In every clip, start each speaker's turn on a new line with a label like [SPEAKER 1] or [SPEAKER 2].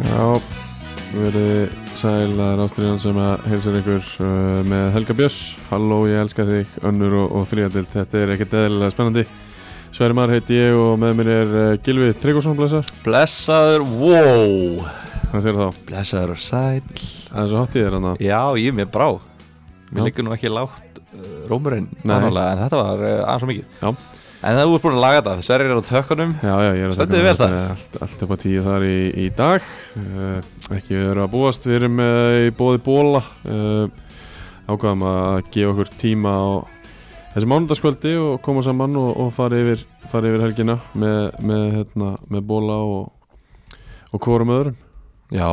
[SPEAKER 1] Já, við erum sæl að rástriðan sem að heilsar ykkur uh, með Helga Björns Halló, ég elska þig, önnur og, og þriðadild Þetta er ekkert eðlilega spennandi Sverri Mar heiti ég og með mér er uh, Gilvi Tryggvason blessar
[SPEAKER 2] Blessaður, wow
[SPEAKER 1] Hann sér þá,
[SPEAKER 2] Blessaður og sæl
[SPEAKER 1] það er svo hátt í þér hann að
[SPEAKER 2] Já, ég er mér brá
[SPEAKER 1] Já.
[SPEAKER 2] Mér liggur nú ekki lágt uh, rómurinn
[SPEAKER 1] Nei.
[SPEAKER 2] vanalega, En þetta var uh, aðeins og mikið
[SPEAKER 1] Já.
[SPEAKER 2] En það er búin að laga þetta Sverrir er á tökkunum
[SPEAKER 1] Já, já, ég er að taka
[SPEAKER 2] Stendur þig vel
[SPEAKER 1] þetta
[SPEAKER 2] þar?
[SPEAKER 1] með allt, allt upp á tíu þar í, í dag uh, Ekki við erum að búast, við erum uh, í bóði bóla uh, Ákvaðum að gefa okkur tíma á þessi mánudagskvöldi og koma saman og, og fara, yfir, fara yfir helgina með, með, hérna, með bóla og, og hvorum öðrum
[SPEAKER 2] Já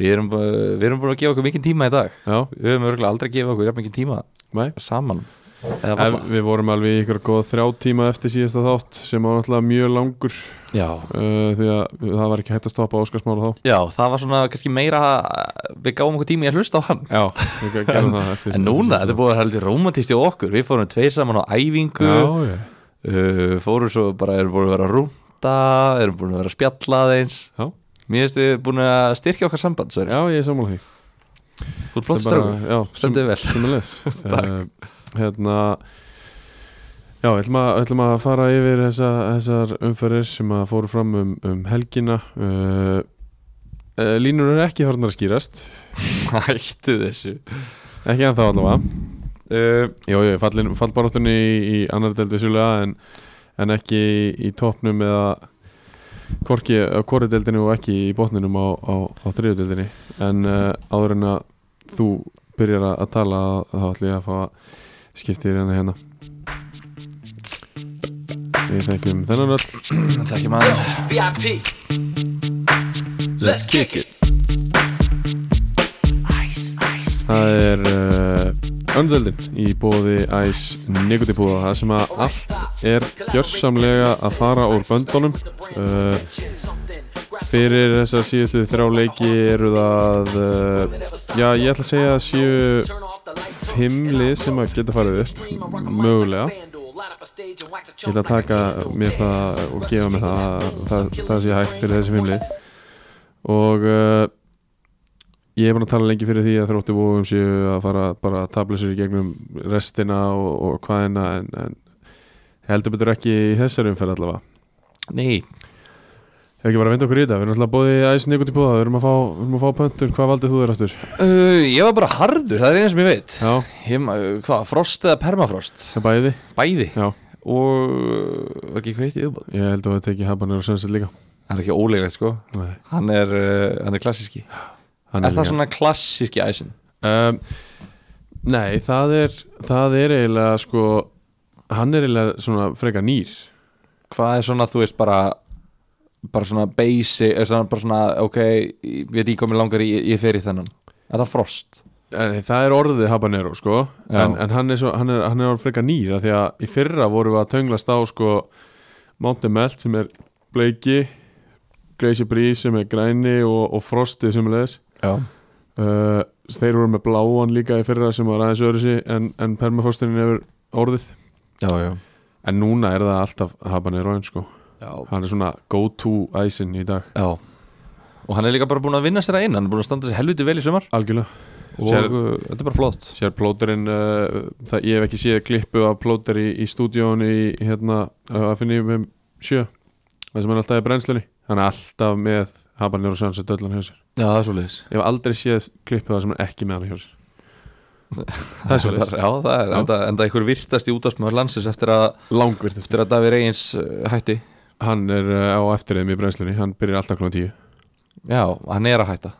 [SPEAKER 2] Við erum, uh, við erum búin að gefa okkur mikið tíma í dag
[SPEAKER 1] Já,
[SPEAKER 2] Við höfum örgulega aldrei gefið okkur jafn mikið tíma
[SPEAKER 1] mæ
[SPEAKER 2] saman Eða
[SPEAKER 1] Ef,
[SPEAKER 2] varla.
[SPEAKER 1] Við vorum alveg í ykkur góð þrjá tíma eftir síðasta þátt sem var náttúrulega mjög langur
[SPEAKER 2] Já
[SPEAKER 1] uh, því að það var ekki hægt að stoppa Óskarsmála þá
[SPEAKER 2] Já, það var svona kannski meira uh, Við gáum okkur tíma í að hlusta á hann
[SPEAKER 1] Já, við gerum það eftir
[SPEAKER 2] En núna, þetta er búin að vera heldur romantist í okkur Við fórum tveir saman á æfingu
[SPEAKER 1] Já, já
[SPEAKER 2] uh, fórum svo bara, erum búin að vera að rúnta erum búin að vera að spjalla aðeins
[SPEAKER 1] Já.
[SPEAKER 2] mér finnst við búin að styrkja okkar samband Sverri.
[SPEAKER 1] Já, ég er sammála því
[SPEAKER 2] þú er flott strákur,
[SPEAKER 1] strákur
[SPEAKER 2] stendur þig vel Takk.
[SPEAKER 1] Hérna Já, ætlum að, ætlum að fara yfir þessa, þessar umferðir sem að fóru fram um, um helgina uh, uh, Línur eru ekki farnar að skýrast
[SPEAKER 2] hættu þessu
[SPEAKER 1] Ekki en þá allavega
[SPEAKER 2] uh,
[SPEAKER 1] Jó, jó, fallin, fallbaráttunni í, í annar delt vissulega en, en ekki í, í topnum eða hvorki á kori deldinu og ekki í botninum á, á, á þriðu deldinu en uh, áður en að þú byrjar að að tala þá ætlum ég að fá að skipta í hérna hérna Við þekkjum þennan öll
[SPEAKER 2] takk ég maður
[SPEAKER 3] VIP. Let's kick it.
[SPEAKER 1] Það er uh, öndöldin í bóði æs nikotipúða það sem að allt er gjörsamlega að fara úr böndunum Eh, uh, fyrir þessar síðustu þrjá leiki eru það uh, já ég ætla að segja að séu fimm lið sem að geta farið upp mögulega ég ætla að taka mér það og gefa mér það að það, það sé hægt fyrir þessi fimm lið og uh, ég er búin að tala lengi fyrir því að þróttu búum séu að fara bara að tabla sér í gegnum restina og, og hvaðina en, en heldur betur ekki í þessari umferð allavega
[SPEAKER 2] nei,
[SPEAKER 1] Ef ekki bara að vinda okkur í þetta, við erum alltaf bóðið æs nýgut í búða, við erum að fá, við erum að fá pöntur, hvað valdið þú þér aftur?
[SPEAKER 2] uh, ég var bara harður, það er eina sem ég veit
[SPEAKER 1] Já,
[SPEAKER 2] ég, ma- uh, hvað, frost eða permafrost
[SPEAKER 1] það er bæði,
[SPEAKER 2] bæði
[SPEAKER 1] já,
[SPEAKER 2] og uh, var ekki hvað heitir viðbót
[SPEAKER 1] ég held að það tekið habanir og sönsið líka
[SPEAKER 2] hann er ekki ólega sko
[SPEAKER 1] Nei,
[SPEAKER 2] hann er, uh, hann er klassíski er,
[SPEAKER 1] hann hérna.
[SPEAKER 2] það svona klassíski æsin
[SPEAKER 1] Um, nei, það er, það er eiginlega sko, hann er eiginlega svona frekar nýr
[SPEAKER 2] hvað er svona, þú veist, bara bara svona basic eða svona, bara svona, ok, ég veit ekki komið langar ég, ég fer í þennan, er það frost
[SPEAKER 1] Nei, það er orðið habanero sko
[SPEAKER 2] Já.
[SPEAKER 1] en, en hann er, svo, hann er, hann er orðið frekar nýr af því að í fyrra vorum við að tönglast á sko Mountain Melt sem er bleiki Glacier Breeze sem er græni og, og Frostið sem er leðis
[SPEAKER 2] já,
[SPEAKER 1] uh, þeir voru með bláan líka í fyrra sem var aðeins öðru sig en, en permafrosturinn hefur orðið
[SPEAKER 2] já, já,
[SPEAKER 1] en núna er það alltaf habaneroin sko
[SPEAKER 2] já,
[SPEAKER 1] hann er svona go to æsin í dag
[SPEAKER 2] og hann er líka bara búin að vinna sér að inn hann er búin að standa sér helviti vel í sumar
[SPEAKER 1] algjörlega
[SPEAKER 2] og
[SPEAKER 1] Sér-
[SPEAKER 2] uh, þetta er bara flott
[SPEAKER 1] Sér plóterinn, uh, það, ég hef ekki séð klippu af plóter í, í stúdíónu í hérna, uh, að finna í um sjö það sem hann er alltaf í brennslunni hann er alltaf með habanir og sönsa döllan hjá sér
[SPEAKER 2] já, það er svo leiðis
[SPEAKER 1] ég hef aldrei séð klippu það sem hann er ekki með hann hjá sér það er svolítið
[SPEAKER 2] já, það er,
[SPEAKER 1] Já.
[SPEAKER 2] enda, enda einhver virtast í útastmaður landsins eftir að,
[SPEAKER 1] langvirtist
[SPEAKER 2] eftir að Davíð Reyns uh, hætti
[SPEAKER 1] hann er uh, á eftir þeim í brennslunni hann byrjar alltaf kl. 10
[SPEAKER 2] já, hann er að hætta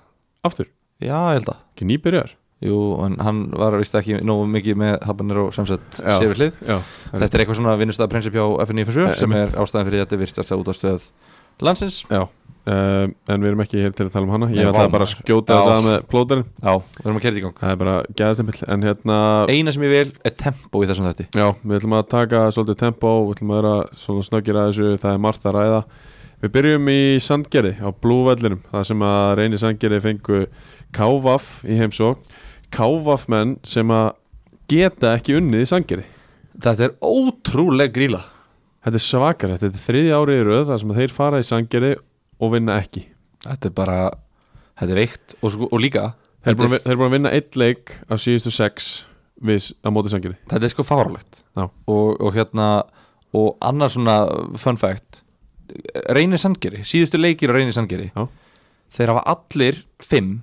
[SPEAKER 1] aftur,
[SPEAKER 2] já, ég held að
[SPEAKER 1] ekki nýbyrjar
[SPEAKER 2] Jú, en hann var vist ekki nógu mikið með Habanero sem sett
[SPEAKER 1] Já.
[SPEAKER 2] sér við hlið
[SPEAKER 1] já, það er
[SPEAKER 2] Þetta er eitthvað svona vinnustafprinsip hjá FNF
[SPEAKER 1] Eh,
[SPEAKER 2] sem er
[SPEAKER 1] einmitt.
[SPEAKER 2] ástæðan fyrir því að þetta virtast að út á stöð landsins
[SPEAKER 1] já. Uh, en við erum ekki hér til að tala um hana
[SPEAKER 2] Nei,
[SPEAKER 1] ég ætla bara
[SPEAKER 2] vá,
[SPEAKER 1] að
[SPEAKER 2] maður.
[SPEAKER 1] skjóta
[SPEAKER 2] Já.
[SPEAKER 1] þess að með plóterinn
[SPEAKER 2] Já, við erum að kæra í gang
[SPEAKER 1] það er bara gæðastempill en hérna
[SPEAKER 2] Eina sem ég vil er tempo í þessum þætti
[SPEAKER 1] Já, við ætlum að taka svolítið tempo við ætlum að vera svona snöggir að þessu það er margt að ræða Við byrjum í Sandgerði á Blúvellinum það sem að reynir Sandgerði fengu Kávaf í heimsókn Kávaf menn sem að geta ekki unnið í Sandgerði
[SPEAKER 2] Þetta er ótrúleg gríla
[SPEAKER 1] Þetta er svakar, þetta er þriðja árið í röð þar sem að þeir fara í Sandgerði og vinna ekki
[SPEAKER 2] þetta er bara þetta er veikt og, sko, og líka
[SPEAKER 1] Þeir eru
[SPEAKER 2] þetta
[SPEAKER 1] búin,
[SPEAKER 2] er,
[SPEAKER 1] að- þeir eru búin að vinna eitt leik af síðustu sex við, á móti sanginni
[SPEAKER 2] þetta er sko fárlegt
[SPEAKER 1] Já.
[SPEAKER 2] og, og hérna og annar svona fun fact reynir sandgeri, síðustu leikir á reynir sandgeri
[SPEAKER 1] Já.
[SPEAKER 2] þeir hafa allir fimm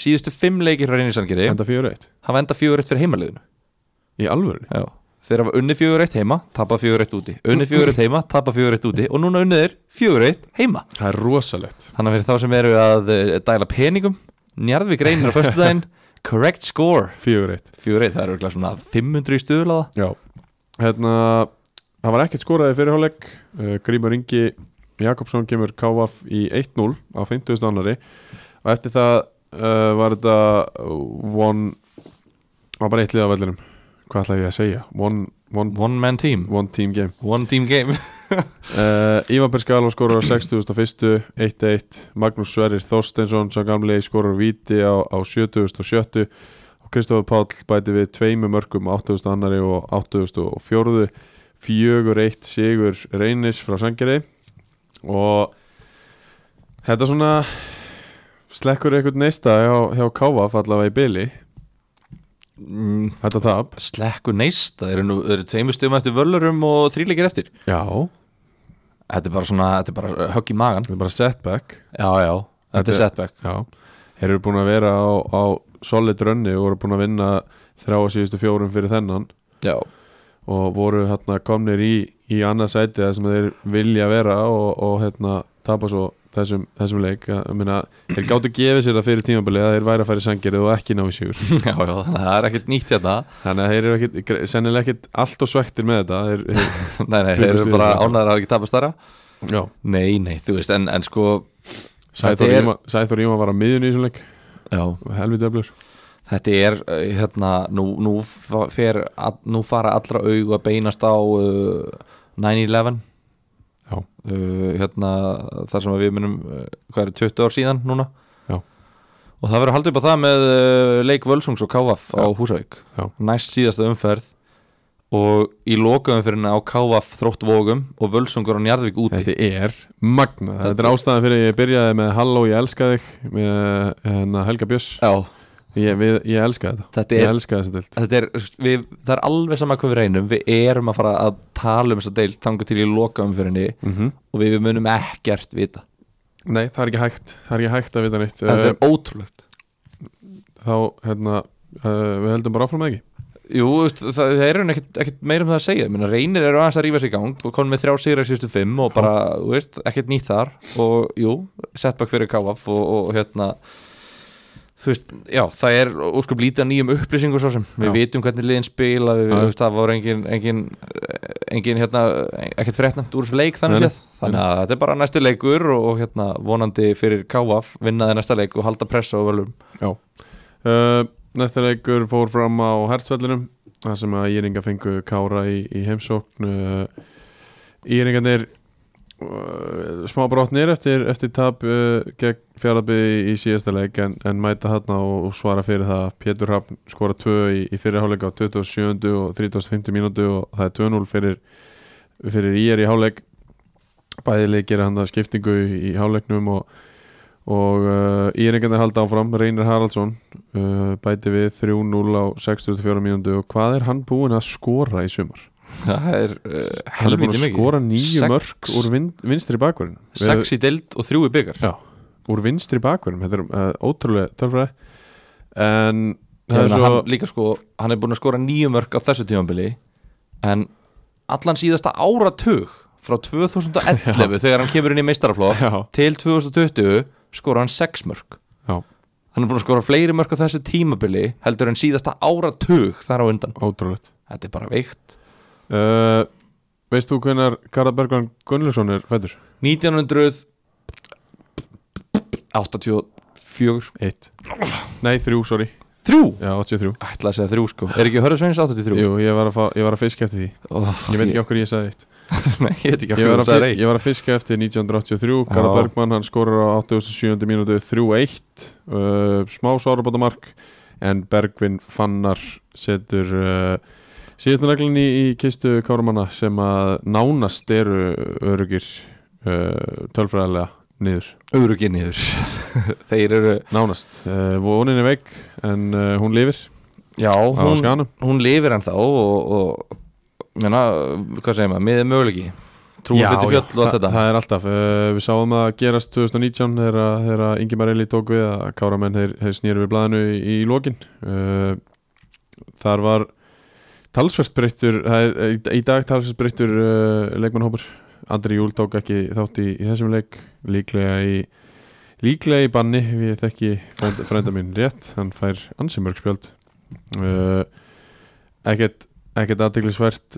[SPEAKER 2] síðustu fimm leikir á reynir sandgeri
[SPEAKER 1] Enda fjögur eitt
[SPEAKER 2] hafa enda fjögur eitt fyrir heimaliðinu
[SPEAKER 1] Í alvörunni
[SPEAKER 2] Já. þeir hafa unni fjögur eitt heima tapa fjögur eitt úti, unni fjögur eitt heima tapa fjögur eitt úti og núna unnið er fjögur eitt heima
[SPEAKER 1] Það er rosalegt
[SPEAKER 2] Þannig að fyrir þá sem eru að eh, dæla peningum Njarðvík reynir á föstudaginn Correct score
[SPEAKER 1] Fjögur eitt
[SPEAKER 2] Fjögur eitt, það eru örugglega svona 500 í stuðlaða
[SPEAKER 1] Já Hérna Það var ekkert skoraði fyrirháleik uh, Grímur Ingi Jakobsson kemur KF í 1-0 á 50. annari og eftir það uh, var þetta one var bara eitt lið af vellinum hvað ætlaði ég að segja one, one,
[SPEAKER 2] One man team,
[SPEAKER 1] one team game
[SPEAKER 2] one team game
[SPEAKER 1] Uh, Ívan Per Skalva skorur á 60.1 1-1, Magnús Sverrir Þorsteinsson sá gamli skorur víti á, á 70.7 og Kristofur Páll bæti við tveimu mörgum á 8.2 og 8.4 fjögur eitt sigur reynis frá Sangeri og þetta svona slekkur eitthvað neista hjá, hjá Káfa allavega í byli
[SPEAKER 2] Mm,
[SPEAKER 1] þetta tap
[SPEAKER 2] Slekku neist, það eru nú það eru tveimur stöðum eftir völurum og þríleikir eftir
[SPEAKER 1] Já,
[SPEAKER 2] Þetta er bara svona, þetta er bara högg í magan
[SPEAKER 1] þetta er bara setback
[SPEAKER 2] Já, já, þetta
[SPEAKER 1] Þetta-
[SPEAKER 2] er setback
[SPEAKER 1] Já, þeir eru búin að vera á, á solid runni og voru búin að vinna þrjá að síðustu fjórum fyrir þennan
[SPEAKER 2] Já,
[SPEAKER 1] og voru hérna komnir í, í annað sæti það sem þeir vilja vera og, og hérna tapa svo þessum, þessum leik Ég meina, þeir gáttu gefið sér það fyrir tímabilið að þeir væri að fara í sangjerið og ekki ná í sigur
[SPEAKER 2] já, já, þannig að það er ekkert nýtt hérna
[SPEAKER 1] þannig að þeir eru ekkit, sennilega ekkit allt og svektir með þetta þeir, þeir,
[SPEAKER 2] Nei, nei, þeir eru bara ánæður að ekki tapa stara
[SPEAKER 1] já,
[SPEAKER 2] Nei, nei, þú veist, en, en sko
[SPEAKER 1] Sæþór
[SPEAKER 2] Þetta er-
[SPEAKER 1] Íma, Sæþór Íma var á miðjunni í þessum leik
[SPEAKER 2] Já,
[SPEAKER 1] helvið döflur
[SPEAKER 2] Þetta er, eh, hérna, nú, nú, fa- fer, all, nú fara allra augu að beinast á uh, 9-11
[SPEAKER 1] Já.
[SPEAKER 2] uh, hérna, þar sem að við munum, uh, hvað eru, 20 ár síðan núna
[SPEAKER 1] Já.
[SPEAKER 2] Og það verður haldið upp á það með uh, Leik Völsungs og Káaf á
[SPEAKER 1] Já.
[SPEAKER 2] Húsavík
[SPEAKER 1] Já.
[SPEAKER 2] Næst síðasta umferð og í lokaumferðina á Káaf þróttvogum og Völsungur á Njarðvík úti
[SPEAKER 1] Þetta er magna, þetta er ástæðan fyrir ég byrjaði með Halló ég elska þig með hérna, Helga Björs
[SPEAKER 2] Já,
[SPEAKER 1] ég, við, ég elska þetta,
[SPEAKER 2] Þetta er-
[SPEAKER 1] ég elska þessa dild
[SPEAKER 2] þetta er, við, það er alveg sama hvað við reynum við erum að fara að tala um þess að deil tangu til í lokaumfyrinni
[SPEAKER 1] mm
[SPEAKER 2] og við munum ekkert vita
[SPEAKER 1] Nei, það er ekki hægt, það er ekki hægt að vita neitt
[SPEAKER 2] þetta
[SPEAKER 1] uh,
[SPEAKER 2] er ótrúlegt
[SPEAKER 1] Þá, hérna, uh, við heldum bara áfram eða ekki
[SPEAKER 2] Jú, þú veist, það, það er hann ekkert, ekkert meira um það að segja Ég meina, reynir eru aðeins að rífa sig í gang og konum með þrjá sigra í síðustu fimm og bara, þú veist, ekkert nýtt þar og jú, setback fyrir káaf og, og hérna þú veist, já, það er úrskup lítið að nýjum upplýsingu svo sem, við
[SPEAKER 1] Já.
[SPEAKER 2] vitum hvernig liðin spila, við,
[SPEAKER 1] Já.
[SPEAKER 2] við, veist, það voru engin engin, engin hérna, ekkert frettnæmt úr þessu leik þannig
[SPEAKER 1] Nei, nei.
[SPEAKER 2] séð þannig að þetta er bara næsti leikur og, og hérna, vonandi fyrir káaf vinnaði næsta leik og halda pressa og völum
[SPEAKER 1] uh, Næsta leikur fór fram á hertsvellinum þar sem að Íringa fengu Kára í, í heimsókn uh, Íringarnir uh, smá brotnir eftir, eftir tap uh, gegn fjarabi í síðasta leik en, en mæta hann og, og svara fyrir það Pétur Hafn skora 2 í, í fyrirháleik á 27. og 35. mínútu og það er 2-0 fyrir, fyrir IR í háleik bæði leikir hann að skiptingu í, í háleiknum og og uh, íringarnir halda áfram Reynar Haraldsson uh, bæti við 3-0 á 64 mínúndu og hvað er hann búinn að skora í sumar?
[SPEAKER 2] það er uh,
[SPEAKER 1] Hann er búinn að
[SPEAKER 2] helviti mikið
[SPEAKER 1] eh, skora nýju
[SPEAKER 2] Sex-
[SPEAKER 1] mörg úr vin, vinstri bakverðin
[SPEAKER 2] sex í deild og þrjú í byggar
[SPEAKER 1] Já, úr vinstri bakverðin þetta er uh, ótrúlega tölfræði en það er
[SPEAKER 2] svo...
[SPEAKER 1] svo
[SPEAKER 2] hann, líka sko, hann er búin að skora nýju mörg á þessu tímanbili en allan síðasta áratug frá 2011 þegar hann kemur inn í meistaraflóð
[SPEAKER 1] já,
[SPEAKER 2] til 2020 skora hann sex mörg
[SPEAKER 1] já,
[SPEAKER 2] hann er búin að skora fleiri mörg á þessu tímabili heldur en síðasta áratug þar á undan
[SPEAKER 1] ótrúlegt
[SPEAKER 2] þetta er bara veikt
[SPEAKER 1] uh, Veist þú hvenar Garðar Bergman Gunnlaugsson er fættur?
[SPEAKER 2] 1984
[SPEAKER 1] Eitt Nei, þrjú, sorry
[SPEAKER 2] þrjú
[SPEAKER 1] Já, 83
[SPEAKER 2] ætla að segja þrjú sko er ekki Hörður Sveins 83
[SPEAKER 1] Jú, ég var að, fá- ég var að fiska eftir því
[SPEAKER 2] oh,
[SPEAKER 1] Ég veit ekki okkur ég sagði eitt
[SPEAKER 2] Nei, ég veit ekki
[SPEAKER 1] Ég
[SPEAKER 2] okkur
[SPEAKER 1] var,
[SPEAKER 2] um það
[SPEAKER 1] að,
[SPEAKER 2] er
[SPEAKER 1] ég var að fiska eftir 1983
[SPEAKER 2] Já.
[SPEAKER 1] Garðar Bergmann, hann skorur á 87. mínútu 3-1 uh, smá sárabótamark en Bergvin Fannar setur uh, síðastaneglinn í, í kistu Kárumanna sem að nánast eru örugir uh, tölfræðilega niður
[SPEAKER 2] Örugir niður Þeir eru
[SPEAKER 1] Nánast, uh, vonin er veik en uh, hún lifir
[SPEAKER 2] Já,
[SPEAKER 1] á
[SPEAKER 2] hún,
[SPEAKER 1] skanum
[SPEAKER 2] hún lifir ennþá og, og menna, hvað segir maður, miðið möguleiki Trúum
[SPEAKER 1] Já,
[SPEAKER 2] hluti
[SPEAKER 1] já,
[SPEAKER 2] fjöll og
[SPEAKER 1] þa-
[SPEAKER 2] allt þetta
[SPEAKER 1] Það er alltaf, uh, við sáum að gerast 2019 þegar, að- þegar að Ingimar Eli tók við að Káramenn þeir, þeir snýru við blaðinu í, í lokin uh, Þar var talsvert breyttur það er, í- í dag talsvert breyttur uh, leikmannhópur Andri Júl tók ekki þátt í, í þessum leik líklega í líklega í banni við þekki frænda, frænda minn rétt hann fær ansi mörg spjöld uh, ekkert ekkert aðteglisvert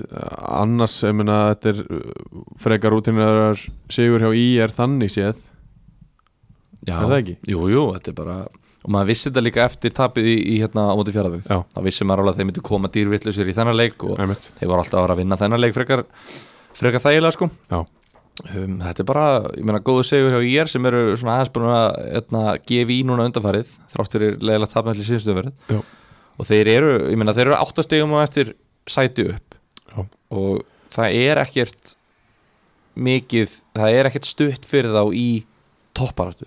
[SPEAKER 1] annars, ég meina, þetta er uh, frekar útinnarar sigur hjá í er þannig séð
[SPEAKER 2] Já,
[SPEAKER 1] er það ekki?
[SPEAKER 2] Jú, jú, þetta er bara og maður vissi þetta líka eftir tapið í, í hérna á móti fjaraðvögg
[SPEAKER 1] Já.
[SPEAKER 2] þá vissi maður alveg að þeir myndi koma dýrvillusir í þennan leik og
[SPEAKER 1] Æmitt.
[SPEAKER 2] þeir voru alltaf að vera að vinna þennan leik frekar, frekar þægilega sko
[SPEAKER 1] Já.
[SPEAKER 2] um, þetta er bara, ég meina góðu segur hjá IR sem eru svona aðeins búin að hérna, gefa í núna undanfarið þrátt fyrir leiðilegt tapmæli síðustuverið
[SPEAKER 1] Já.
[SPEAKER 2] og þeir eru, ég meina þeir eru áttastegum og eftir sæti upp
[SPEAKER 1] Já.
[SPEAKER 2] og það er ekkert mikið, það er ekkert stutt fyrir þá í topparáttu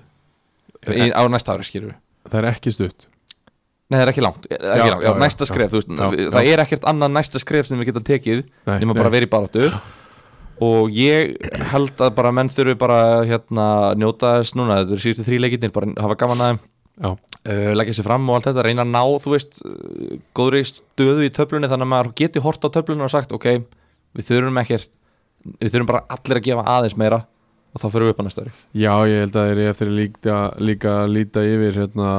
[SPEAKER 2] í, á næsta ári skilur við
[SPEAKER 1] það er ekki stutt
[SPEAKER 2] Nei, það er ekki langt, það er
[SPEAKER 1] Já,
[SPEAKER 2] ekki langt.
[SPEAKER 1] já,
[SPEAKER 2] Já,
[SPEAKER 1] já,
[SPEAKER 2] næsta
[SPEAKER 1] já.
[SPEAKER 2] skref, þú veist,
[SPEAKER 1] Já,
[SPEAKER 2] það
[SPEAKER 1] já.
[SPEAKER 2] er ekkert annað næsta skref sem við getum tekið
[SPEAKER 1] Nei,
[SPEAKER 2] nema
[SPEAKER 1] nei.
[SPEAKER 2] bara verið í baráttu og ég held að bara menn þurfi bara hérna njóta þess núna, þetta eru síðustu þrý leikirnir bara hafa gaman að þeim,
[SPEAKER 1] Já,
[SPEAKER 2] uh, leggja sér fram og allt þetta, reyna að ná, þú veist uh, góðri stöðu í töflunni þannig að maður geti hort á töflunni og sagt, ok við þurfum ekkert, við þurfum bara allir að gefa aðeins meira og þá fyrir við upp á næsta ári
[SPEAKER 1] Já, ég held að þeir eru eftir að líka, líka að líta yfir hérna,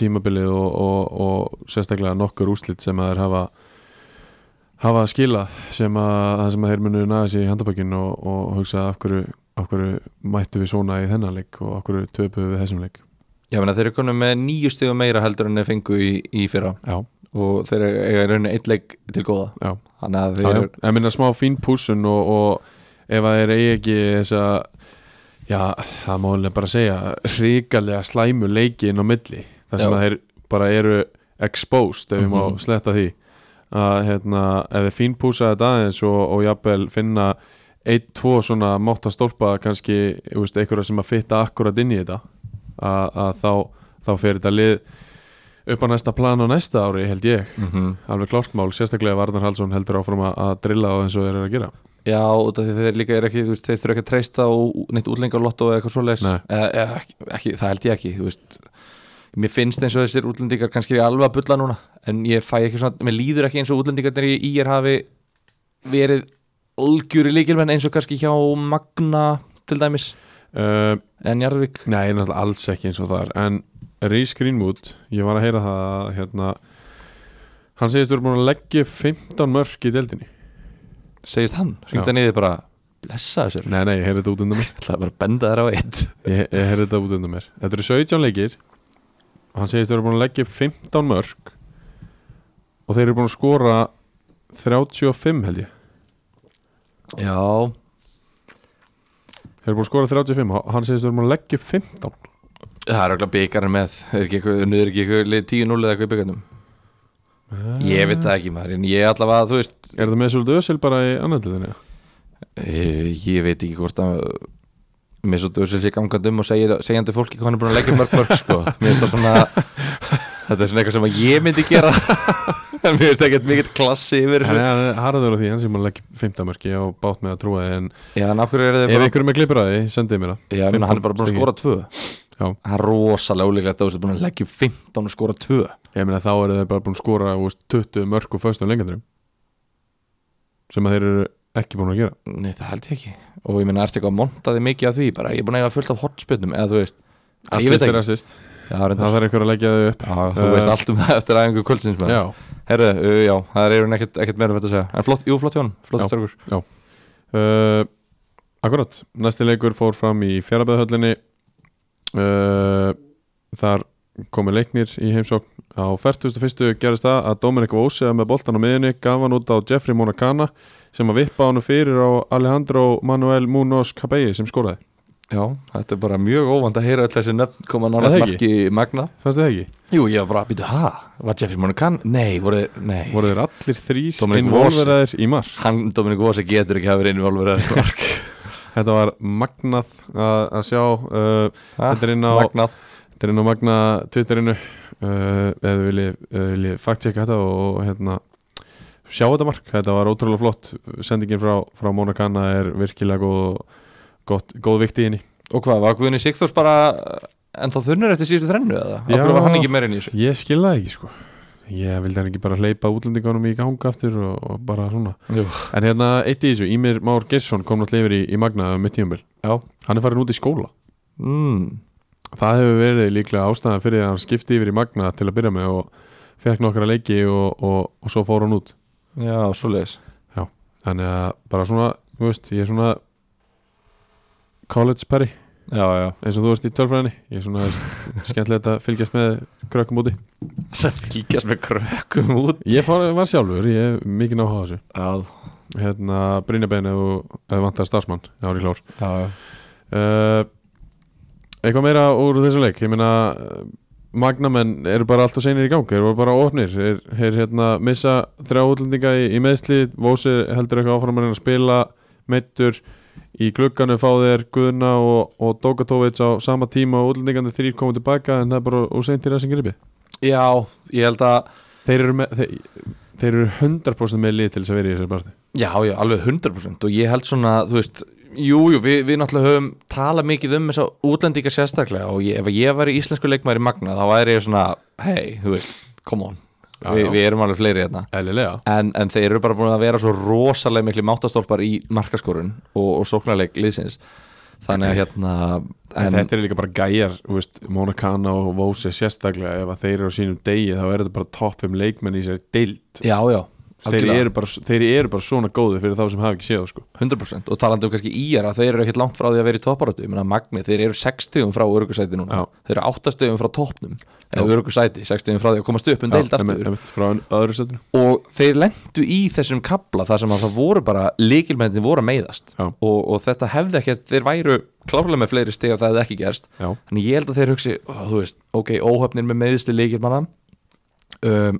[SPEAKER 1] tímabilið og, og, og sérstaklega nokkur úslit sem að þeir hafa hafa skilað sem að það sem að þeir munu næða sér í handabökin og, og hugsa af hverju, af hverju mættu við svona í þennan leik og af hverju töpu við þessum leik
[SPEAKER 2] Já, menna, þeir eru konum með nýju stegum meira heldur en þeir fengu í, í fyrra
[SPEAKER 1] Já,
[SPEAKER 2] og þeir eiga raunin eitt leik til góða
[SPEAKER 1] já
[SPEAKER 2] þannig að þeir
[SPEAKER 1] Já, já.
[SPEAKER 2] eru
[SPEAKER 1] Ég minna smá fín pússun og, og ef að þeir eigi ekki þessa já, það má alveg bara segja ríkalega slæmu leiki inn á milli þar sem
[SPEAKER 2] Já.
[SPEAKER 1] að þeir bara eru exposed ef við
[SPEAKER 2] Mhm.
[SPEAKER 1] má sletta því að hérna, ef þeir fín púsa þetta aðeins og, og jafnvel finna einn, tvo svona mátt að stólpa kannski, þú veist, einhverja sem að fitta akkurat inn í þetta að, að þá, þá fer þetta lið upp á næsta plan á næsta ári held ég alveg klárt mál, sérstaklega ef Arnar Hallsson heldur áfram að- að drilla á eins og þeir eru að gera
[SPEAKER 2] Já, út af því þeir líka er ekki, þú veist, þeir þurfa ekki að treysta á neitt útlengarlotto eða eitthvað svoleiðis
[SPEAKER 1] Nei.
[SPEAKER 2] eða, eða, ekki, ekki, það held ég ekki, þú veist Mér finnst eins og þessir útlendingar kannski er alveg að bulla núna en ég fæ ekki svona, mér líður ekki eins og útlendingarnir í IR hafi verið algjöri líkilmenn eins og kannski hjá Magna til dæmis
[SPEAKER 1] uh,
[SPEAKER 2] en Jarðvík
[SPEAKER 1] Nei, náttúrulega alls ekki eins og það er en Rhys Greenwood, ég var að heyra það að, hérna, hann segist verið búin að leggja upp 15 mörk í deildinni
[SPEAKER 2] segist hann, ringda niður bara blessa þessir,
[SPEAKER 1] Nei, nei, ég heyrði þetta út undan mér
[SPEAKER 2] ætlaði bara að benda þær á eitt
[SPEAKER 1] Ég, ég heyrði þetta út undan mér Þetta eru 17 leikir og hann segist verið búin að leggja upp 15 mörk og þeir eru búin að skora 35 held ég
[SPEAKER 2] Já,
[SPEAKER 1] Þeir eru búin að skora 35 og hann segist verið búin að leggja upp 15
[SPEAKER 2] Það er okkur byggarinn með Er ekki eitthvað, nöður ekki eitthvað lið 10-0 eða eitthvað í byggarnum Ég veit það ekki maður En ég allavega, þú veist
[SPEAKER 1] Er þetta með svolítið össil bara í annarliðinni?
[SPEAKER 2] Ég, eh, ég veit ekki hvort að Mér svo döðsel sé gangand um og segir, segjandi fólki hvað hann er búin að leggja mörg mörg sko. Mér finnst það svona Þetta er svona eitthvað sem að ég myndi gera En mér finnst ekkert mikill klassi yfir
[SPEAKER 1] Hann
[SPEAKER 2] þessu
[SPEAKER 1] er, hann er harður á því, hann sem að leggja 15 mörki og bát með að trúa því en
[SPEAKER 2] Já, en af hverju er þið
[SPEAKER 1] ef
[SPEAKER 2] bara
[SPEAKER 1] einhverjum er klippur að því, sendið mér það
[SPEAKER 2] Já, ég meina, hann er bara búin
[SPEAKER 1] 15
[SPEAKER 2] að skora tvö
[SPEAKER 1] Já.
[SPEAKER 2] Hann er rosalega úlíklegt að þú er búin að leggja upp 15 og skora tvö
[SPEAKER 1] Ég meina þá eru þeir bara búin að skora þú veist, 20 mörk og föstum lengandurum sem að þeir eru ekki búin að gera
[SPEAKER 2] Nei, það held ég ekki Og ég meina, ertu eitthvað að monta þig mikið af því bara, Ég er búin að eiga fullt af hotspjötnum Eða þú veist, Ég veit
[SPEAKER 1] Assist
[SPEAKER 2] ekki.
[SPEAKER 1] er assist,
[SPEAKER 2] já, reyndar,
[SPEAKER 1] það þarf einhver að leggja þau upp
[SPEAKER 2] já, þú
[SPEAKER 1] Eh,
[SPEAKER 2] veist allt um það eftir æfingu kvöldsins
[SPEAKER 1] Já,
[SPEAKER 2] Herru, uh, já, það er ekkert, ekkert meira um þetta að segja En flott, jú, flott hjá hann, flott
[SPEAKER 1] Já.
[SPEAKER 2] störgur
[SPEAKER 1] uh, akkurat Næsti leikur fór fram í fjarabæðhöllinni uh, Þar komu leiknir í heimsókn Á 41. gerist það að Dominic Vóseða með boltan á miðinni gaf hann út á Jeffrey Monacana sem að vippa hann fyrir á Alejandro Manuel Munoz Cabelli sem skoraði
[SPEAKER 2] Já, þetta er bara mjög óvand að heyra öll þessi nöfn koma
[SPEAKER 1] Er
[SPEAKER 2] nálega
[SPEAKER 1] það
[SPEAKER 2] marki magna
[SPEAKER 1] Fannst þið það ekki?
[SPEAKER 2] Jú, ég var bara að býta, ha, var Jeffrey Monacan? Nei, voru þið, nei
[SPEAKER 1] Voru þeir allir þrýr
[SPEAKER 2] Dominic
[SPEAKER 1] innvolveraðir í mark
[SPEAKER 2] sko. Hann, Dominik Vossi, getur ekki að vera innvolverið
[SPEAKER 1] Þetta var magnað að, að sjá uh, Þetta er inn á
[SPEAKER 2] Magnað
[SPEAKER 1] Þetta er inn á magna Twitterinu uh, eða við viljið vilji faktjekka þetta og, og hérna sjá þetta mark, þetta var ótrúlega flott sendingin frá, frá Mona Kanna er virkilega góð, gott, góð vikti í henni
[SPEAKER 2] Og hvað, var Guðni Sigþórs bara En þá þunnur eftir síðustu þrennu eða?
[SPEAKER 1] Já.
[SPEAKER 2] Akkur var hann ekki meira inn í þessu
[SPEAKER 1] Ég skil það ekki sko Ég vildi hann ekki bara hleypa útlendingunum í gang aftur og, og bara svona
[SPEAKER 2] Jú.
[SPEAKER 1] En hérna eitt í þessu, Ímir Már Geirsson kom náttúrulega yfir í, í Magna um mitt tíumbil
[SPEAKER 2] Já
[SPEAKER 1] Hann er farin út í skóla
[SPEAKER 2] mm.
[SPEAKER 1] Það hefur verið líklega ástæðan fyrir að hann skipti yfir í Magna til að byrja með og fekk nokkra leiki og, og, og svo fór hann út
[SPEAKER 2] Já, svoleiðis
[SPEAKER 1] Þannig að bara svona, þú veist, ég er svona college perry
[SPEAKER 2] Já, já
[SPEAKER 1] eins og þú veist í tölfræðinni Ég er svona skemmtilegt að fylgjast með krökkum úti
[SPEAKER 2] Sem fylgjast með krökkum út
[SPEAKER 1] Ég fór, var sjálfur, ég er mikið náha þessu
[SPEAKER 2] Já,
[SPEAKER 1] hérna, Brynjabein ef þú- ef þú vantar starfsmann Já, hann er klár
[SPEAKER 2] já
[SPEAKER 1] uh, Eitthvað meira úr þessum leik Ég meina eh, Magnamenn eru bara allt og seinir í gang Þeir voru bara ofnir Þeir, þeir hérna, missa þrjá útlendinga í, í meðsli Vósi heldur eitthvað áfram að reyna að spila Meittur Í glugganu fá þeir Guðna og, og Dogatovits á sama tíma og útlendingandi þrýr komið tilbaka en það er bara úr seint í ræsing gripi
[SPEAKER 2] Já, ég held að
[SPEAKER 1] Þeir eru, með, þeir, þeir eru 100% með lið til þess að vera í þessari barði
[SPEAKER 2] Já, já, alveg 100% og ég held svona, þú veist Jú, jú, við, við náttúrulega höfum talað mikið um þess að útlendinga sérstaklega og ég, ef ég væri íslensku leikmaður í Magna þá væri ég svona, hei, þú veist, come on
[SPEAKER 1] Já,
[SPEAKER 2] Vi,
[SPEAKER 1] já.
[SPEAKER 2] Við erum alveg fleiri hérna
[SPEAKER 1] Eðlilega
[SPEAKER 2] en, en þeir eru bara búin að vera svo rosalega miklu máttastólpar í markaskorun og, og sóknarleik liðsins þannig að hérna
[SPEAKER 1] En
[SPEAKER 2] en,
[SPEAKER 1] þetta er líka bara gæjar, þú veist, Mona Kana og Vósi sérstaklega, ef að þeir eru á sínum degi þá er þetta bara toppum leikmenn í sér deild
[SPEAKER 2] Já, já,
[SPEAKER 1] þeir
[SPEAKER 2] algjörlega.
[SPEAKER 1] eru, bara, þeir eru bara svona góði fyrir þá sem hafa ekki séð það, sko.
[SPEAKER 2] 100% og talandi um kannski íjar að þeir eru ekkit langt frá því að vera í topparötu ég meina Magni, þeir eru 60 frá örugusæti núna
[SPEAKER 1] Já.
[SPEAKER 2] þeir eru 8 stöðum frá toppnum eða örugusæti, 60 frá því að komast upp um deild
[SPEAKER 1] Já, einmitt,
[SPEAKER 2] aftur
[SPEAKER 1] einmitt, frá ön- öðru setinu
[SPEAKER 2] og þeir lendu í þessum kabla þar sem að það voru bara líkilmennir voru að meiðast
[SPEAKER 1] Já.
[SPEAKER 2] og, og þetta hefði ekki þeir væru klárlega með fleiri steg ef það hefði ekki gerst
[SPEAKER 1] Já.
[SPEAKER 2] þannig ég held að þeir hugsi, ó, þú veist ok, óhöfnir með meiðisli líkilmanna um,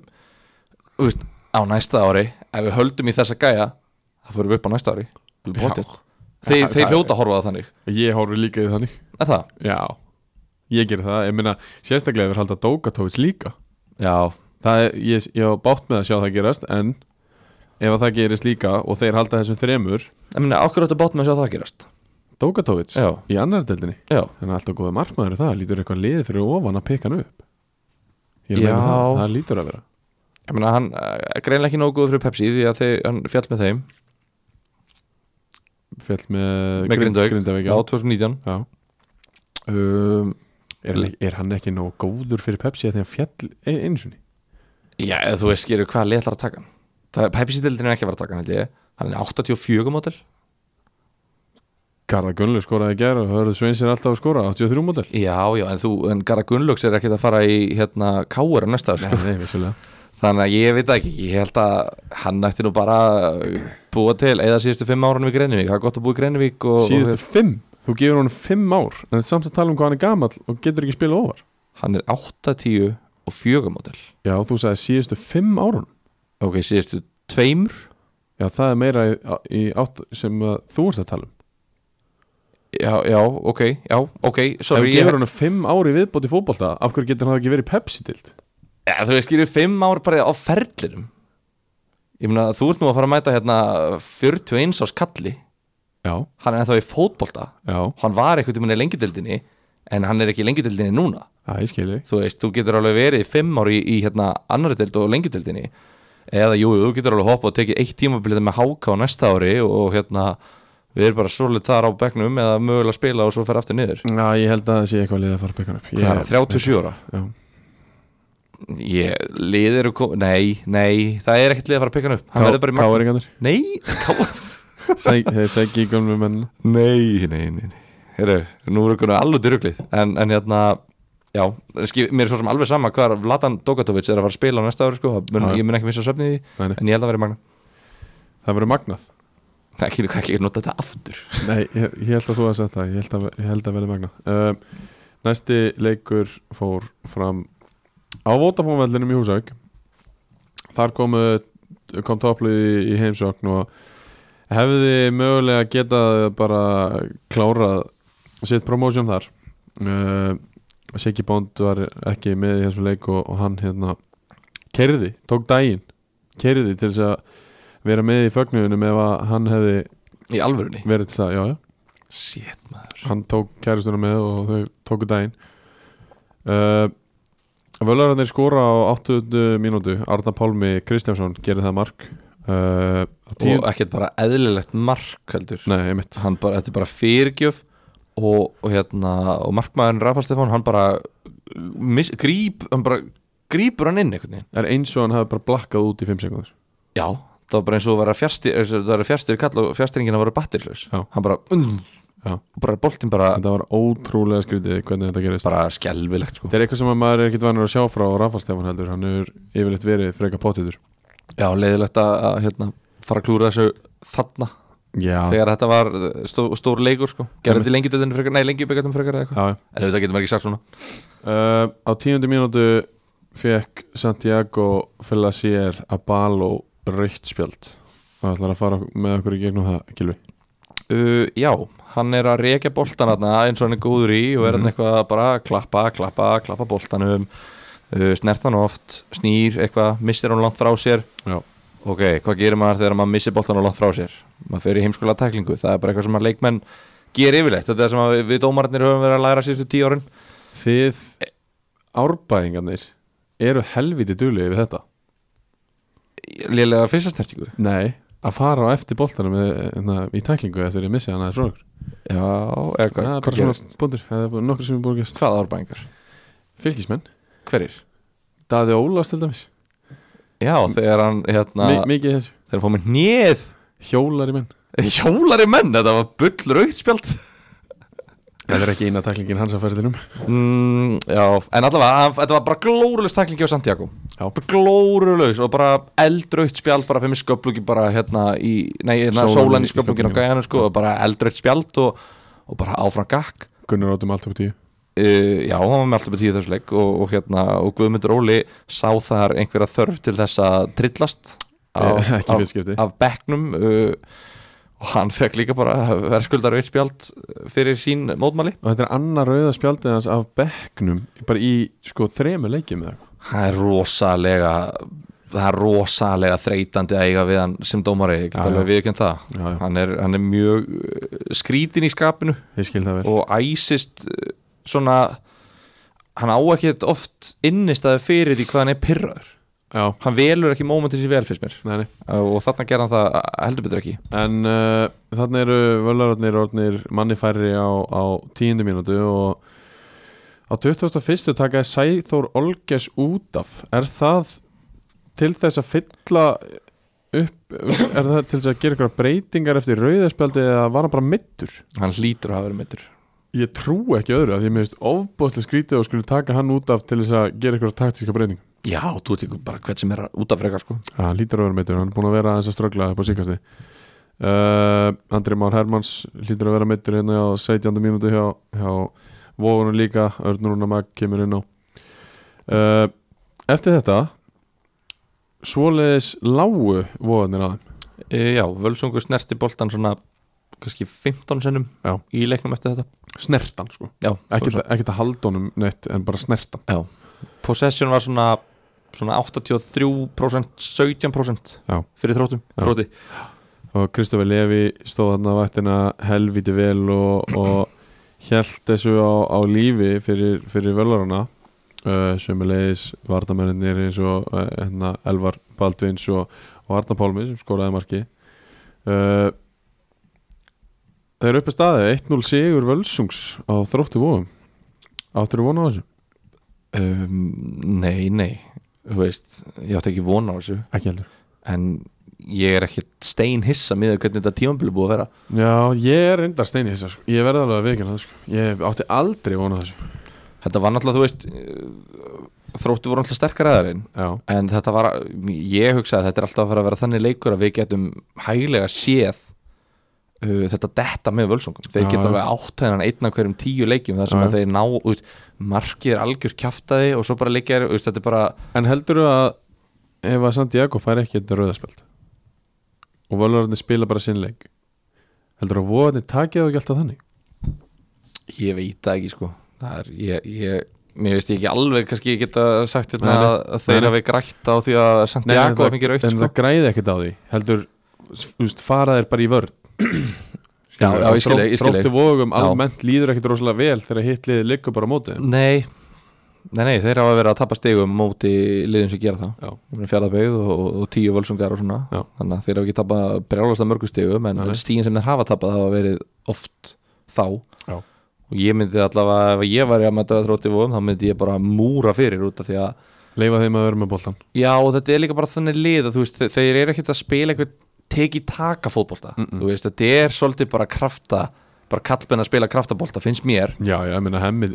[SPEAKER 2] þú veist, á næsta ári ef við höldum í þessa gæja það fyrir við upp á næsta ári Alveg
[SPEAKER 1] Já.
[SPEAKER 2] pottþétt. þeir,
[SPEAKER 1] Það-
[SPEAKER 2] þeir
[SPEAKER 1] það-
[SPEAKER 2] hljóta að horfa það þannig
[SPEAKER 1] Ég horfi líka í þannig
[SPEAKER 2] er það?
[SPEAKER 1] Já, ég gerir það, ég meina sérstaklega ef við halda Dókatovits líka
[SPEAKER 2] já,
[SPEAKER 1] það er, ég, ég á bátt með að sjá það gerast en ef að það gerist líka og þeir halda þessum þremur
[SPEAKER 2] ég meina, okkur áttu bát með að sjá það gerast
[SPEAKER 1] Dókatovits
[SPEAKER 2] Já.
[SPEAKER 1] í annar deildinni
[SPEAKER 2] já,
[SPEAKER 1] Þannig að alltaf góða markmaður er það, lítur eitthvað liðið fyrir ofan að peka hann upp Ég er
[SPEAKER 2] Já.
[SPEAKER 1] með það, það lítur að vera
[SPEAKER 2] ég meina, hann uh, greinlega ekki nógu góð fyrir Pepsi því að þeir, hann fjall með þeim
[SPEAKER 1] Fjall með,
[SPEAKER 2] með Eh, Grindavík,
[SPEAKER 1] Grindavík
[SPEAKER 2] já,
[SPEAKER 1] já.
[SPEAKER 2] 2019
[SPEAKER 1] Já.
[SPEAKER 2] um,
[SPEAKER 1] Er, hann- er hann ekki nóg góður fyrir Pepsi að því að fjall e- einu sinni?
[SPEAKER 2] já, eða þú veist, skilur hvað leið ætlar að taka hann það er Pepsi-dildin er ekki að vera að taka hann held ég. hann er 84 mótel
[SPEAKER 1] Garða Gunnlu skoraði í gær og hörðu Sveins er alltaf að skora 83 mótel
[SPEAKER 2] já, já, en þú, en Gara Gunnlaugs er ekkert að fara í hérna Káur á næsta ár,
[SPEAKER 1] Nei,
[SPEAKER 2] sko.
[SPEAKER 1] nei, vissulega
[SPEAKER 2] þannig að ég veit það ekki, ég held að hann ætti nú bara að búa til eða síðustu fimm árunum í Greinivík, það er gott að búa í Greinivík og,
[SPEAKER 1] Síðustu fimm, þú gefur honum fimm ár en þetta er samt að tala um hvað hann er gamall og getur ekki spila ofar
[SPEAKER 2] hann er 80 og 4 mótel
[SPEAKER 1] Já, þú sagði síðustu fimm árun
[SPEAKER 2] ok, síðustu tveimur
[SPEAKER 1] Já, það er meira í, í átt sem að þú ert að tala um
[SPEAKER 2] já, já, ok, já, ok
[SPEAKER 1] Ef þú
[SPEAKER 2] sorry,
[SPEAKER 1] gefur honum fimm ári viðbót í fótbolta af hverju getur hann þá ekki verið í Pepsi-dild?
[SPEAKER 2] Já, þú veist, skilur fimm ár bara á ferlinum Ég meina, þú ert nú að fara að mæta hérna 41 ás kalli
[SPEAKER 1] Já,
[SPEAKER 2] Hann er ennþá í fótbolta
[SPEAKER 1] já,
[SPEAKER 2] Hann var eitthvað tímann í lengjudildinni En hann er ekki í lengjudildinni núna
[SPEAKER 1] það ég skilji
[SPEAKER 2] Þú veist, þú getur alveg verið í fimm ár í, í hérna annari dild og lengjudildinni Eða jú, þú getur alveg hoppað og tekið eitt tímabilið með háka á næsta ári Og hérna, við erum bara svolít þar á bekknum Eða mögulega spila og svo fer aftur niður
[SPEAKER 1] Já, ég held að það sé eitthvað liðið að fara byggan upp
[SPEAKER 2] Hvað er það, 37 ára?
[SPEAKER 1] Já.
[SPEAKER 2] Ég, lið eru komið, nei, nei, það er ekkert lið að fara að pikka hann upp Hann verður bara í magna
[SPEAKER 1] Káringarnir
[SPEAKER 2] Nei, ká...
[SPEAKER 1] Þeir segi í gömlu menn
[SPEAKER 2] nei, nei, nei, nei Heru, Nú eru konar alveg dyruglið en, en hérna, já, skil, mér er svo sem alveg sama Hvað er, Vladan Dogatovits er að fara að spila á næsta ári sko. Það mun,
[SPEAKER 1] Já.
[SPEAKER 2] Ég mun ekki missa söfnið í því
[SPEAKER 1] Nei, nei.
[SPEAKER 2] En ég held að vera í magna
[SPEAKER 1] Það verður magnað
[SPEAKER 2] Ekki, ekki, ekki nota þetta aftur
[SPEAKER 1] Nei, ég, ég held að þú að setja það Ég held að, ég held að verður magnað uh, Næsti leikur fór fram á Votafónvellinum í Húsavík Þar komu, kom topplið í, í heimsókn og hefði mögulega getað bara klárað sitt promotion þar uh, Siggy Bond var ekki með í þessum leik og, og hann hérna kerði, tók daginn kerði til þess að vera með í fögnuðunum ef að hann hefði
[SPEAKER 2] í alvörunni
[SPEAKER 1] verið til það, já já
[SPEAKER 2] Shit maður
[SPEAKER 1] hann tók kæristuna með og þau tóku daginn uh, Völararnir skora á 80 mínútu Arna Pálmi Kristjánsson gerir það mark uh, á tíu,
[SPEAKER 2] og ekkert bara eðlilegt mark heldur
[SPEAKER 1] Nei, einmitt
[SPEAKER 2] hann bara, þetta er bara fyrirgjöf og, og hérna, og markmaðurinn Rafa Stefán, hann bara mis, gríp, hann bara grípur hann inn einhvern veginn,
[SPEAKER 1] Það er eins og hann hafi bara blakkað út í 5 sekundur
[SPEAKER 2] já, það var bara eins og að vera fjastir, það var fjastir kall og fjastiringina voru battirlaus,
[SPEAKER 1] Já.
[SPEAKER 2] hann bara mm,
[SPEAKER 1] Já.
[SPEAKER 2] og bara boltinn bara,
[SPEAKER 1] Þetta var ótrúlega skrítið hvernig þetta gerist
[SPEAKER 2] bara skelvilegt sko.
[SPEAKER 1] Þetta er eitthvað sem að maður er ekkert vanur að sjá frá Rafa Stefán heldur, hann er yfirleitt verið freka pottitur
[SPEAKER 2] já, leiðilegt að, að hérna, fara að klúra þessu þarna,
[SPEAKER 1] Já,
[SPEAKER 2] þegar þetta var uh, stó, stór leikur sko,
[SPEAKER 1] Einmitt.
[SPEAKER 2] gerðum þetta í lengi döðinu frekar, nei, lengi byggatum frekar eða eitthvað,
[SPEAKER 1] já
[SPEAKER 2] en þetta getum ekki sagt svona
[SPEAKER 1] Uh, á tíundu mínútu fekk Santiago Felasier Abalo raukt spjald og ætlar að fara með okkur í gegnum það Gilvi
[SPEAKER 2] Uh, já, hann er að reykja boltan þarna eins og hann er góður í og er hann eitthvað bara að klappa, klappa, klappa boltanum uh, snert hann oft snýr eitthvað, missir hann langt frá sér
[SPEAKER 1] Já.
[SPEAKER 2] Ok, hvað gerir maður þegar maður missir boltan langt frá sér? Maður fer í heimskulega tæklingu það er bara eitthvað sem að leikmenn ger yfirleitt þetta er sem að við, við dómararnir höfum verið að læra sístu tíu árin
[SPEAKER 1] Þið árbæðingarnir eru helviti duglegir við þetta
[SPEAKER 2] lélega fyrsta snertingu
[SPEAKER 1] Nei Að fara á eftir boltanum með- hérna, í tæklingu eftir ég missi hann aðeins frá okkur
[SPEAKER 2] Já,
[SPEAKER 1] Það
[SPEAKER 2] eða hvað,
[SPEAKER 1] er
[SPEAKER 2] hvað
[SPEAKER 1] bara
[SPEAKER 2] gerir?
[SPEAKER 1] svona búndur, það er bara nokkur sem er búin að gerast
[SPEAKER 2] Hvaða árbæðingar?
[SPEAKER 1] Fylgismenn,
[SPEAKER 2] Hverir?
[SPEAKER 1] Daði Ólafs til dæmis
[SPEAKER 2] Já, þegar hann hérna,
[SPEAKER 1] Mi Mikið í þessu,
[SPEAKER 2] þegar hann fór með hnið
[SPEAKER 1] hjólar í menn
[SPEAKER 2] hjólari menn, þetta var bullraugt spjald
[SPEAKER 1] Það er ekki eina tæklingin hans að ferðinum
[SPEAKER 2] mm, Já, en allavega hann- Þetta var bara glórulegs taklingi á Santiago
[SPEAKER 1] Já.
[SPEAKER 2] Bara Glórulegs og bara eldrautt spjald bara fyrir mig sköplugi bara hérna í, nei, hérna
[SPEAKER 1] Sólan
[SPEAKER 2] sólan
[SPEAKER 1] í-
[SPEAKER 2] í
[SPEAKER 1] í
[SPEAKER 2] sköpluginu og gæjanum sko, og bara eldrautt spjald og, og bara áfram gakk
[SPEAKER 1] Gunnar átum allt upp tíu
[SPEAKER 2] Uh, já, hann var með alltaf með tíu í þessu leik og, og, hérna, og Guðmundur Óli sá þar einhverja þörf til þess að trillast
[SPEAKER 1] Eh, ekki í fyrsta
[SPEAKER 2] af,
[SPEAKER 1] skipti.
[SPEAKER 2] af bekknum uh, og hann fekk líka bara verðskuldar auðspjald fyrir sín mótmæli
[SPEAKER 1] og þetta er annar rauða spjaldið hans af bekknum bara í sko þremur leikjum eða eitthvað.
[SPEAKER 2] það er rosalega það er rosalega þreytandi að eiga við hann sem dómari, ég get
[SPEAKER 1] Já,
[SPEAKER 2] alveg
[SPEAKER 1] já.
[SPEAKER 2] viðkjönd það
[SPEAKER 1] Já, já.
[SPEAKER 2] hann er, hann er mjög uh, skrítin í skapinu
[SPEAKER 1] ég skil það vel
[SPEAKER 2] og æsist uh, svona hann á ekki oft innistæði fyrir því hvað hann er pyrraður
[SPEAKER 1] já,
[SPEAKER 2] hann velur ekki mómentið sér vel fyrst mér
[SPEAKER 1] nei, nei.
[SPEAKER 2] Uh, og þarna gerði hann það uh, heldur betur ekki
[SPEAKER 1] en uh, þannig eru völararnir orðnir manni færri á, á tíundu mínútu og á 21. takaði Sæþór Olges út af er það til þess að fylla upp er það til þess að gera ykkur breytingar eftir rauðaspjaldið eða var hann bara mittur?
[SPEAKER 2] hann hlýtur að hafa verið meittur
[SPEAKER 1] Ég trú ekki öðru að ég meðist ofbóðslega skrítið og skulle taka hann út af til þess að gera ykkur taktíska breyting
[SPEAKER 2] já, þú ert ekki bara hvert sem er að- út af frekar sko
[SPEAKER 1] Já, hann Ah, lítur að vera meittur, hann er búin að vera aðeins að ströggla upp á síkasti uh, Andri Már Hermanns lítur að vera meittur hérna á 17. mínúti hjá, hjá Vógunum líka, Örnur Unamag kemur inn á uh, Eftir þetta svoleiðis lágu Vógunir aðeim
[SPEAKER 2] uh, já, Völsungur snerti boltan svona kannski 15 sennum
[SPEAKER 1] Já.
[SPEAKER 2] í leiknum eftir þetta
[SPEAKER 1] Snertan sko,
[SPEAKER 2] já,
[SPEAKER 1] ekkert ekkert að halda honum neitt en bara snertan
[SPEAKER 2] Já, possession var svona svona 83% 17%
[SPEAKER 1] Já.
[SPEAKER 2] fyrir þróttum
[SPEAKER 1] Já.
[SPEAKER 2] þrótti
[SPEAKER 1] og Kristofi Levi stóð hann að vaktina helviti vel og, og hjælt þessu á, á lífi fyrir, fyrir völarana uh, sömulegis vardamennir eins og uh, hérna, Elvar Baldvins og, og Arna Pálmi sem skoraði marki uh, þeir eru upp að staði 1-0 sigur Völsungs á þróttu vóðum áttur vona á þessu?
[SPEAKER 2] um, Nei, nei þú veist, ég átti ekki vona á þessu
[SPEAKER 1] ekki heldur
[SPEAKER 2] en ég er ekki stein hissa með hvernig þetta tímanbili búið að vera
[SPEAKER 1] Já, ég er reyndar steini þess að sko. ég verði alveg að vekina það sko. ég átti aldrei vona á þessu
[SPEAKER 2] Þetta var náttúrulega, þú veist eh, þróttu voru náttúrulega sterkar aðeirinn
[SPEAKER 1] Já,
[SPEAKER 2] en þetta var, ég hugsaði að þetta er alltaf að fara að vera þannig leikur að við getum hæglega séð uh, þetta detta með völsungum þeir
[SPEAKER 1] Já,
[SPEAKER 2] geta
[SPEAKER 1] já.
[SPEAKER 2] alveg átt þennan einn af hverjum tíu leikjum þar sem
[SPEAKER 1] Já,
[SPEAKER 2] að
[SPEAKER 1] já.
[SPEAKER 2] þeir ná út, markið er algjör kjaftaði og svo bara leikjar, þú veist, þetta er bara
[SPEAKER 1] En heldur þú að ef að Santiago fær ekki þetta rauðaspjöld og völvararnir spila bara sinn leik heldur að voðarnir takið það ekki alltaf þannig
[SPEAKER 2] Ég veit það ekki sko það er, ég, ég, Mér veist ég ekki alveg kannski ég geta sagt hérna
[SPEAKER 1] Nei, nei.
[SPEAKER 2] að að þeir
[SPEAKER 1] Nei, nei.
[SPEAKER 2] hafi grætt á því að
[SPEAKER 1] en,
[SPEAKER 2] Santiago
[SPEAKER 1] það,
[SPEAKER 2] fengir aukt
[SPEAKER 1] en
[SPEAKER 2] sko
[SPEAKER 1] það græði ekkert á því heldur, þú veist, farað er bara í vörn
[SPEAKER 2] Já, já, ég skil þig, ég skil þig.
[SPEAKER 1] Tróttu vógum
[SPEAKER 2] Já.
[SPEAKER 1] almennt líður ekkert rosalega vel þegar hitliði liggur bara á móti þeim.
[SPEAKER 2] Nei, nei, nei, þeir hafa verið að tapa stigum á móti liðin sem gera
[SPEAKER 1] Já.
[SPEAKER 2] það fjaraðbeigð og, og tíu völsungar og svona
[SPEAKER 1] Já.
[SPEAKER 2] þannig að þeir hafa ekki tapað brjálast að mörgu stigum en,
[SPEAKER 1] Nei, nei.
[SPEAKER 2] en stígin sem þeir hafa tapað hafa verið oft þá
[SPEAKER 1] Já.
[SPEAKER 2] og ég myndi allavega, ef ég væri að mæta þrótti vóðum þá myndi ég bara múra fyrir út af því að
[SPEAKER 1] leifa þeim að vera með boltan
[SPEAKER 2] Já, og þetta er líka bara þannig lið að þú veist, þe- þeir eru ekkert að spila eitthvað teki taka fótbolta þú veist, þetta er svolítið bara krafta bara kallbenn að spila kraftabolta, finnst mér
[SPEAKER 1] já, já, ég meina hemmi,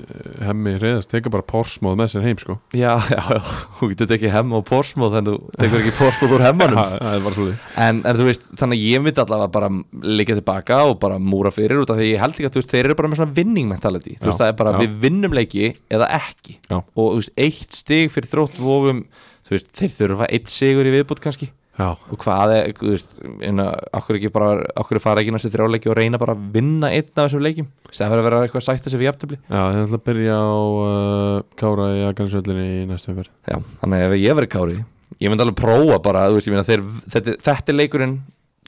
[SPEAKER 1] hemmi reyðast teka bara porsmóð með sér heim sko
[SPEAKER 2] Já, já, já, þú getur ekki hemma og porsmóð en þú tekur ekki porsmóð úr hemmanum
[SPEAKER 1] það er bara svolítið
[SPEAKER 2] en, en þú veist, þannig að ég myndi allavega bara líka tilbaka og bara múra fyrir út af því ég held ekki að þú veist, þeir eru bara með svona vinning mentality, þú
[SPEAKER 1] Já,
[SPEAKER 2] veist, það er bara
[SPEAKER 1] já.
[SPEAKER 2] við vinnum leiki eða ekki
[SPEAKER 1] Já.
[SPEAKER 2] og þú veist, eitt stig fyrir þrótt vofum þú veist, þeir þurfa eitt sigur í viðbútt kannski
[SPEAKER 1] já,
[SPEAKER 2] og hvað er, þú veist, inna, okkur ekki bara, okkur fara ekki næstu þrjáleiki og reyna bara að vinna einn af þessum leikim sem verður að vera eitthvað að sætta sig við jafntöfli
[SPEAKER 1] Já, það er alltaf að byrja á uh, Kára í Akarnsvöllinni í næstu umferð
[SPEAKER 2] Já, þannig að ef ég verið kári ég myndi alveg prófa bara, þú veist, ég meina þeir, þetta, þetta er leikurinn,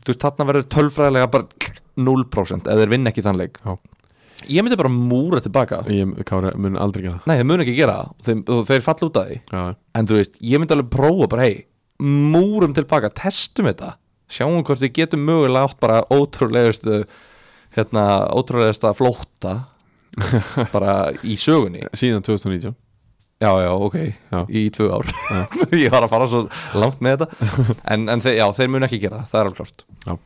[SPEAKER 2] þú veist, þarna verður tölfræðilega bara 0% ef þeir vinna ekki þann leik
[SPEAKER 1] Já.
[SPEAKER 2] Ég myndi bara múra tilbaka
[SPEAKER 1] Ég, Kára mun aldrei gera
[SPEAKER 2] Nei, þeir mun ekki gera það og þeir, og þeir falla út af því
[SPEAKER 1] það Já,
[SPEAKER 2] en þú veist, ég myndi alveg prófa bara, hei, múrum tilbaka testum þetta, sjáum hvort við getum mögulega átt bara ótrúlegustu hérna, ótrúlegasta flótta bara í sögunni
[SPEAKER 1] síðan 2019
[SPEAKER 2] já, já, ok,
[SPEAKER 1] Já.
[SPEAKER 2] í tvö ár ég var að fara svo langt með þetta en, en þeir, já, þeir munu ekki gera það, það er alveg klart
[SPEAKER 1] uh,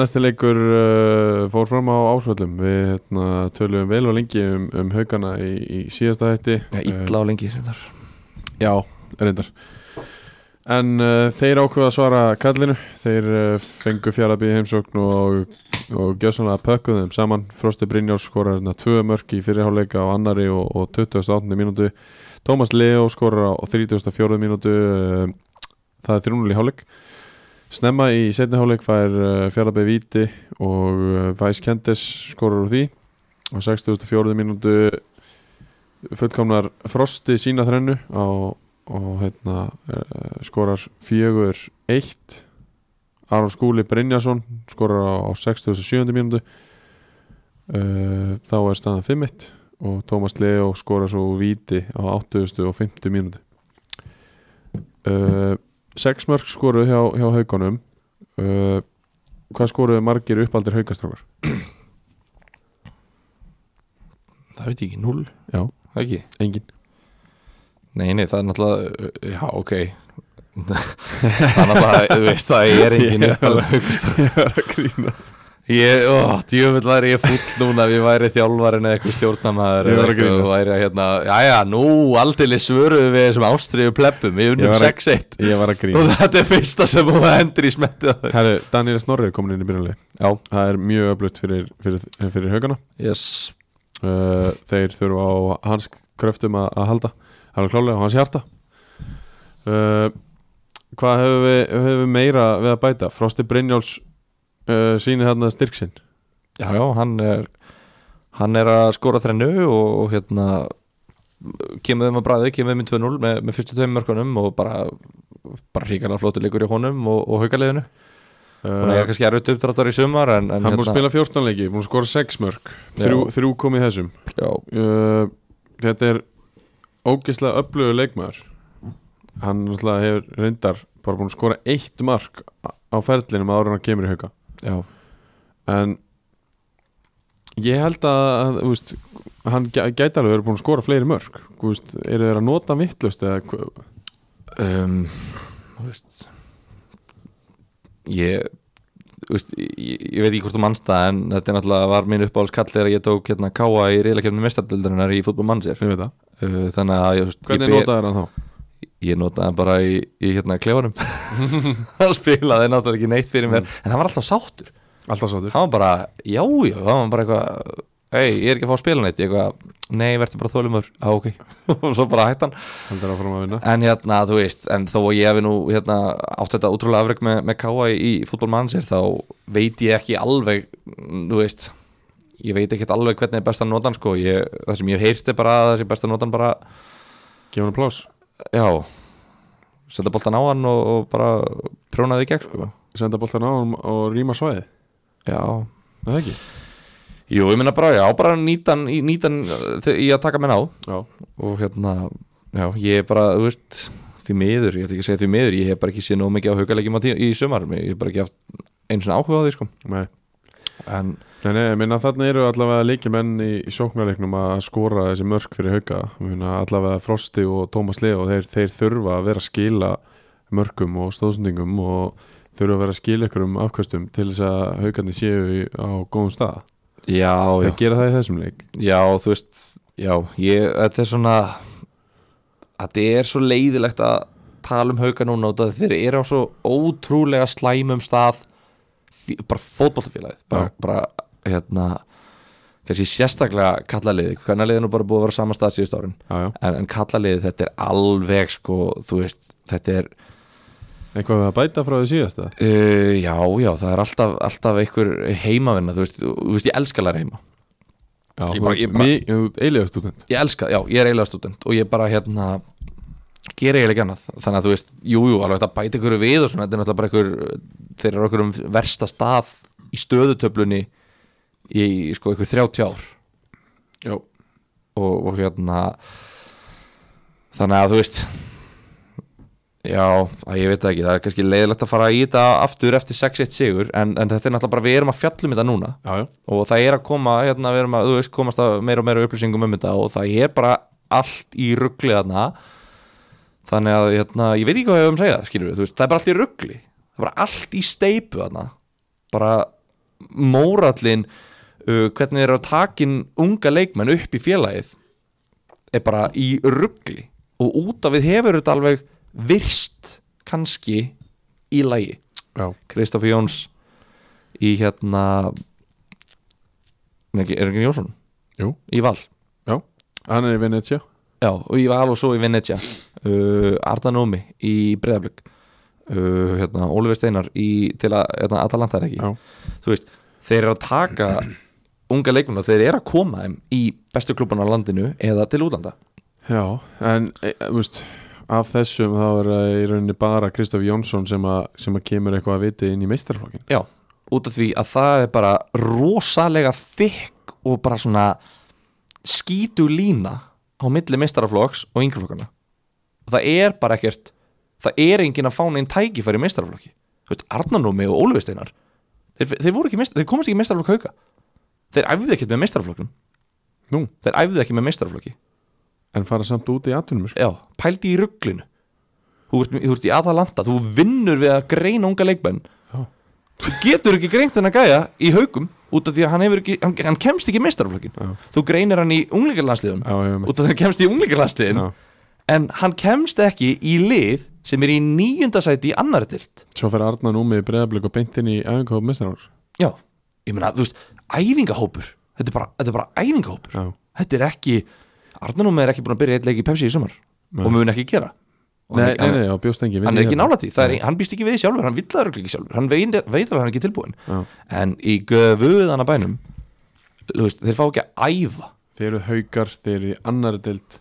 [SPEAKER 1] Næsti leikur uh, fór fram á Ásvöllum Við hérna, töluðum vel og lengi um, um haugana í, í síðasta hætti
[SPEAKER 2] já, illa og lengi reyndar.
[SPEAKER 1] uh, Já, reyndar En uh, þeir ákveða að svara kallinu Þeir uh, fengu fjarlabíð heimsókn og, og gjössanlega pökkuðu þeim saman Frosti Brynjórs skorar hérna tvö mörk í fyrirháleika á annari og, og 28. mínútu Tómas Leo skorar á 34. mínútu eh, það er 3-0 í hálfleik snemma í setni hálfleik fær fjallabæði víti og Væs Kendis skorar úr því á 64. mínútu fullkomnar Frosti sína þrennu á, og hérna, eh, skorar 4-1 Aron Skúli Brynjason skorar á 67. mínútu Eh, þá er staðan 5-1 og Tómas Leo skora svo víti á 80. og 50. mínúti uh, sex mörg skoruð hjá, hjá haugunum uh, hvað skoruðu margir uppaldir haugastrákar?
[SPEAKER 2] það veit ég ekki, null
[SPEAKER 1] Já.
[SPEAKER 2] Það ekki.
[SPEAKER 1] engin
[SPEAKER 2] Nei, nei, það er náttúrulega, já, ok Það er náttúrulega, þú veist, það er engin uppalda
[SPEAKER 1] ég var að grínast
[SPEAKER 2] Ég, ó, djöfull væri ég fúll núna ef ég væri þjálfarin eða eitthvað stjórnamaður
[SPEAKER 1] Ég
[SPEAKER 2] eða
[SPEAKER 1] var að
[SPEAKER 2] eitthvað og
[SPEAKER 1] grínast.
[SPEAKER 2] væri að hérna, jæja, nú aldeilis svöruðu við þessum ástriðu pleppum, við
[SPEAKER 1] Ég
[SPEAKER 2] unnum
[SPEAKER 1] var að-
[SPEAKER 2] 6-1
[SPEAKER 1] ég var að
[SPEAKER 2] og
[SPEAKER 1] grínast
[SPEAKER 2] þetta er fyrsta sem þú hendur í smettið á þau
[SPEAKER 1] Herru, Daniel Snorri er komin inn í byrjanlega
[SPEAKER 2] Já,
[SPEAKER 1] það er mjög öflutt fyrir, fyrir, fyrir haugana
[SPEAKER 2] yes,
[SPEAKER 1] uh, þeir þurfa á hans kröftum að, að halda alveg klálega á hans hjarta uh, hvað hefur við, hefur við meira við að bæta Frosti Brynjáls uh, síni hérna styrk sinn
[SPEAKER 2] já, já, hann er hann er að skora þrennu og, og hérna kemur þeim að bræði, kemur þeim í 2-0 með, með fyrstu tveim mörkunum og bara bara hríkala flottur leikur í honum og, og haukaliðinu Hún er hérna.
[SPEAKER 1] uh,
[SPEAKER 2] kannski erfitt uppdráttar í sumar en, en
[SPEAKER 1] hann múið spila 14 leiki, múið skora 6 mörg þrjú, þrjú komið þessum
[SPEAKER 2] já,
[SPEAKER 1] uh, þetta er ógeðslega öflugur leikmaður hann náttúrulega hefur reyndar bara búin að skora eitt mark á á ferlinum ára hann kemur í hauka
[SPEAKER 2] já,
[SPEAKER 1] en ég held að, að þú veist, hann gæ- gæti alveg verið búin að skora fleiri mörg Þú veist, eru þeir að nota hann vittlust eða hva-
[SPEAKER 2] um, þú veist ég þú veist, ég, ég veit ekki hvort þú manst það en þetta er náttúrulega var minn uppáhalds kall þegar ég tók hérna káa í reyðlakefni mestardöldarinnar í fútbol mannsér
[SPEAKER 1] ég veit það
[SPEAKER 2] uh, þannig að ég, þú veist,
[SPEAKER 1] hvernig
[SPEAKER 2] ég, ber-
[SPEAKER 1] notaði hann þá?
[SPEAKER 2] ég notaði hann bara í, í hérna klefanum hann spilaði náttúrulega ekki neitt fyrir mér en hann var alltaf sáttur
[SPEAKER 1] alltaf sáttur
[SPEAKER 2] hann var bara, já, já, hann var bara eitthvað hei, ég er ekki að fá að spila neitt Ég eitthvað, nei, verður bara þólumur á ok, og svo bara hættan
[SPEAKER 1] heldur áfram að vinna
[SPEAKER 2] en hérna, þú veist, en þó að ég hefði nú hérna, átt þetta útrúlega afreg með, með K.A. í fútbolmannsir, þá veit ég ekki alveg, mm, þú veist ég veit ekkert alveg hvernig er best að nota hann sko, ég, það sem ég hef heyrt er bara að það sem best að nota hann bara,
[SPEAKER 1] gefa hann plás,
[SPEAKER 2] já setja boltan á hann og, og bara prjónaði í gegn sko,
[SPEAKER 1] senda boltan á hann og rýma svæði,
[SPEAKER 2] já
[SPEAKER 1] er það ekki?
[SPEAKER 2] Jú, ég minna bara, já, bara nýtan, nýtan eh, í að taka menn á
[SPEAKER 1] Já,
[SPEAKER 2] og hérna, já, ég er bara, þú veist því miður, ég ætla ekki að segja því miður ég hef bara ekki séð nóg mikið á haugalegjum á tí- í sumar ég hef bara ekki haft einu svona áhuga á því sko.
[SPEAKER 1] nei
[SPEAKER 2] en
[SPEAKER 1] Nei, nei, ég minna þarna eru allavega leikimenn í í sóknarleiknum að skora þessi mörk fyrir hauka minna, allavega Frosti og Tómas Leo þeir, þeir þurfa að vera að skila mörkum og stóðsendingum og þurfa að vera að skila ykkur um afkvæstum til þess að haukarnir séu í, á góðum stað
[SPEAKER 2] já, já,
[SPEAKER 1] þeir gera það í þessum leik
[SPEAKER 2] já, þú veist já, ég, þetta er svona þetta er svo leiðilegt að tala um hauga núna út af því þeir eru á svo ótrúlega slæmum stað fí- bara fótbollafélagið bara,
[SPEAKER 1] Já.
[SPEAKER 2] bara hérna kannski sérstaklega kallaliði hvernig liðið er nú bara búið að vera á sama stað síðust árin
[SPEAKER 1] já, já.
[SPEAKER 2] en, en kallaliðið þetta er alveg sko, þú veist, þetta er
[SPEAKER 1] Eitthvað við að bæta frá því síðasta
[SPEAKER 2] uh, já, já, það er alltaf, alltaf einhver heimavinna, þú veist, þú veist ég elska læra heima,
[SPEAKER 1] Já,
[SPEAKER 2] Ég bara- ég bara-
[SPEAKER 1] mi- þú ert eilíða stúdent
[SPEAKER 2] ég elska, já, ég er eiginlega student og ég bara hérna gera eiginlega ekki annað, þannig að þú veist jú, jú, alveg þetta bæti ykkur við og svona þetta er náttúrulega bara ykkur, þeir eru okkur um versta stað í stöðutöflunni í, sko, ykkur 30 ár
[SPEAKER 1] Já,
[SPEAKER 2] og, og hérna þannig að þú veist já, að ég veit það ekki það er kannski leiðilegt að fara í þetta aftur eftir 6-1 sigur en, en þetta er náttúrulega bara við erum að fjallum þetta núna
[SPEAKER 1] já, já.
[SPEAKER 2] og það er að koma hérna, við erum að, þú veist, komast að meira og meira upplýsingum um þetta og það er bara allt í ruggli þarna þannig að hérna, ég veit ekki hvað ég hef um að segja skilur við, þú veist, það er bara allt í ruggli það er bara allt í steipu þarna bara mórallin uh, hvernig þeir eru að takin unga leikmenn upp í félagið er bara í ruggli og út af við hefur þetta alveg virst kannski í lagi
[SPEAKER 1] já.
[SPEAKER 2] Kristoffer Jóns í hérna Nei, ekki- er ekki Jónsson?
[SPEAKER 1] Jú.
[SPEAKER 2] Í Val
[SPEAKER 1] Hann er í Venetia
[SPEAKER 2] Já, og í Val og svo í Venetia uh, Arda Nómi í Breiðablík uh, hérna, Oliver Steinar í, til að hérna, Atalanta er ekki
[SPEAKER 1] Já.
[SPEAKER 2] Þú veist, þeir eru að taka unga leikmenn og þeir eru að koma þeim í bestu klubban á landinu eða til útlanda
[SPEAKER 1] Já, en e, þú veist, af þessum þá er það í rauninni bara Kristof Jónsson sem, a, sem að kemur eitthvað að viti inn í meistarflokkin
[SPEAKER 2] Já, út af því að það er bara rosalega þykk og bara svona skítu lína á milli meistaraflokks og yngreflokkana og það er bara ekkert það er enginn að fá neinn tækifæri í meistaraflokki þú veist, Arnanómi og Ólfisteinar þeir, þeir, voru ekki, meist- þeir komast ekki í meistaraflokk hauka þeir æfðu ekkert með meistaraflokknum
[SPEAKER 1] Nú,
[SPEAKER 2] þeir æfðu ekki með meistaraflokki
[SPEAKER 1] en fara samt út í atvinnum sko.
[SPEAKER 2] já, pældi í rugglinu þú ert, þú ert í Atalanta, þú vinnur við að greina unga leikmenn
[SPEAKER 1] Já.
[SPEAKER 2] þú getur ekki greint þennan gæja í haugum út af því að hann, hefur ekki, hann, hann kemst ekki í meistaraflokkin
[SPEAKER 1] Já.
[SPEAKER 2] þú greinir hann í unglingarlandsliðum
[SPEAKER 1] Já, já,
[SPEAKER 2] út af því að hann kemst í unglingarlandsliðin
[SPEAKER 1] já.
[SPEAKER 2] en hann kemst ekki í lið sem er í níunda sæti í annar dild
[SPEAKER 1] Svo fer Arna númi í breðablík og beint inn í æfingáf meistarflokk
[SPEAKER 2] já, ég meina, þú veist, æfingahópur þetta er bara, þetta er bara æfingahópur
[SPEAKER 1] Já,
[SPEAKER 2] þetta er ekki, Arnanum er ekki búin að byrja eitt leik í Pepsi í sumar
[SPEAKER 1] Nei.
[SPEAKER 2] og mun ekki gera Og hann-
[SPEAKER 1] nei,
[SPEAKER 2] hann-
[SPEAKER 1] nei, nei, já, bjóst engi
[SPEAKER 2] hann er ekki nálætt því, það er, hann býst ekki við því sjálfur hann vill það örugglega ekki sjálfur, hann veit, veit alveg að hann er ekki tilbúin
[SPEAKER 1] Já.
[SPEAKER 2] en í göfuðana bænum þú veist, þeir fá ekki að æfa
[SPEAKER 1] Þeir eru haukar, þeir eru í annari dild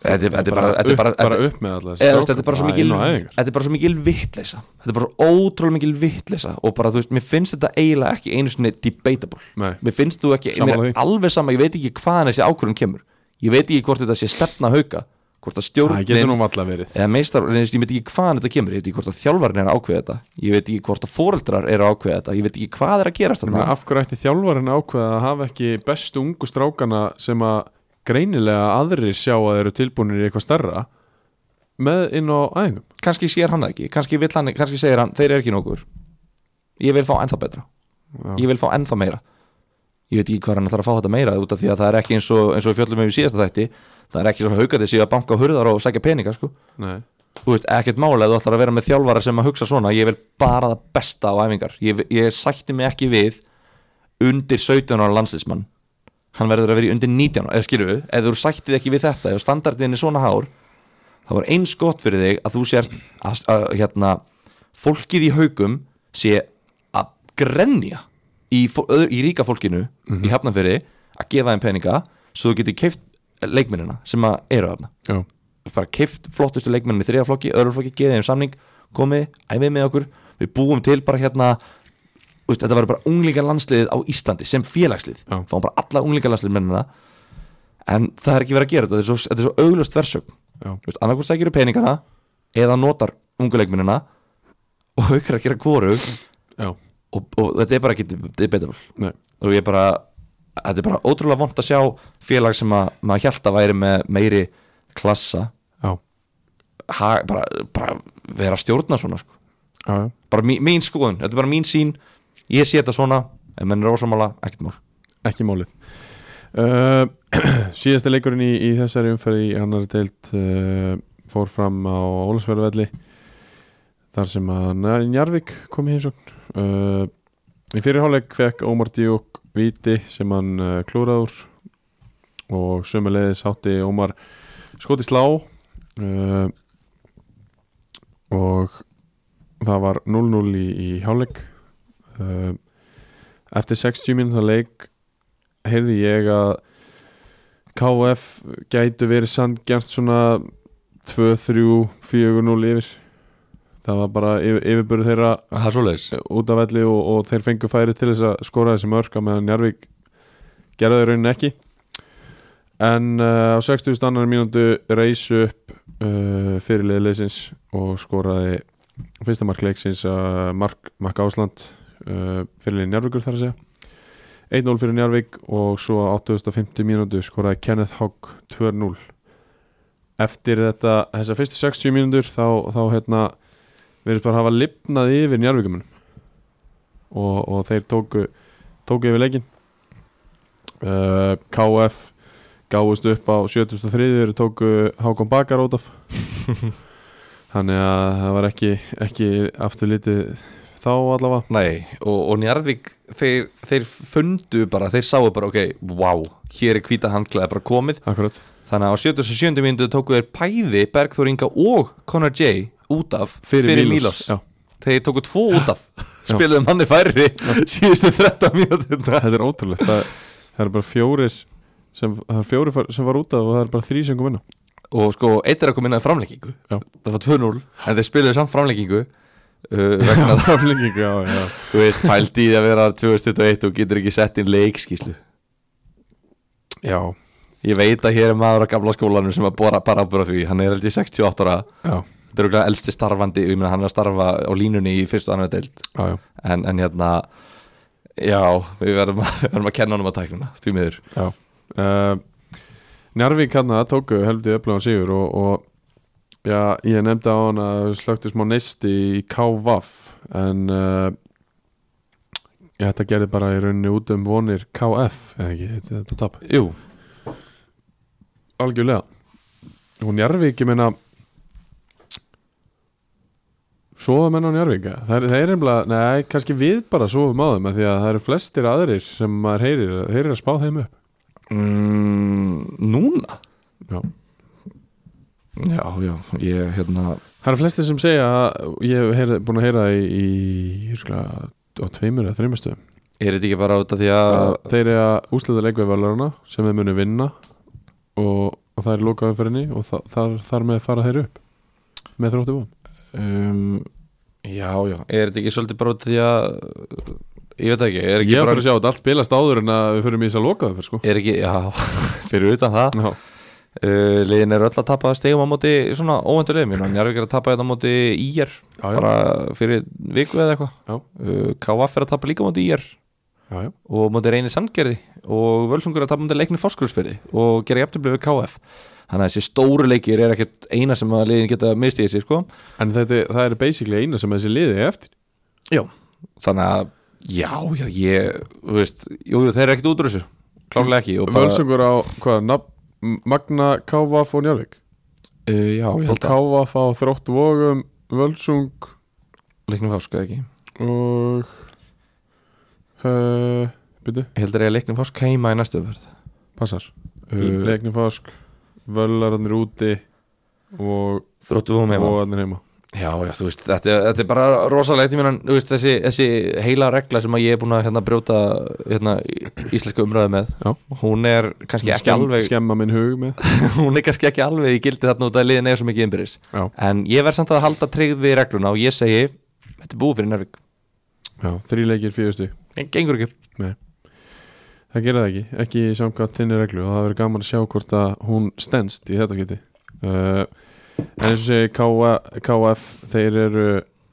[SPEAKER 2] þetta er- þetta er bara þetta
[SPEAKER 1] upp,
[SPEAKER 2] er bara-
[SPEAKER 1] bara
[SPEAKER 2] þetta-
[SPEAKER 1] upp með alla
[SPEAKER 2] eða, þú veist, þetta er bara svo
[SPEAKER 1] Bara
[SPEAKER 2] mikil
[SPEAKER 1] inn á æfingar.
[SPEAKER 2] þetta er bara svo mikil vittleysa þetta er bara svo ótrúlega mikil vittleysa og bara þú veist, mér finnst þetta eiginlega ekki einu sinni debatable,
[SPEAKER 1] Nei.
[SPEAKER 2] mér finnst þú ekki mér
[SPEAKER 1] Sammála því.
[SPEAKER 2] er alveg sama, ég veit ekki hvaðan þessi ákvörðun kemur ég veit ekki hvort þetta sé stefna hauka hvort að
[SPEAKER 1] Það getur
[SPEAKER 2] stjórnin
[SPEAKER 1] nú valla verið
[SPEAKER 2] eða meistar, en ég veit ekki hvaðan þetta kemur ég veit ekki hvort að þjálfarin er að ákveða þetta ég veit ekki hvort að foreldrar er að ákveða þetta ég veit ekki hvað er að gerast
[SPEAKER 1] Ég meina,
[SPEAKER 2] þarna
[SPEAKER 1] Af hverju ætti þjálfarinn að ákveða að hafa ekki bestu ungu strákana sem að greinilega aðrir sjá að þeir eru tilbúinir í eitthvað starra með inn á æfingum
[SPEAKER 2] kannski sér hann það ekki, kannski, vill hann, kannski segir hann þeir eru ekki nokkur ég vil fá ennþá betra
[SPEAKER 1] Já.
[SPEAKER 2] ég vil fá ennþá meira ég veit ekki hvað hann ætlar að fá þetta meira út af því að það er ekki eins og, eins og við fjöllum um í síðasta þætti það er ekki svo haugandi síðan að banka á hurðar og sækja peninga sko.
[SPEAKER 1] Nei,
[SPEAKER 2] þú veist, ekkert mála ef þú ætlar að vera með þjálfara sem að hugsa svona ég vil bara það besta á æfingar ég, ég sætti mig ekki við undir 17 ára landslismann hann verður að vera í undir 19 ára, eða skilur við, ef þú sættið ekki við þetta ef standardin er svona hár þá var eins gott fyrir þig að þú sért að, að hérna, fólkið í haugum sé að grenja í, fó- öðru, í ríka fólkinu í hafnafyrir að gefa þeim peninga svo þú getur keift leikmennina sem að eru þarna
[SPEAKER 1] já,
[SPEAKER 2] bara keift flottustu leikmennin í þriða flokki öðru flokki, geðið þeim samning, komið æfið með okkur, við búum til bara hérna þú veist, þetta var bara unglingar landsliðið á Íslandi sem félagslið
[SPEAKER 1] Já.
[SPEAKER 2] fáum bara alla unglingar landslið mennina en það er ekki verið að gera þetta þetta er svo, þetta er svo auglust versögn
[SPEAKER 1] já,
[SPEAKER 2] annarkvæmst það gerir peningana eða notar ungu leikmennina og haukar að gera kvoru og,
[SPEAKER 1] já,
[SPEAKER 2] og þetta er bara ekki debatable
[SPEAKER 1] nei
[SPEAKER 2] og ég bara þetta er bara ótrúlega vond að sjá félag sem að maður hjælt að væri með meiri klassa
[SPEAKER 1] já,
[SPEAKER 2] ha, bara, bara vera að stjórna svona sko.
[SPEAKER 1] já, já.
[SPEAKER 2] bara mín, mín skoðun, þetta er bara mín sín ég sé þetta svona, ef menn er ósamála ekkert mál,
[SPEAKER 1] ekki málið uh, síðasti leikurinn í, í þessari umferði í annar deilt uh, fór fram á Ólasverðuvelli þar sem að Na- Njarvík kom í heimsókn uh, í fyrirháleik fekk Ómar Díuk viti sem hann uh, klúraði úr og sömuleiðis hátti Ómar skoti slá uh, og það var 0-0 í, í háleik uh, eftir 60 mínúta leik heyrði ég að KF gætu verið sandgjart svona 2, 3, 4, 0 yfir það var bara yfir, yfirbörð þeirra
[SPEAKER 2] það er svoleiðis
[SPEAKER 1] út af velli og, og þeir fengu færi til þess að skora þessi mörk að meðan Njarvík gerði þau raunin ekki en uh, á 60 annar mínútu reysu upp uh, fyrirlið leysins og skoraði fyrsta mark leiksins að Mark, Mark Ásland uh, fyrirlið Njarvíkur þar að segja 1-0 fyrir Njarvík og svo á 850 mínútu skoraði Kenneth Hogg 2-0 eftir þetta, þessa fyrstu 60 mínútur þá, þá hérna verðist bara hafa lifnað yfir Njarvíkumunum og, og þeir tóku, tóku yfir leikin uh, KF gáðust upp á 73 tóku Hákon Bakar út af þannig að það var ekki, ekki aftur litið þá allavega
[SPEAKER 2] Nei, og, og Njarðvík þeir, þeir fundu bara, þeir sáu bara ok, wow, hér er hvíta handklæði bara komið,
[SPEAKER 1] akkurat
[SPEAKER 2] þannig að á 77. mínútu tóku þeir bæði Bergþór Inga og Conor J út af Milos,
[SPEAKER 1] Já,
[SPEAKER 2] þeir tóku tvo út af spiluðu manni færri síðustu 13 mínútu
[SPEAKER 1] þetta er ótrúlegt það, það er bara fjórir sem, það er fjórir far- sem var út af og það er bara þrý sem kom inn á
[SPEAKER 2] og sko, eitt er að koma inn að framleggingu
[SPEAKER 1] Já.
[SPEAKER 2] það var 2-0, en þeir spiluðu samt framleggingu uh, vegna það
[SPEAKER 1] Framlenging, já, já.
[SPEAKER 2] þú veist, pældi í því að vera 2021 og getur ekki sett inn leikskíslu
[SPEAKER 1] já,
[SPEAKER 2] Ég veit að hér er maður á gamla skólanum sem að bora bara ábyrða því, hann er held í 68 ára
[SPEAKER 1] já,
[SPEAKER 2] þetta er okkur elsti starfandi, ég meina hann er að starfa á línunni í fyrst og annar deild
[SPEAKER 1] já, já,
[SPEAKER 2] en, en hérna já, við verðum að, verðum að kenna honum að tæknuna, því miður
[SPEAKER 1] já. Uh, Njarvík hann að tóku heldur öflugan sigur og, og já, ég nefndi á hann að slöktu smá neisti í KVAF en uh, já, þetta gerði bara í rauninni út um vonir KF eða ekki, þetta, þetta tap
[SPEAKER 2] Jú,
[SPEAKER 1] Algjörlega Og Njarvík, ég meina Sofa menn á Njarvík eða? Það er, það er einhverja, nei, kannski við bara sofum á þeim af Því að það eru flestir aðrir sem maður heyrir Þeir eru að spá þeim upp
[SPEAKER 2] mm, núna
[SPEAKER 1] Já.
[SPEAKER 2] já, já, ég hérna
[SPEAKER 1] Það eru flestir sem segja að Ég hef heyri, búin að heyra í, í skla, á tveimur eða þreimastöðum
[SPEAKER 2] er þetta ekki bara út af því að
[SPEAKER 1] Þeir eru að úsleita leikveðvalurana sem þeir munu vinna og, og það er lokaðum fyrir henni og þa þar, þar með fara þeir upp með þróttu von
[SPEAKER 2] um, já, já, er þetta ekki svolítið bara út af því að ég veit ekki, er
[SPEAKER 1] Ég er
[SPEAKER 2] ekki
[SPEAKER 1] að fara
[SPEAKER 2] bara
[SPEAKER 1] að sjá að allt bilast áður en að við förum í þess að lokaðum fyrir sko
[SPEAKER 2] er ekki, já, fyrir utan það
[SPEAKER 1] Já,
[SPEAKER 2] uh, liðin eru öll að tapa stegum á móti svona óvendur liðum, ég meina, Njarvík er að tapa þetta á móti IR,
[SPEAKER 1] já, já,
[SPEAKER 2] bara fyrir viku eða eitthvað,
[SPEAKER 1] Já.
[SPEAKER 2] uh, KF er að tapa líka á móti IR
[SPEAKER 1] já, já.
[SPEAKER 2] og á móti reyni sandgerði og Völsungur er að tapa á móti leikni fórskursfyrði og gera jafntöflu við KF þannig að þessi stóru leikir er ekkert eina sem að liðin geta mistið þessi, sko
[SPEAKER 1] En þetta, það er basically eina sem þessi liði er eftir
[SPEAKER 2] já. þannig að, já, já, ég þú veist, jú, jú, þeir eru ekkert út úr þessu klárlega ekki og bara,
[SPEAKER 1] Völsungur á, hvað, nafn, Magna Kávaf og Njálvík
[SPEAKER 2] uh, já, ég
[SPEAKER 1] Og
[SPEAKER 2] held að
[SPEAKER 1] Kávaf á þrótt vogum Völsung
[SPEAKER 2] leikni fórsku ekki
[SPEAKER 1] og eh, uh, Byrju,
[SPEAKER 2] Ég heldur að leiknum fórst keima í næstu verð
[SPEAKER 1] Passar
[SPEAKER 2] Uh,
[SPEAKER 1] Leiknifask, völlararnir úti og
[SPEAKER 2] Þróttu við um heima
[SPEAKER 1] óarnir heima
[SPEAKER 2] Já, já, þú veist, þetta, þetta er bara rosalegt ég meina, þú veist, þessi, þessi heila regla sem að ég er búin að hérna, brjóta hérna, í- íslenska umræðu með
[SPEAKER 1] Já.
[SPEAKER 2] hún er kannski ekki
[SPEAKER 1] Skemm-
[SPEAKER 2] alveg
[SPEAKER 1] Skemma minn hug með
[SPEAKER 2] hún er kannski ekki alveg í gildi þarna út að liðin eða svo mikið innbyrðis
[SPEAKER 1] Já,
[SPEAKER 2] en ég verð samt að halda tryggð við regluna og ég segi þetta er búið fyrir Nervík
[SPEAKER 1] já þrý leikir fjögustu
[SPEAKER 2] en gengur ekki upp
[SPEAKER 1] Það gerir það ekki, ekki samkvæmt þinni reglu og það verður gaman að sjá hvort að hún stendst í þetta geti uh, En eins og segi KA, KF þeir eru,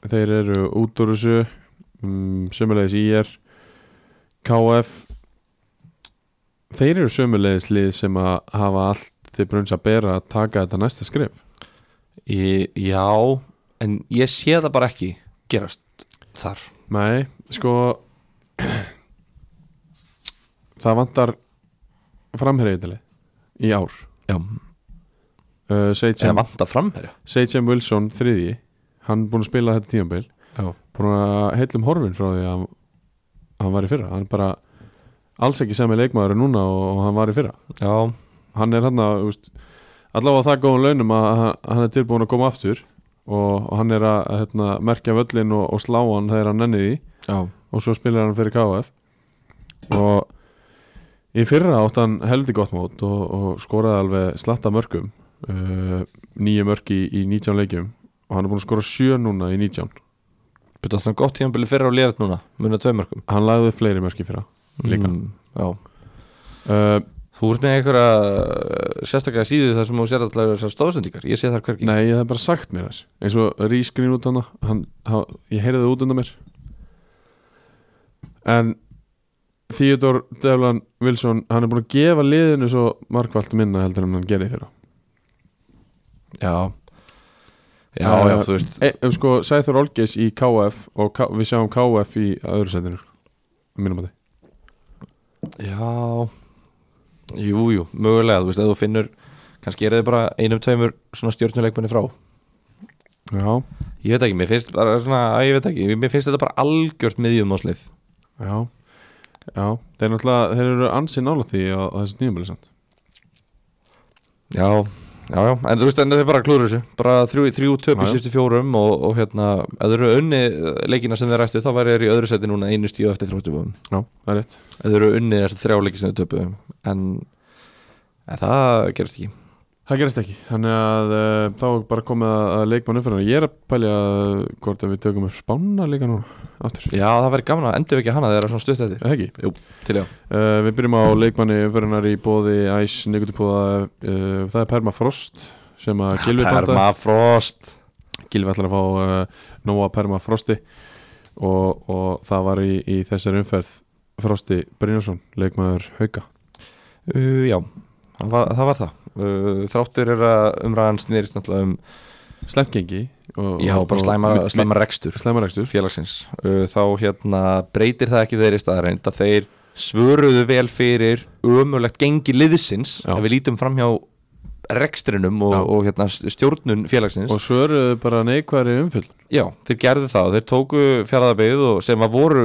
[SPEAKER 1] þeir eru út úr þessu um, sömulegis IR KF þeir eru sömulegis lið sem að hafa allt til brunns að bera að taka þetta næsta skrif
[SPEAKER 2] ég, já, en ég sé það bara ekki gerast þar
[SPEAKER 1] Nei, sko það vantar framherriðitali í ár
[SPEAKER 2] já,
[SPEAKER 1] uh,
[SPEAKER 2] eða
[SPEAKER 1] Seitján
[SPEAKER 2] vanta framherja
[SPEAKER 1] Seitján Wilson þriðji hann búin að spila þetta tímabil
[SPEAKER 2] já.
[SPEAKER 1] búin að heillum horfin frá því að hann- hann var í fyrra hann er bara alls ekki sem er leikmaður en núna og, og hann var í fyrra
[SPEAKER 2] já,
[SPEAKER 1] hann er hann að úst, allavega á það góðum launum að hann- hann er tilbúin að koma aftur og, og hann er að hérna, merkja völlin og, og slá hann þegar hann nenni því
[SPEAKER 2] já,
[SPEAKER 1] og svo spilar hann fyrir KF og í fyrra átt hann heldi gott mót og, og skoraði alveg slatta mörgum uh, nýju mörgi í, í 19 leikjum og hann er búin að skora 7 núna í 19
[SPEAKER 2] betur þannig gott tíðanbili fyrra og liðat núna muna tveimörkum
[SPEAKER 1] hann lagði upp fleiri mörgi fyrra líka
[SPEAKER 2] mm, já
[SPEAKER 1] uh,
[SPEAKER 2] Þú ert með einhverja uh, sérstaklega síðu þar sem þú sér allavega þessar stóðsendingar Ég sé þar hvergi
[SPEAKER 1] nei, ég hef bara sagt mér þess eins og rískrin út hana hann, hann, ég heyrði það út undan mér en Theodor Devlan Wilson hann er búin að gefa liðinu svo markvallt minna heldur en hann gerði í fyrra
[SPEAKER 2] Já Já,
[SPEAKER 1] Eh,
[SPEAKER 2] já, þú veist
[SPEAKER 1] e, um sko, Sæþur Olgeis í KF og K við sjáum KF í öðru setinu mínum að
[SPEAKER 2] Já Jú, jú, mögulega, þú veist, ef þú finnur kannski er þið bara einum tveimur svona stjórnuleikmenni frá
[SPEAKER 1] þið já,
[SPEAKER 2] Ég veit ekki, mér finnst bara svona æ, Ég veit ekki, mér finnst þetta bara algjört miðjum áslið
[SPEAKER 1] já, já þeir, náttúrulega- þeir eru ansið nála því á, á þessu nýjumölu samt
[SPEAKER 2] Já, já, já, en þú veist, en þið bara klúður þessu Bara þrjú, þrjú töp
[SPEAKER 1] Já,
[SPEAKER 2] í
[SPEAKER 1] já.
[SPEAKER 2] sístu fjórum og, og hérna, ef þeir eru unni eh, leikina sem þeir rættu, þá væri þeir í öðru seti núna einu stíu eftir þróttum
[SPEAKER 1] já, það er rétt
[SPEAKER 2] Ef Þau eru unnið þessar þrjáleiki sem þau töpu en, en það gerist ekki
[SPEAKER 1] það gerist ekki, þannig að uh, þá er bara komið að, að leikmann umfyrir ég er að pælja uh, hvort að við tökum upp spána líka núna, aftur
[SPEAKER 2] Já, það væri gaman að endur ekki hana þegar það er svona stutt eftir
[SPEAKER 1] eða ekki
[SPEAKER 2] Jú, til já
[SPEAKER 1] Uh, við byrjum á leikmanni umfyrirnar í bóði Æs, Nikutipúða, uh, það er Perma Frost sem að Gilvi
[SPEAKER 2] Permafrost
[SPEAKER 1] Gilvi ætlar að fá uh, Nóa Perma Frosti og, og það var í, í þessari umferð Frosti Brynjarsson, leikmaður Hauka
[SPEAKER 2] uh, Já, það var það, var það. Uh, Þráttur er að umræðan snýrist náttúrulega um
[SPEAKER 1] Slemt gengi og,
[SPEAKER 2] Já, bara slæma, slæma rekstur
[SPEAKER 1] Slæmarekstur
[SPEAKER 2] félagsins uh, Þá hérna breytir það ekki þeirri staðarreind að þeir svöruðu vel fyrir ömulegt gengi liðsins
[SPEAKER 1] Já.
[SPEAKER 2] ef við lítum fram hjá rekstrinum og,
[SPEAKER 1] Já.
[SPEAKER 2] og hérna stjórnun félagsins
[SPEAKER 1] Og svöruðu bara neikværi umfyll
[SPEAKER 2] Já, þeir gerðu það og þeir tóku fjaraðabeyð og sem að voru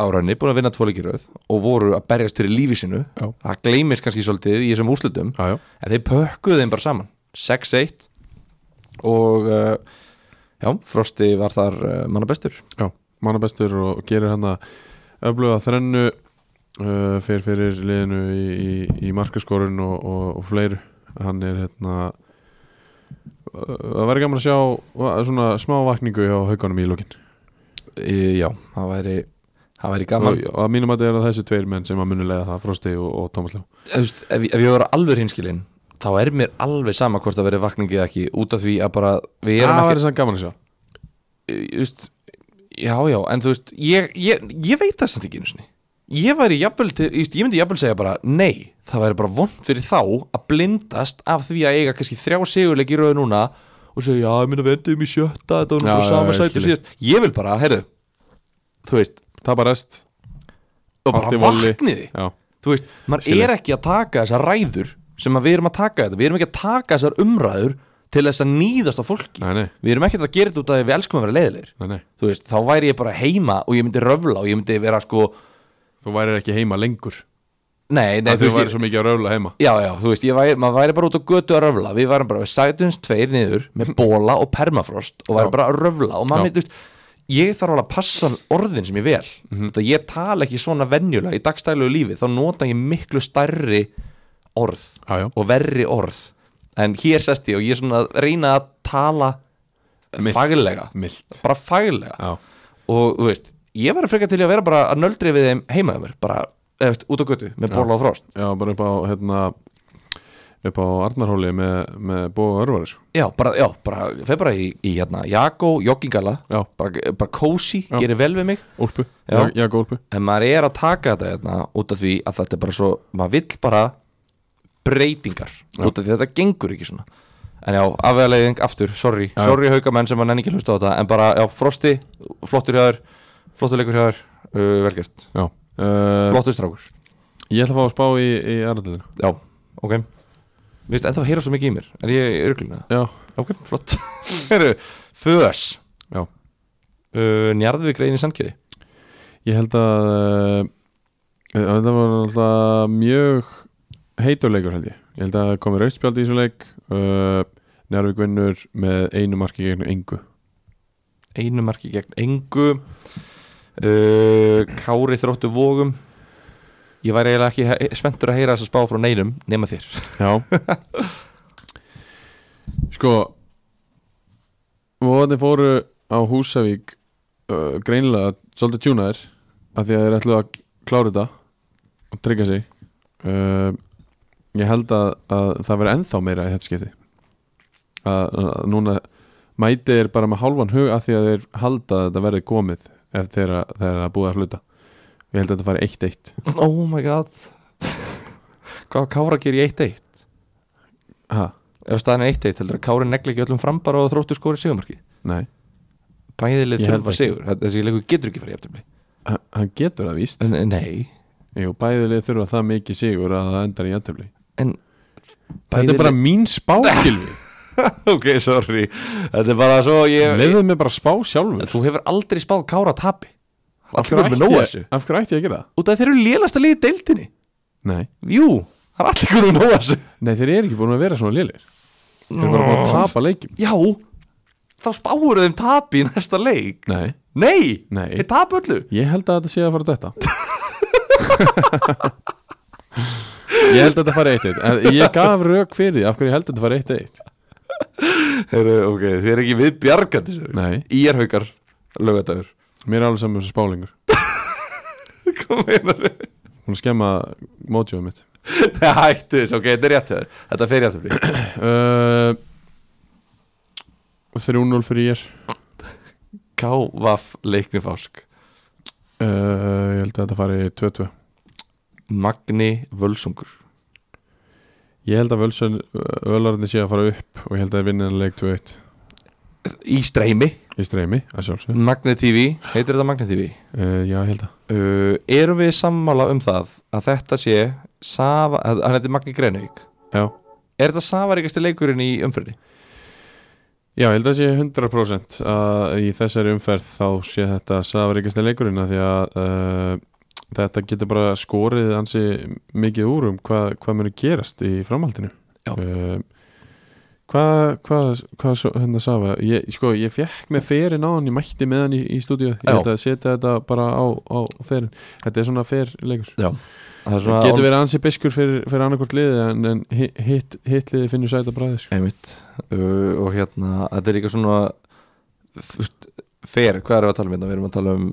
[SPEAKER 2] áraðinni búin að vinna tvoleikiröð og voru að berjast fyrir lífi sinu
[SPEAKER 1] Já.
[SPEAKER 2] það gleymis kannski svolítið í þessum úslutum
[SPEAKER 1] Já, já,
[SPEAKER 2] en þeir pökkuðu þeim bara saman 6-1 og uh, já, Frosti var þar uh, manna bestur
[SPEAKER 1] já mannabestur og gerir hann að öfluga þrennu uh, fyrir fyrir liðinu í, í, í markaskorun og, og, og fleiru hann er hérna uh, það verður gaman að sjá uh, svona smá vakningu hjá haukanum í lokin
[SPEAKER 2] e, Já, það væri, það væri gaman
[SPEAKER 1] og, og að mínum að þetta er að þessi tveir menn sem að munilega það Frosti og, og Thomas Ljó
[SPEAKER 2] Þú veist, ef, ef ég var alveg hinskilinn þá er mér alveg sama hvort að veri vakningi eða ekki út af því að bara við
[SPEAKER 1] það
[SPEAKER 2] erum ekki
[SPEAKER 1] verður sann gaman að sjá
[SPEAKER 2] Þú veist, já, já, en þú veist ég, ég, ég veit það samt ekki einu sinni ég væri jafnvel, til, þú veist, ég myndi jafnvel segja bara nei, það væri bara vond fyrir þá að blindast af því að eiga kannski þrjá sigurleik í rauð núna og segja, já, ég myndi vendum í sjötta þetta var nú
[SPEAKER 1] Já,
[SPEAKER 2] bara
[SPEAKER 1] já, já,
[SPEAKER 2] sama
[SPEAKER 1] ég
[SPEAKER 2] sæti
[SPEAKER 1] skil
[SPEAKER 2] og síðast ég vil bara, heyrðu, þú veist
[SPEAKER 1] tapa rest
[SPEAKER 2] og bara
[SPEAKER 1] Allt í volli.
[SPEAKER 2] vakniði,
[SPEAKER 1] já,
[SPEAKER 2] þú veist maður
[SPEAKER 1] Skil ég.
[SPEAKER 2] er ekki að taka þessar ræður sem að við erum að taka þetta, við erum ekki að taka þessar umræður til þess að nýðast á fólki
[SPEAKER 1] nei, nei,
[SPEAKER 2] við erum ekki að gera þetta út af því að við elskum að vera leiðilegir
[SPEAKER 1] nei, nei
[SPEAKER 2] þú veist, þá væri ég bara heima og ég myndi röfla og ég myndi vera sko
[SPEAKER 1] þú værir ekki heima lengur
[SPEAKER 2] Nei, nei,
[SPEAKER 1] Að
[SPEAKER 2] þú
[SPEAKER 1] þau
[SPEAKER 2] veist,
[SPEAKER 1] væri
[SPEAKER 2] ég,
[SPEAKER 1] svo mikið að röfla heima
[SPEAKER 2] já, já, þú veist, ég væri, maður væri bara út á götu að röfla Við værum bara, við sætumst tveir niður með bóla og permafrost og væri
[SPEAKER 1] Já.
[SPEAKER 2] bara að röfla og maður
[SPEAKER 1] Já.
[SPEAKER 2] myndi, þú veist Ég þarf alveg að passa orðin sem ég vel mm
[SPEAKER 1] Mhm.
[SPEAKER 2] -hmm. Ég tala ekki svona venjulega í dagstælu lífi Þá nota ég miklu stærri orð
[SPEAKER 1] Já, já.
[SPEAKER 2] og verri orð En hér sest ég og ég er svona að reyna að tala faglega
[SPEAKER 1] Milt
[SPEAKER 2] Bara faglega
[SPEAKER 1] Já,
[SPEAKER 2] og þú veist, ég var að freka til í að vera bara að nöldri við þeim heimaðið mér bara, eða veist, út á götu, með bóla og frost
[SPEAKER 1] já bara upp á hérna upp á Arnarhóli með, með bóða örvar sko.
[SPEAKER 2] já, bara, já, bara, fer bara í, í hérna, jakó, joggingala
[SPEAKER 1] Já.
[SPEAKER 2] bara, bara kósi,
[SPEAKER 1] Já.
[SPEAKER 2] gerir vel við mig
[SPEAKER 1] Úlpu,
[SPEAKER 2] Já.
[SPEAKER 1] já, úlpu
[SPEAKER 2] en maður er að taka þetta hérna, út af því að þetta er bara svo, maður vill bara breytingar, út af því að þetta gengur ekki svona en já, afvegaleiging aftur, sorry,
[SPEAKER 1] Já.
[SPEAKER 2] sorry haugamenn sem var nenni ekki að hlusta á þetta, en bara, já, frosti flottur hjá þér, flottur leikur hjá þér uh, velgert,
[SPEAKER 1] Já uh,
[SPEAKER 2] flottur strákur
[SPEAKER 1] Ég ætla að fá að spá í, í aðræðinu
[SPEAKER 2] Já, ok Mér finnst ennþá að heyra svo mikið í mér Er ég örgluna?
[SPEAKER 1] Já,
[SPEAKER 2] Ok, flott Heru, Föðs
[SPEAKER 1] já
[SPEAKER 2] uh, Njarðvík reynir samkjöði
[SPEAKER 1] Ég held að uh, þetta var náttúrulega mjög heituleikur held ég Ég held að það komi raustspjald í þessu leik uh, Njárvík vinnur með einu marki gegn engu
[SPEAKER 2] Einu marki gegn engu uh, Kári þróttu vógum Ég væri eiginlega ekki he- spenntur að heyra þess að spá frá neinum nema þér
[SPEAKER 1] Já Sko Vóðarnir fóru á Húsavík uh, greinilega svolítið tjúnaðir af því að þeir ætlu að klára þetta og tryggja sig uh, Ég held að, að það veri ennþá meira í þetta skipti að, að núna mæti er bara með hálfan hug af því að þeir halda að þetta verði komið eftir að það er að búið að hluta Ég held að þetta fari 1-1
[SPEAKER 2] Oh my god Hvað á Kára gerir í 1-1?
[SPEAKER 1] Ha,
[SPEAKER 2] Ef staðan er 1-1 heldur að Kári negli ekki öllum frambar og þróttu skori sigumarki
[SPEAKER 1] nei,
[SPEAKER 2] Bæðilið
[SPEAKER 1] Ég held
[SPEAKER 2] þurfa
[SPEAKER 1] ekki.
[SPEAKER 2] sigur Þessi leikur getur ekki farið jafnir
[SPEAKER 1] hann hann getur það víst
[SPEAKER 2] Nei
[SPEAKER 1] Jú, bæðilið þurfa það mikið sigur að það endar í jæntefli
[SPEAKER 2] En
[SPEAKER 1] Þetta er bara mín spá, Gilvi
[SPEAKER 2] Ok, sorry Þetta er bara svo ég...
[SPEAKER 1] Leðuð mér bara spá sjálfur
[SPEAKER 2] Þú hefur aldrei spáð Kára tapi
[SPEAKER 1] Af hverju
[SPEAKER 2] Allir verður
[SPEAKER 1] ætti
[SPEAKER 2] með nóg
[SPEAKER 1] ég-
[SPEAKER 2] að þessu
[SPEAKER 1] Af hverju ætti ég að gera það?
[SPEAKER 2] Út af þeir eru lélasta liðið deildinni
[SPEAKER 1] Nei,
[SPEAKER 2] Jú, það er allir verður með nóg að þessu
[SPEAKER 1] Nei þeir eru ekki búin að vera svona lélir Þeir eru bara búin að tapa leikjum
[SPEAKER 2] Já, þá spáur þeim tapi í næsta leik
[SPEAKER 1] Nei,
[SPEAKER 2] Nei,
[SPEAKER 1] Nei.
[SPEAKER 2] þeir tapa öllu
[SPEAKER 1] ég held að þetta sé að fara þetta Ég held að þetta fari 1-1 En Ég gaf rauk fyrir því af hverju ég held að þetta fari 1-1
[SPEAKER 2] Heru, Ok, þeir eru ekki við bjargandi sér
[SPEAKER 1] Nei,
[SPEAKER 2] Í er haukar, lögadagur
[SPEAKER 1] mér er alveg um saman sem spálingur
[SPEAKER 2] Hvað meinar þau?
[SPEAKER 1] Hún skemma mótjóðum mitt
[SPEAKER 2] Hættu þess, ok, þetta er rétt hjá þér Þetta fer rétt hjá þér
[SPEAKER 1] uh, 3-0 fyrir ég
[SPEAKER 2] Kávaf leikni fásk
[SPEAKER 1] Uh, ég held að þetta fari 2-2
[SPEAKER 2] Magni Völsungur
[SPEAKER 1] Ég held að völsön, völarnir sé að fara upp og ég held að þeir vinna þennan leik 2-1
[SPEAKER 2] Í streymi
[SPEAKER 1] í streymi, að sjálfsög uh,
[SPEAKER 2] Magnet TV, heitir þetta Magnet TV
[SPEAKER 1] Já, ég held að
[SPEAKER 2] uh, Erum við sammála um það að þetta sé Sava, að- hann heitir Magni Greinhaug
[SPEAKER 1] Já,
[SPEAKER 2] Er þetta safaríkasti leikurinn í umfyrinni?
[SPEAKER 1] já ég held að sé 100% að í þessari umferð þá sé þetta safaríkasta leikurinn af því að uh, þetta getur bara skorið ansi mikið úr um hvað hva muni gerast í framhaldinu
[SPEAKER 2] Já.
[SPEAKER 1] uh, Hvað, hvað, hvað svo, hérna Safa, ég, sko, ég fekk með ferin á hann, ég mætti með hann í, í stúdíu, ég
[SPEAKER 2] Já.
[SPEAKER 1] held að setja þetta bara á, á ferin, þetta er svona fer leikur
[SPEAKER 2] Já Það er svona
[SPEAKER 1] Það getur verið ansi biskur fyrir, fyrir annarkvort liði en, en hi- hitt, hitt liði finnur sæta bræði sko.
[SPEAKER 2] Einmitt uh, Og hérna, þetta er líka svona fust, Fer, hvað erum við að tala um hérna? Við erum að tala um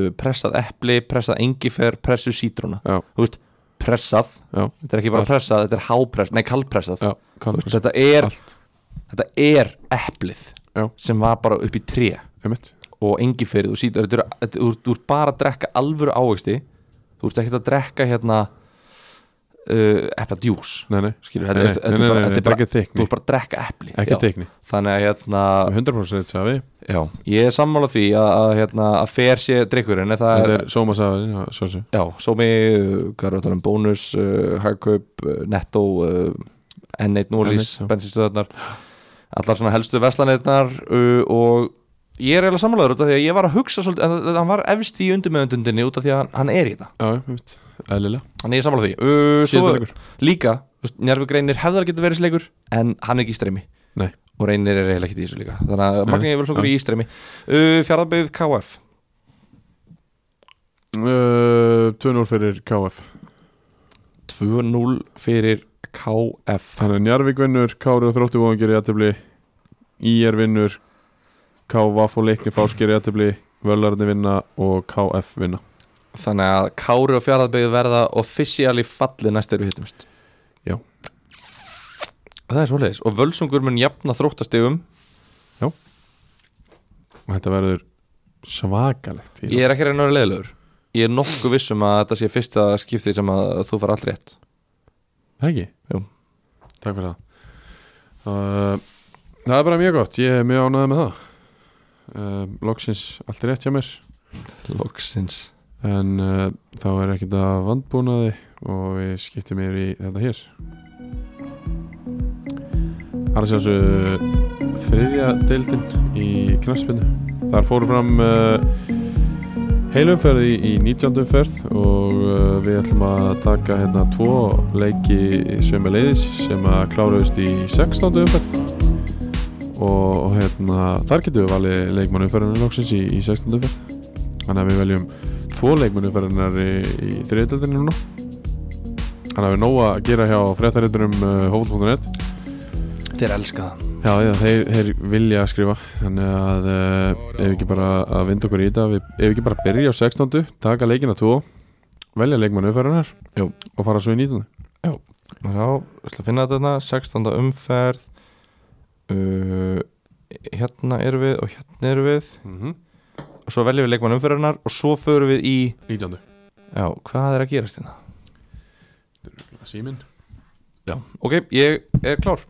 [SPEAKER 2] uh, pressað epli, pressað engifer, pressu sítrúna
[SPEAKER 1] Já,
[SPEAKER 2] Þú veist, pressað
[SPEAKER 1] já,
[SPEAKER 2] Þetta er ekki bara
[SPEAKER 1] Allt.
[SPEAKER 2] pressað, þetta er hápressað, nei kaldpressað
[SPEAKER 1] já,
[SPEAKER 2] Þú
[SPEAKER 1] kannast
[SPEAKER 2] veist, Þetta er,
[SPEAKER 1] allt
[SPEAKER 2] þetta er eplið
[SPEAKER 1] Já.
[SPEAKER 2] sem var bara upp í tré
[SPEAKER 1] einmitt.
[SPEAKER 2] og engiferið og sítur þetta eru- þetta- þú ert- þú ert bara að drekka alvöru ávegsti þú ert ekkert að drekka hérna uh, epla djús
[SPEAKER 1] Nei, nei,
[SPEAKER 2] skilur,
[SPEAKER 1] Nei,
[SPEAKER 2] þetta
[SPEAKER 1] nei,
[SPEAKER 2] þetta-
[SPEAKER 1] nei,
[SPEAKER 2] þetta
[SPEAKER 1] nei,
[SPEAKER 2] er bara-
[SPEAKER 1] nei,
[SPEAKER 2] þetta
[SPEAKER 1] þetta
[SPEAKER 2] er
[SPEAKER 1] er
[SPEAKER 2] bara-
[SPEAKER 1] ekki þykni.
[SPEAKER 2] þú ert bara að drekka epli
[SPEAKER 1] ekki
[SPEAKER 2] já.
[SPEAKER 1] teikni
[SPEAKER 2] þannig að hérna
[SPEAKER 1] 100% safi,
[SPEAKER 2] já, ég er sammála því að, að, hérna, að fer sé drikkurinn en það
[SPEAKER 1] þetta
[SPEAKER 2] er,
[SPEAKER 1] er Soma safi já, svo sem.
[SPEAKER 2] já, sómi uh, hvað er að tala um, bónus, uh, hagkaup uh, netto, uh, N1 Núlís,
[SPEAKER 1] N1, já.
[SPEAKER 2] bensinstöðarnar allar svona helstu veslanirnar uh, og ég er eiginlega sammálaður út af því að ég var að hugsa svolítið að, að hann var efst í undirmeðundundinni út af því að hann, hann er í þetta
[SPEAKER 1] Já, ég veit, eðlilega
[SPEAKER 2] Þannig ég er sammála því uh,
[SPEAKER 1] Síðasta
[SPEAKER 2] svo-
[SPEAKER 1] leikur.
[SPEAKER 2] Líka, njárvík reynir hefðar getur verið sleikur En hann er ekki í streymi
[SPEAKER 1] Nei,
[SPEAKER 2] Og reynir er eiginlega ekki í þessu líka Þannig að
[SPEAKER 1] Nei,
[SPEAKER 2] Magni er vel
[SPEAKER 1] já.
[SPEAKER 2] í streymi uh, Fjárðabyggð KF
[SPEAKER 1] uh, 2-0 fyrir KF
[SPEAKER 2] 2-0 fyrir KF
[SPEAKER 1] Þannig að Njarvík vinnur, Kári og Þróttu Vóðan gerir jættibli IR vinnur KVF og Leikni Fás gerir jættibli Völarni vinna og KF vinna
[SPEAKER 2] Þannig að Kári og Fjárðabyggð verða Officially falli næst þegar við hittumst
[SPEAKER 1] Já.
[SPEAKER 2] Það er svoleiðis Og Völsungur mun jafna þróttastegum
[SPEAKER 1] og þetta verður svakalegt
[SPEAKER 2] Ég er ekki að reyna að vera leiðilegur Ég er nokkuð vissum að þetta sé fyrsta skiptið sem að þú far allir rétt
[SPEAKER 1] Ekki?
[SPEAKER 2] Jú.
[SPEAKER 1] Takk fyrir það uh, Það er bara mjög gott, ég er mjög ánægð með það uh, Loksins allt er rétt hjá mér
[SPEAKER 2] Loksins
[SPEAKER 1] en uh, þá er ekkert að vandbúnaði og við skiptum yfir í þetta hér Það er sjálfsög þriðja deildin í knarspinnu Þar fóru fram uh, heilumferð í, í 19. umferð og uh, við ætlum að taka hérna tvo leiki sömu leiðis sem að kláraðust í 16. umferð og, og hérna þar getum við valið leikmann umferðinu loksins í, í 16. umferð þannig að við veljum tvo leikmennufærinar í, í þriðdeldinni núna Þannig að við nóg að gera hjá fréttariturum uh, hófl.net
[SPEAKER 2] Þeir elska það
[SPEAKER 1] Já, já, þeir, þeir vilja skrifa Þannig að uh, ef við ekki bara að vinda okkur í þetta við, Ef við ekki bara byrja á 16. Taka leikina 2 Velja leikmennufærinar
[SPEAKER 2] Jú.
[SPEAKER 1] Og fara svo í 19.
[SPEAKER 2] Og Já, ég ætla að finna þetta hérna 16. umferð uh, Hérna erum við og hérna erum við
[SPEAKER 1] Mm -hmm.
[SPEAKER 2] og svo veljum við leikmann umferðarnar og svo förum við í
[SPEAKER 1] 19.
[SPEAKER 2] Já, hvað er að gerast hérna?
[SPEAKER 1] Símin
[SPEAKER 2] Já Ok, ég er klár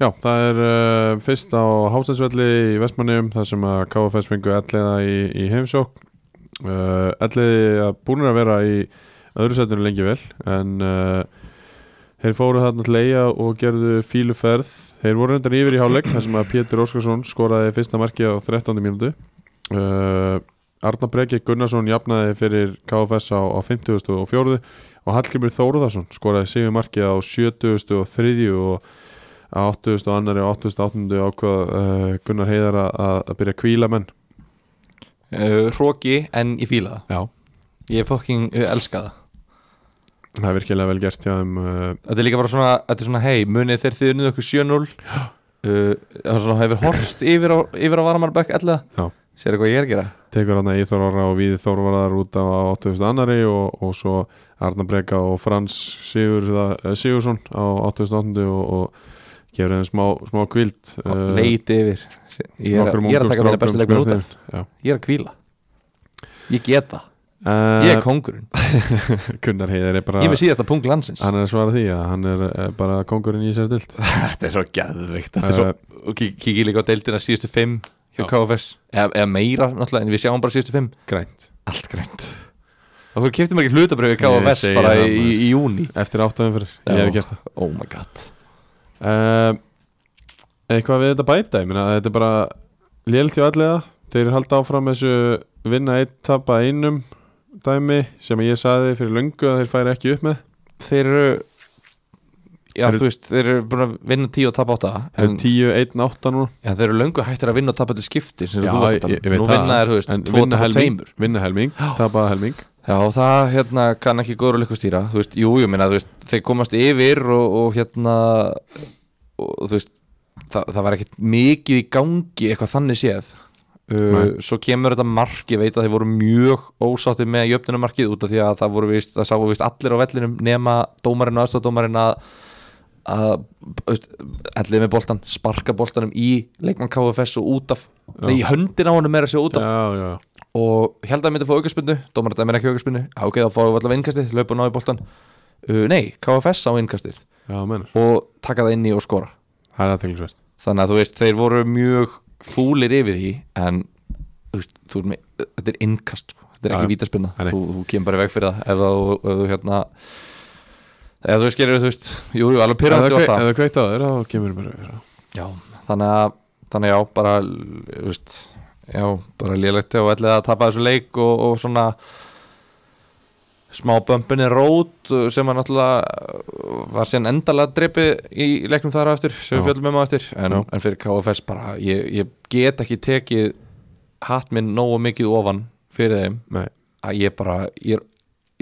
[SPEAKER 1] Já, það er uh, fyrst á Hásteinsvelli í Vestmannum þar sem að KFS fengu elliða í, í heimsók uh, Elliði að búin að vera í öðru setinu lengi vel en uh, þeir fóru þarna til eiga og gerðu fíluferð þeir voru reyndar yfir í hálfleik þar sem að Pétur Óskarsson skoraði fyrsta marki á 13. mínútu uh, Arna Breki Gunnarsson jafnaði fyrir KFS á, á 50. og 4. og Hallgrimur Þóruðarsson skoraði sigur marki á 70. og 3. og á 8000 og annari og 8008 ákvað uh, Gunnar Heiðar að- að að byrja að kvíla menn
[SPEAKER 2] uh, Hróki en ég fíla það
[SPEAKER 1] Já.
[SPEAKER 2] Ég fucking uh, elska það
[SPEAKER 1] það er virkilega vel gert hjá þeim uh,
[SPEAKER 2] Þetta er líka bara svona, þetta er svona hei, munið þeir þið unnið okkur 7-0 uh, Það er svona, hefur hort yfir á, yfir á varamarbekk
[SPEAKER 1] Já.
[SPEAKER 2] allega Sér hvað ég er að gera
[SPEAKER 1] tekur hann að Íþór Orra og Víði Þórvarðar út á 8000 annari og, og svo Arna Breka og Frans Sigurða, eh, Sigursson á 8008 og, og gefur þeim smá, smá kvild
[SPEAKER 2] uh, Leit yfir Ég er,
[SPEAKER 1] nokkrum
[SPEAKER 2] að- ég
[SPEAKER 1] ungum
[SPEAKER 2] er að taka mér
[SPEAKER 1] Eh. strákum
[SPEAKER 2] bestu
[SPEAKER 1] sem eru
[SPEAKER 2] leikmenn út af
[SPEAKER 1] þeir. Já.
[SPEAKER 2] Ég er að kvíla Ég get það, ég er
[SPEAKER 1] uh,
[SPEAKER 2] kongurinn
[SPEAKER 1] Gunnar Heiðar er bara
[SPEAKER 2] Ég er með síðasta punkt landsins
[SPEAKER 1] hann er að svara því að hann er eh, bara kongurinn í sér dild
[SPEAKER 2] Þetta er svo gæðvikt
[SPEAKER 1] er svo-
[SPEAKER 2] Og kík- kíkið líka á deildina síðustu fimm hjá
[SPEAKER 1] Eh. Já.
[SPEAKER 2] KFS eða, eða meira náttúrulega, en við sjáum bara síðustu fimm
[SPEAKER 1] grænt
[SPEAKER 2] Allt grænt Og hvernig kiptum ekki hlutabrið við
[SPEAKER 1] Ég
[SPEAKER 2] KFS
[SPEAKER 1] segi
[SPEAKER 2] bara
[SPEAKER 1] það,
[SPEAKER 2] í, í,
[SPEAKER 1] maður.
[SPEAKER 2] í júni
[SPEAKER 1] eftir áttaðum fyrir, ég hef gert það
[SPEAKER 2] Oh my god
[SPEAKER 1] uh, eitthvað við þetta bæta ég meina þetta er bara lélt hjá allega þeir halda áfram þessu vinna einn tapa einum dæmi sem ég saði fyrir löngu að þeir færi ekki upp með
[SPEAKER 2] Þeir eru Já,
[SPEAKER 1] Þeir eru-
[SPEAKER 2] þú veist, þeir eru búin að vinna 10 og tapa átta
[SPEAKER 1] þeir
[SPEAKER 2] en,
[SPEAKER 1] eru 10, 1, 8 nú
[SPEAKER 2] já, þeir eru löngu hættir að vinna og tapa til skipti sem
[SPEAKER 1] Já,
[SPEAKER 2] þú varst að tala um.
[SPEAKER 1] ég- ég veit
[SPEAKER 2] Nú
[SPEAKER 1] það.
[SPEAKER 2] vinna er, þú veist,
[SPEAKER 1] en
[SPEAKER 2] 2 og
[SPEAKER 1] vinna
[SPEAKER 2] tapa
[SPEAKER 1] helming,
[SPEAKER 2] tveimur
[SPEAKER 1] vinna helming
[SPEAKER 2] Já.
[SPEAKER 1] tapa helming
[SPEAKER 2] Já, það hérna kann ekki góður að leikustýra Þú veist, jú, ég meina, þú veist, þeir komast yfir og, og hérna og þú veist, það, það var ekkit mikið í gangi eitthvað þannig séð uh,
[SPEAKER 1] Nei.
[SPEAKER 2] Svo kemur þetta mark, ég veit að þeir voru mjög ósátti með jöfnumarkið út af því að það voru vist, það sáu vist allir á vellinum nema dómarinn og aðstofdómarinn að að, þú veist, ellið með boltan sparka boltanum í leikmann KFS og út af,
[SPEAKER 1] Já.
[SPEAKER 2] nei, í höndin á honum meira sér út af
[SPEAKER 1] já, já,
[SPEAKER 2] og held að það myndi að fá aukarspunnu dómar að það myndi ekki aukarspunnu ok, þá fáum við allavega innkastið, löpum á í boltan uh, nei, KFS á innkastið
[SPEAKER 1] já, menur
[SPEAKER 2] og taka það inn í og skora
[SPEAKER 1] það er aðteglisvert
[SPEAKER 2] þannig að þú veist, þeir voru mjög fúlir yfir því en þú veist, þú er með, þetta er innkast sko. þetta er
[SPEAKER 1] Já, já.
[SPEAKER 2] ekki vítaspunna,
[SPEAKER 1] Nei, nei.
[SPEAKER 2] þú, þú kemur bara í veg fyrir það ef þú, ef þú hérna ef þú skerir þú veist, jú, jú,
[SPEAKER 1] eða
[SPEAKER 2] alveg pyrrandi
[SPEAKER 1] kveikt á þeir, þá kemur bara yfir á.
[SPEAKER 2] Já, þannig að þannig já, bara þú veist, já, bara lélegt og ætlið að tapa þessum leik og, og svona smá bömpinni rót sem að náttúrulega var síðan endalega dreipið í leiknum þar á eftir sem við
[SPEAKER 1] Já.
[SPEAKER 2] fjöldum um á eftir en,
[SPEAKER 1] Já.
[SPEAKER 2] en fyrir KFS bara, ég, ég get ekki tekið hatt minn nógu mikið ofan fyrir þeim
[SPEAKER 1] Nei,
[SPEAKER 2] að ég bara, ég er,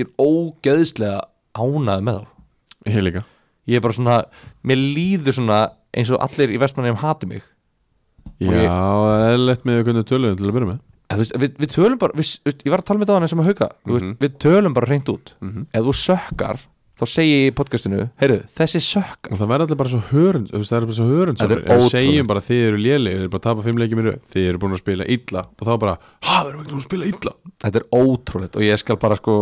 [SPEAKER 2] ég er ógeðslega ánað með þá
[SPEAKER 1] ég líka
[SPEAKER 2] ég er bara svona, mér líður svona eins og allir í vestmannum hati mig
[SPEAKER 1] Já,
[SPEAKER 2] ég-
[SPEAKER 1] það er eðlilegt með hvernig tölum til að byrja með
[SPEAKER 2] að, þú veist, við, við tölum bara, við, við, ég var að tala með það sem að hauka, mm
[SPEAKER 1] Mhm.
[SPEAKER 2] veist, við tölum bara hreint út
[SPEAKER 1] Mhm.
[SPEAKER 2] ef þú sökkar, þá segi ég í podcastinu heyrðu, þessi sökkar
[SPEAKER 1] Og það verður allir bara svo hörund þú veist, Það er bara svo hörund
[SPEAKER 2] Þetta er
[SPEAKER 1] Við
[SPEAKER 2] ótrúlegt.
[SPEAKER 1] segjum bara þið eru lélegir Þið eru bara að tapa fimm leikjum í röð Þið eru búin að spila illa Og þá bara Ha, við erum ekki búin að spila illa
[SPEAKER 2] þetta er ótrúlegt og ég skal bara sko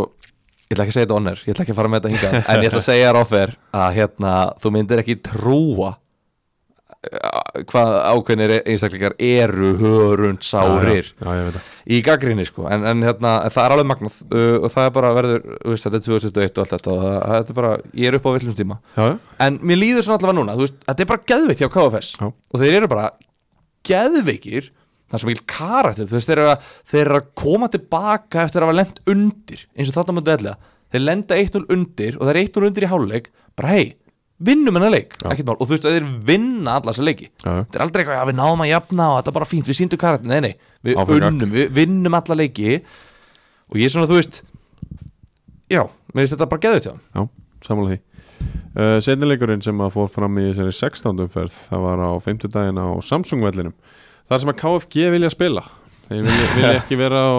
[SPEAKER 2] ég ætla ekki að segja þetta onner, ég ætla ekki að fara með þetta hingað en ég ætla að segja þér áfer að hérna, þú myndir ekki trúa eh, hvað ákveðnir einstaklingar eru hörund sárir
[SPEAKER 1] Já, já, já, ég veit það
[SPEAKER 2] í gaggrinni sko en, en hérna, en það er alveg magnað uh, og það er bara verður, þú veist, þetta er 2021 og allt þetta og það, þetta er bara, ég er upp á villum tíma
[SPEAKER 1] Já, já,
[SPEAKER 2] en mér líður svona allavega núna, þú veist, þetta er bara geðveikt hjá KFS
[SPEAKER 1] Já.
[SPEAKER 2] og þeir eru bara geðveikir það er svo mikil karakter, þú veist, þeir eru að þeir eru að koma tilbaka eftir að hafa lent undir eins og þarna mútið ætla þeir lenda 1-0 undir og það er 1-0 undir í háluleik bara hei, vinnum hennar leik
[SPEAKER 1] Já.
[SPEAKER 2] ekkert mál, og þú veist, þeir vinna alla þessa leiki
[SPEAKER 1] já, já.
[SPEAKER 2] þetta er aldrei eitthvað að við náðum að jafna og þetta er bara fínt, við síndum karakter, nei nei við
[SPEAKER 1] Áfram gakk.
[SPEAKER 2] unnum, við vinnum alla leiki og ég er svona, þú veist já, mér finnst þetta bara geðið til hann
[SPEAKER 1] Já, samanlega því uh, Setnileikurinn sem að fór fram í þessari 16. umferð það var á 50 daginn á Samsung vellinum þar sem að KFG vilja spila þeir vilja, vilja ekki vera á,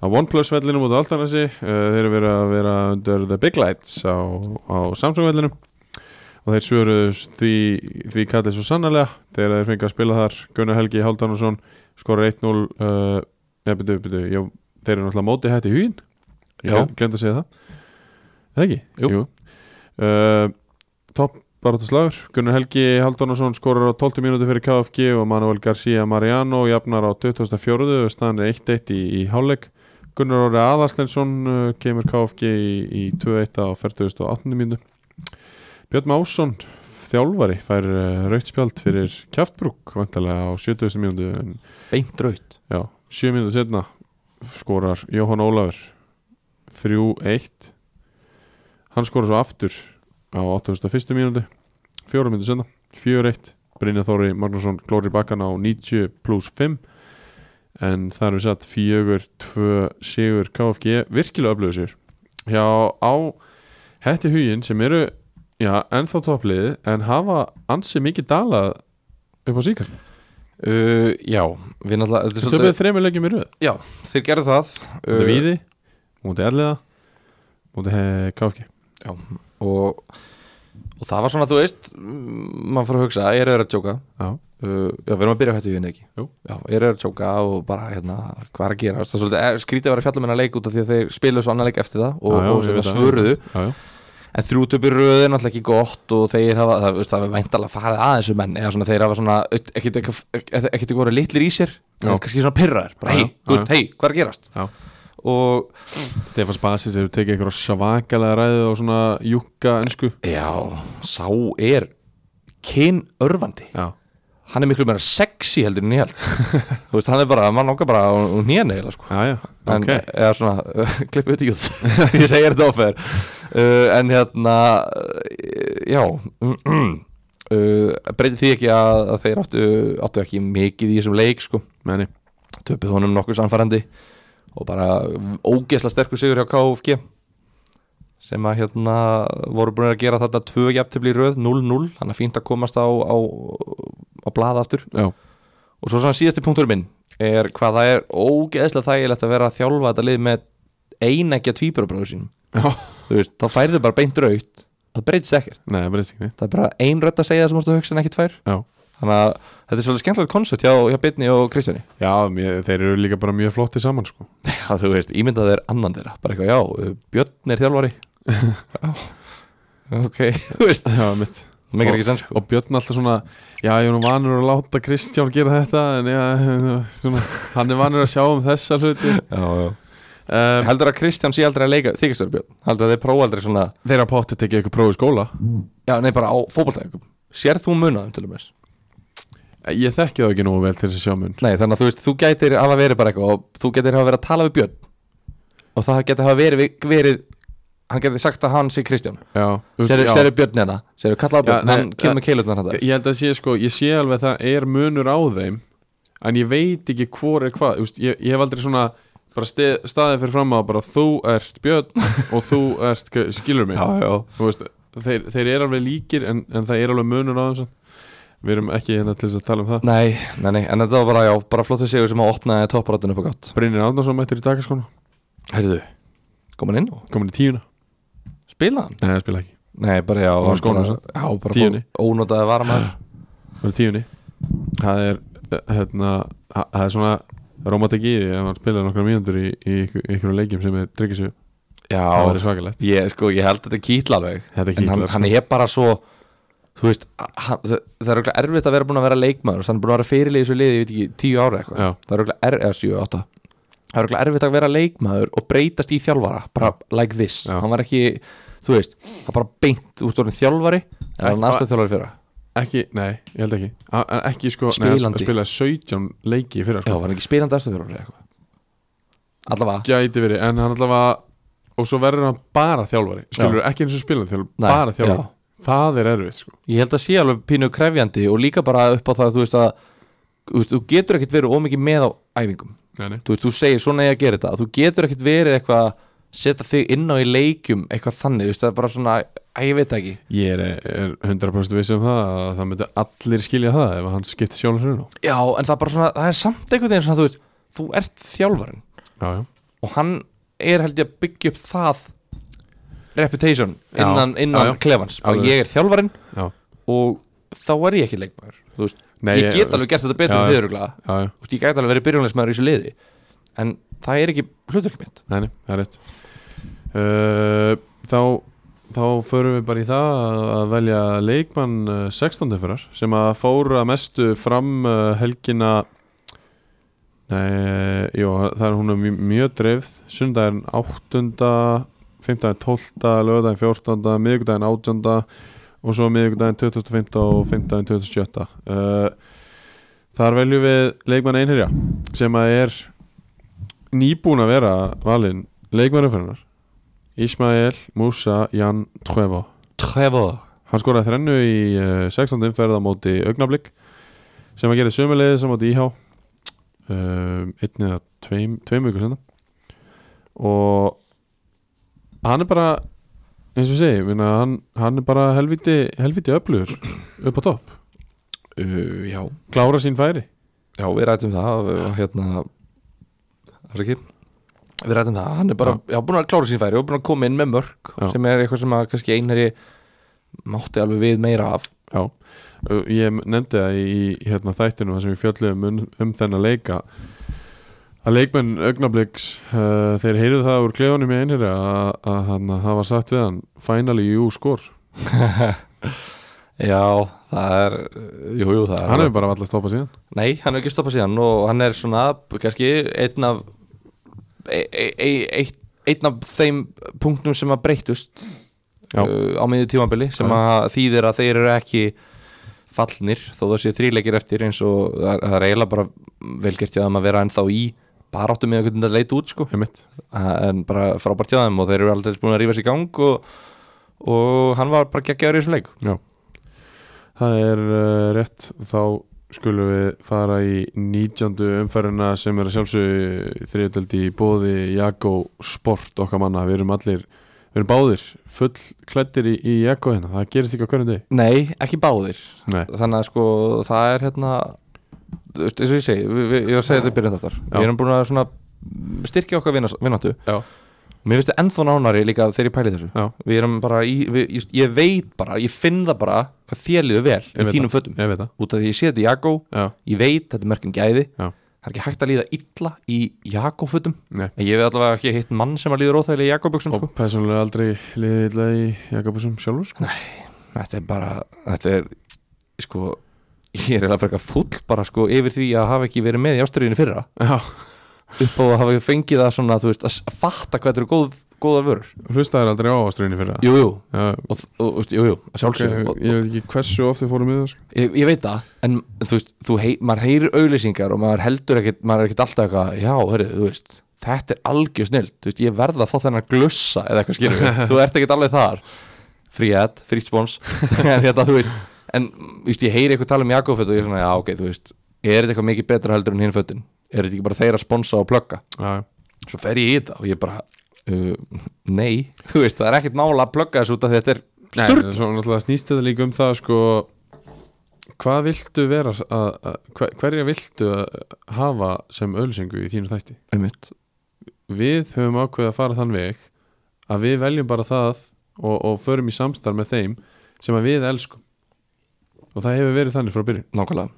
[SPEAKER 1] á OnePlus vellinum út á Altanasi uh, þeir eru verið að vera under the big lights á, á Samsung vellinum og þeir svöruðu því, því kallið svo sannarlega þegar þeir fengið að spila þar Gunnar Helgi Háldánarsson skorur 1-0 uh, ég, byrju, byrju, ég, þeir eru náttúrulega móti hætti hugin
[SPEAKER 2] Já.
[SPEAKER 1] ég glemt að segja það eða ekki?
[SPEAKER 2] Jú.
[SPEAKER 1] Uh, topp baráttaslagur Gunnar Helgi Háldánarsson skorur á 12 mínúti fyrir KFG og Manuel García Mariano jafnar á 24. og staðan er 1-1 í, í hálfleik Gunnar Óri Aðarslensson uh, kemur KFG í, í 2-1 á 48. mínúti Björn Másson þjálfari fær uh, rautt spjald fyrir kjaftbrúk vantarlega á 70. mínútu en
[SPEAKER 2] beint raut
[SPEAKER 1] já, 7 mínútu setna skorar Jóhann Ólafur 3-1 hann skorar svo aftur á 81. mínútu 4 mínútu setna, 4-1 Brynja Þóri Magnússon glóri bakkan á 90 plus 5 en það er við satt 4-2 sigur KFG, virkilega öflöðu sigur hjá á hætti huginn sem eru já, ennþá toppliði en hafa ansi mikið dalað upp á síkast
[SPEAKER 2] uh, já, við náttúrulega þetta er
[SPEAKER 1] Þeir
[SPEAKER 2] svolítið-
[SPEAKER 1] töpuðu þremur leikjum í röð
[SPEAKER 2] já, þeir gerðu það Uh,
[SPEAKER 1] Móti Víði, móti Elliða Móti eh, KFG
[SPEAKER 2] og, og það var svona, þú veist mm, maður fór að hugsa, ég er að djóka
[SPEAKER 1] Já,
[SPEAKER 2] uh, já, við erum að byrja á hættu í henni ekki
[SPEAKER 1] Jú.
[SPEAKER 2] já, ég er að tjóka og bara hérna hvað er að gera, það er svolítið eh, skrítið að vera að fjalla meina leik út af því að þeir spiluðu svo annan leik eftir það og,
[SPEAKER 1] Já, já,
[SPEAKER 2] og hérna
[SPEAKER 1] ég veit
[SPEAKER 2] sem það
[SPEAKER 1] það.
[SPEAKER 2] svöruðu
[SPEAKER 1] já, já,
[SPEAKER 2] en þrjútöp í röðu er náttúrulega ekki gott og þeir hafa, það, veist, það er væntalega farið að þessu menn eða svona þeir hafa svona ekkert ekkert ekki voru litlir í sér
[SPEAKER 1] Já.
[SPEAKER 2] en kannski svona pyrraðir,
[SPEAKER 1] Já,
[SPEAKER 2] bara hei,
[SPEAKER 1] já,
[SPEAKER 2] þú
[SPEAKER 1] já.
[SPEAKER 2] veist, hei, hvað er að gerast
[SPEAKER 1] já.
[SPEAKER 2] og
[SPEAKER 1] Stefán Spasis hefur tekið eitthvað svakalega ræðu og svona júkka önsku
[SPEAKER 2] já, sá er kyn örvandi
[SPEAKER 1] Já,
[SPEAKER 2] hann er miklu meira sexy heldur en ég held þú veist, hann er bara, mann langar bara og nýjan eiginlega sko
[SPEAKER 1] já, já,
[SPEAKER 2] en, eh,
[SPEAKER 1] ok
[SPEAKER 2] eða svona, klippið þetta í út ég segi þetta offer uh, en hérna uh, já uh, breytið því ekki að, að þeir áttu, áttu ekki mikið í þessum leik sko,
[SPEAKER 1] Meni,
[SPEAKER 2] töpuð honum nokkuð sannfærandi og bara ógeðsla sterkur sigur hjá KFG sem að hérna voru búin að gera þetta tvö jafntefli í röð 0-0, þannig að fínt að komast á á, á blaða aftur
[SPEAKER 1] já,
[SPEAKER 2] og svo svona síðasti punktur minn er hvað það er ógeðslega þægilegt að vera að þjálfa þetta lið með einægja tvíburabróður sínum
[SPEAKER 1] já
[SPEAKER 2] þú veist, þá færðu bara beint raut það breytist ekkert,
[SPEAKER 1] Nei, það breytist ekki neitt
[SPEAKER 2] það er bara ein rödd að segja það sem þú ert að hugsa en ekki tvær
[SPEAKER 1] Já,
[SPEAKER 2] þannig að þetta er svolítið skemmtilegt koncept hjá, hjá Bitni og Kristjáni
[SPEAKER 1] já mér, þeir eru líka bara mjög flotti saman sko
[SPEAKER 2] já, þú veist, ímyndað er annan þeirra bara eitthvað, já, uh, Björn er þjálfari já, ok þú veist,
[SPEAKER 1] Já, mitt
[SPEAKER 2] það megar ekki sens sko.
[SPEAKER 1] Og Björn alltaf svona, já, ég er nú vanur að láta Kristján gera þetta En já, svona, hann er vanur að sjá um þessa hluti
[SPEAKER 2] já, já.
[SPEAKER 1] um,
[SPEAKER 2] heldur að Kristján sé aldrei að leika þykist verið Björn, heldur að þeir prófa aldrei svona
[SPEAKER 1] Þeir að potti tekið eitthvað próf í skóla
[SPEAKER 2] um, já, nei, bara á fótballtæðingum sér þú munaðum til og með
[SPEAKER 1] Ég þekki það ekki nógu vel til þess að sjá mun
[SPEAKER 2] Nei, þannig að þú veist, þú gætir hafa verið bara eitthvað og þú gætir hafa verið að tala við Björn og það gæti hafa verið, verið hann gæti sagt að hann sé Kristján
[SPEAKER 1] Já, um,
[SPEAKER 2] Serðu
[SPEAKER 1] já.
[SPEAKER 2] serðu Björn hérna, serðu kallaða Björn
[SPEAKER 1] Já, nei,
[SPEAKER 2] hann kemur með hérna. keilutnar hann
[SPEAKER 1] Ég held að sé sko, ég sé alveg að það er munur á þeim En ég veit ekki hvor er hvað Þú veist, ég, ég hef aldrei svona bara stið, staðið fyrir fram að bara þú ert Björn og þú ert, skilur mig
[SPEAKER 2] já
[SPEAKER 1] Þú veist, þeir, þeir eru alveg líkir en, en það er alveg munur á þeim samt. Við erum ekki hérna til þess að tala um það
[SPEAKER 2] Nei, nei, nei, en þetta var bara, já, bara flottu sigur sem að opnaði topparátun upp á gátt
[SPEAKER 1] Brynir Árnason mættir í dagaskona,
[SPEAKER 2] Heyrðu, kom hann inn og
[SPEAKER 1] komin í tíuna
[SPEAKER 2] spila hann?
[SPEAKER 1] Nei, það spila ekki,
[SPEAKER 2] Nei, bara já,
[SPEAKER 1] hann skónum
[SPEAKER 2] bara,
[SPEAKER 1] sig.
[SPEAKER 2] já, bara
[SPEAKER 1] Tíunni. Ah,
[SPEAKER 2] fó- ónotaði varmaður
[SPEAKER 1] það er tíunni Það er, eh, hérna, það það er svona romantik í því að hann spilaði nokkra mínútur í, í ykkur, ykkur leikjum sem er dryggisug, það
[SPEAKER 2] Já,
[SPEAKER 1] er svakalegt
[SPEAKER 2] ég, sko, ég held að þetta kýtla alveg
[SPEAKER 1] Þetta sko.
[SPEAKER 2] en hann,
[SPEAKER 1] kýtlar,
[SPEAKER 2] hann er bara svo þú veist, hann, það, það er örugglega erfitt að vera búin að vera leikmaður þannig búin að vera fyrirlið í þessu liði, ég veit ekki, tíu ára eitthvað
[SPEAKER 1] Já.
[SPEAKER 2] það er örugglega er, eða sjö, átta það er örugglega erfitt að vera leikmaður og breytast í þjálfara bara like this,
[SPEAKER 1] Já.
[SPEAKER 2] hann var ekki þú veist, hann bara beint út orðin þjálfari en hann
[SPEAKER 1] Ekki-
[SPEAKER 2] næstu þjálfari fyrra
[SPEAKER 1] Ekki, nei, ég held ekki A en Ekki sko, nei, hann
[SPEAKER 2] Spilandi.
[SPEAKER 1] spilaði 17 leiki fyrir
[SPEAKER 2] já,
[SPEAKER 1] sko.
[SPEAKER 2] var hann ekki spilandi næstu þjálfari eitthvað allavega,
[SPEAKER 1] Gæti verið, en hann allavega Og svo verður hann bara þjálfari Skilur ekki eins og spilandi þjálfari,
[SPEAKER 2] Nei,
[SPEAKER 1] bara þjálfari
[SPEAKER 2] já.
[SPEAKER 1] Það er erfitt sko
[SPEAKER 2] ég held að sé alveg pínu krefjandi og líka bara upp á það, þú veist að þú veist, þú getur ekkert verið ómikið með á æfingum
[SPEAKER 1] nei, nei.
[SPEAKER 2] þú veist, þú segir svona ég að gera þetta þú getur ekkert verið eitthvað setja þig inn á í leikjum eitthvað þannig, þú veist, það er bara svona að ég veit það ekki,
[SPEAKER 1] Ég er, er 100% vissi um það að það myndi allir skilja það ef hann skipti sjónarsinu
[SPEAKER 2] já, en það er bara svona það er samt einhvern veginn svona, þú veist, þú ert þjálfarinn
[SPEAKER 1] Já, já,
[SPEAKER 2] og hann er held ég að byggja upp það reputation
[SPEAKER 1] Já,
[SPEAKER 2] innan, innan
[SPEAKER 1] já, já.
[SPEAKER 2] klefans, bara
[SPEAKER 1] Alveg
[SPEAKER 2] ég er þjálfarinn
[SPEAKER 1] já.
[SPEAKER 2] og þá er ég ekki leikmaður, þú veist
[SPEAKER 1] Nei,
[SPEAKER 2] ég get alveg
[SPEAKER 1] veist-
[SPEAKER 2] gert þetta betur
[SPEAKER 1] já,
[SPEAKER 2] en
[SPEAKER 1] já.
[SPEAKER 2] þið öruglega
[SPEAKER 1] Já, já,
[SPEAKER 2] Þú veist, ég gæti alveg verið byrjunleismæður í þessu liði en það er ekki hluturkið mitt
[SPEAKER 1] nei, nei, það er rétt uh, Þá Þá förum við bara í það að velja leikmann eh, 16. fyrir sem að fóra mestu fram eh, helgina Nei, jú, það er hún er mj- mjög dreifð Sundaginn 8. 15. 12. lögdaginn 14. miðvikudaginn 18. og svo miðvikudaginn 25. og 15. 27. Uh, þar veljum við leikmann einherja sem að er nýbúin að vera valinn leikmannumferðunar Ismael Musa Jan Trevo
[SPEAKER 2] Trevor
[SPEAKER 1] hann skoraði þrennu í uh, 16. umferð á móti augnablík sem að gera sömulegðis á móti íhá um, einn eða tveim, tveim vikur senda og hann er bara eins og ég segi, ég meina, hann, hann er bara helviti, helviti öflugur upp á topp,
[SPEAKER 2] uh, já,
[SPEAKER 1] klára sín færi
[SPEAKER 2] já, við rætum það uh, hérna afsakið. við rætum það, hann er bara já. búin að klára sín færi og búin að koma inn með mörg
[SPEAKER 1] Já.
[SPEAKER 2] sem er eitthvað sem að kannski einherji mátti alveg við meira af
[SPEAKER 1] Já, uh, ég nefndi það í hérna, þættinu þar sem við fjöllum um, um þennan leika að leikmenn augnabliks uh, þeir heyrðu það úr klefunum í einherja að, að, hann- að það var sagt við hann finally you score
[SPEAKER 2] já, það er jú, jú, það
[SPEAKER 1] hann hefur bara alltaf stoppað síðan
[SPEAKER 2] Nei, hann hefur ekki stoppað síðan og hann er svona kannski einn af e, e, e, eitt, einn af þeim punktum sem að breytust
[SPEAKER 1] Já.
[SPEAKER 2] uh, á miðju tímabili sem
[SPEAKER 1] Já.
[SPEAKER 2] að þýðir að þeir eru ekki fallnir þó það sé þríleikir eftir eins og það er- það er eiginlega bara velgert hjá þeim að vera ennþá í baráttum með hvernig þetta leit út sko
[SPEAKER 1] Einmitt.
[SPEAKER 2] en bara frábært hjá þeim og þeir eru aldrei búin að rífa sér í gang og, og hann var bara geggjaður í þessum leik
[SPEAKER 1] það er uh, rétt þá skulum við fara í nýtjandu umferðina sem er að sjálfsögðu þriðdöldi í bóði Jakko Sport okkar manna, við erum allir við erum báðir fullklættir í, í Jakko hérna, það gerist ekki á hverjum deg
[SPEAKER 2] Nei, ekki báðir
[SPEAKER 1] Nei.
[SPEAKER 2] þannig að sko það er hérna þú veist, eins og ég segi, við, við, ég var að segja þetta í byrjun þáttar
[SPEAKER 1] Já.
[SPEAKER 2] við erum búin að svona styrkja okkar vinas- vináttu
[SPEAKER 1] Já.
[SPEAKER 2] mér finnst þetta ennþá nánari líka þegar ég pæli þessu
[SPEAKER 1] Já.
[SPEAKER 2] við erum bara, í, við, ég, ég veit bara ég finn það bara hvað þér líður vel
[SPEAKER 1] Ég
[SPEAKER 2] í
[SPEAKER 1] veit
[SPEAKER 2] þínum
[SPEAKER 1] það.
[SPEAKER 2] fötum,
[SPEAKER 1] Ég veit það
[SPEAKER 2] út af því ég sé þetta í Jakko
[SPEAKER 1] Já,
[SPEAKER 2] ég veit, þetta er merkjum gæði
[SPEAKER 1] Já.
[SPEAKER 2] það er ekki hægt að líða illa í Jakko fötum
[SPEAKER 1] nei
[SPEAKER 2] ég hef allavega ekki hitt mann sem að líður óþægilega í Jakko buksum
[SPEAKER 1] Og
[SPEAKER 2] sko.
[SPEAKER 1] persónulega aldrei liðið illa í Jakobusum sjálfur sko.
[SPEAKER 2] þetta er bara þetta er sko ég er eða frekar full bara sko yfir því að hafa ekki verið með í ástyrjunni fyrra
[SPEAKER 1] Já,
[SPEAKER 2] upp á að hafa fengið það svona þú veist að s- að fatta hvað þetta eru góð góðar vörur
[SPEAKER 1] Hlustaðir aldrei á ástriðinni fyrir það
[SPEAKER 2] Jú, jú,
[SPEAKER 1] Já,
[SPEAKER 2] og, og, og, jú, jú að
[SPEAKER 1] ok,
[SPEAKER 2] sjálfsögðu
[SPEAKER 1] ég veit ekki hversu oft þið fórum í það sko.
[SPEAKER 2] Ég, ég veit það, en þú veist, þú hei, maður heyrir auglýsingar og maður heldur ekkit, maður er ekkit alltaf eitthvað, já, hörru, þú veist, þetta er algjör snill, þú veist, ég verða að fá þennan glussa eða eitthvað skilur, við. þú ert ekkit alveg þar, free ad, free spons, en þetta, þú veist, en, þú veist, ég heyri eitthvað tala um Jakobföt og ég er svona, já, ok, þú veist, er þetta eitthvað mikið betra heldur en hinn fötin, er þetta ekki bara þeir að sponsa og plugga,
[SPEAKER 1] Já,
[SPEAKER 2] svo fer ég í þetta og ég bara, uh, nei, þú veist, það er ekkit mála að plugga þessu út af því að þetta er
[SPEAKER 1] Nei,
[SPEAKER 2] sturt,
[SPEAKER 1] svo náttúrulega snýst þetta líka um það sko Hvað viltu vera að, að, hver- Hverja viltu að hafa sem ölsengu í þínu þætti?
[SPEAKER 2] einmitt,
[SPEAKER 1] Við höfum ákveðið að fara þann veg að við veljum bara það og, og förum í samstarf með þeim sem að við elskum og það hefur verið þannig frá byrjun
[SPEAKER 2] nákvæmlega,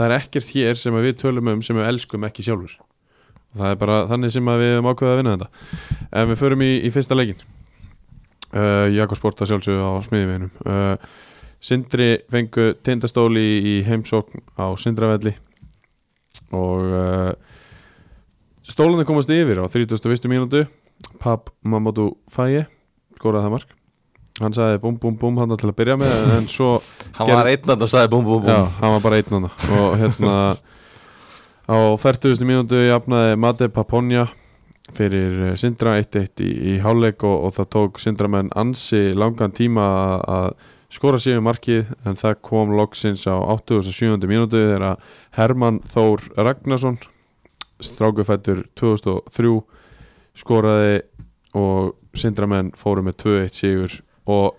[SPEAKER 1] það er ekkert hér sem að við tölum um sem við elskum ekki sjálfur og það er bara þannig sem að við höfum ákveðið að vinna þetta en við förum í, í fyrsta leikin uh, Jakob Sporta sjálfsögðu á smiðiveginum uh, Sindri fengu tindastóli í heimsókn á Sindravelli og uh, stólunni komast yfir á 31. mínútu Pab Mamadou Faye skoraði það mark hann sagði búm búm búm hann til að byrja með en- en svo
[SPEAKER 2] hann
[SPEAKER 1] Gerðu-
[SPEAKER 2] var einn að það sagði búm, búm, búm,
[SPEAKER 1] Já, hann var bara einn hann og hérna á 40. mínútu jafnaði Mate Paponja fyrir eh, Sindra 1-1 í, í hálfleik og, og það tók Sindra menn ansi langan tíma að- að skora sér í markið en það kom loksins á 87. mínútu þegar að Hermann Þór Ragnarsson strákufættur 2003 skoraði og Sindra menn fóru með 2-1 sigur og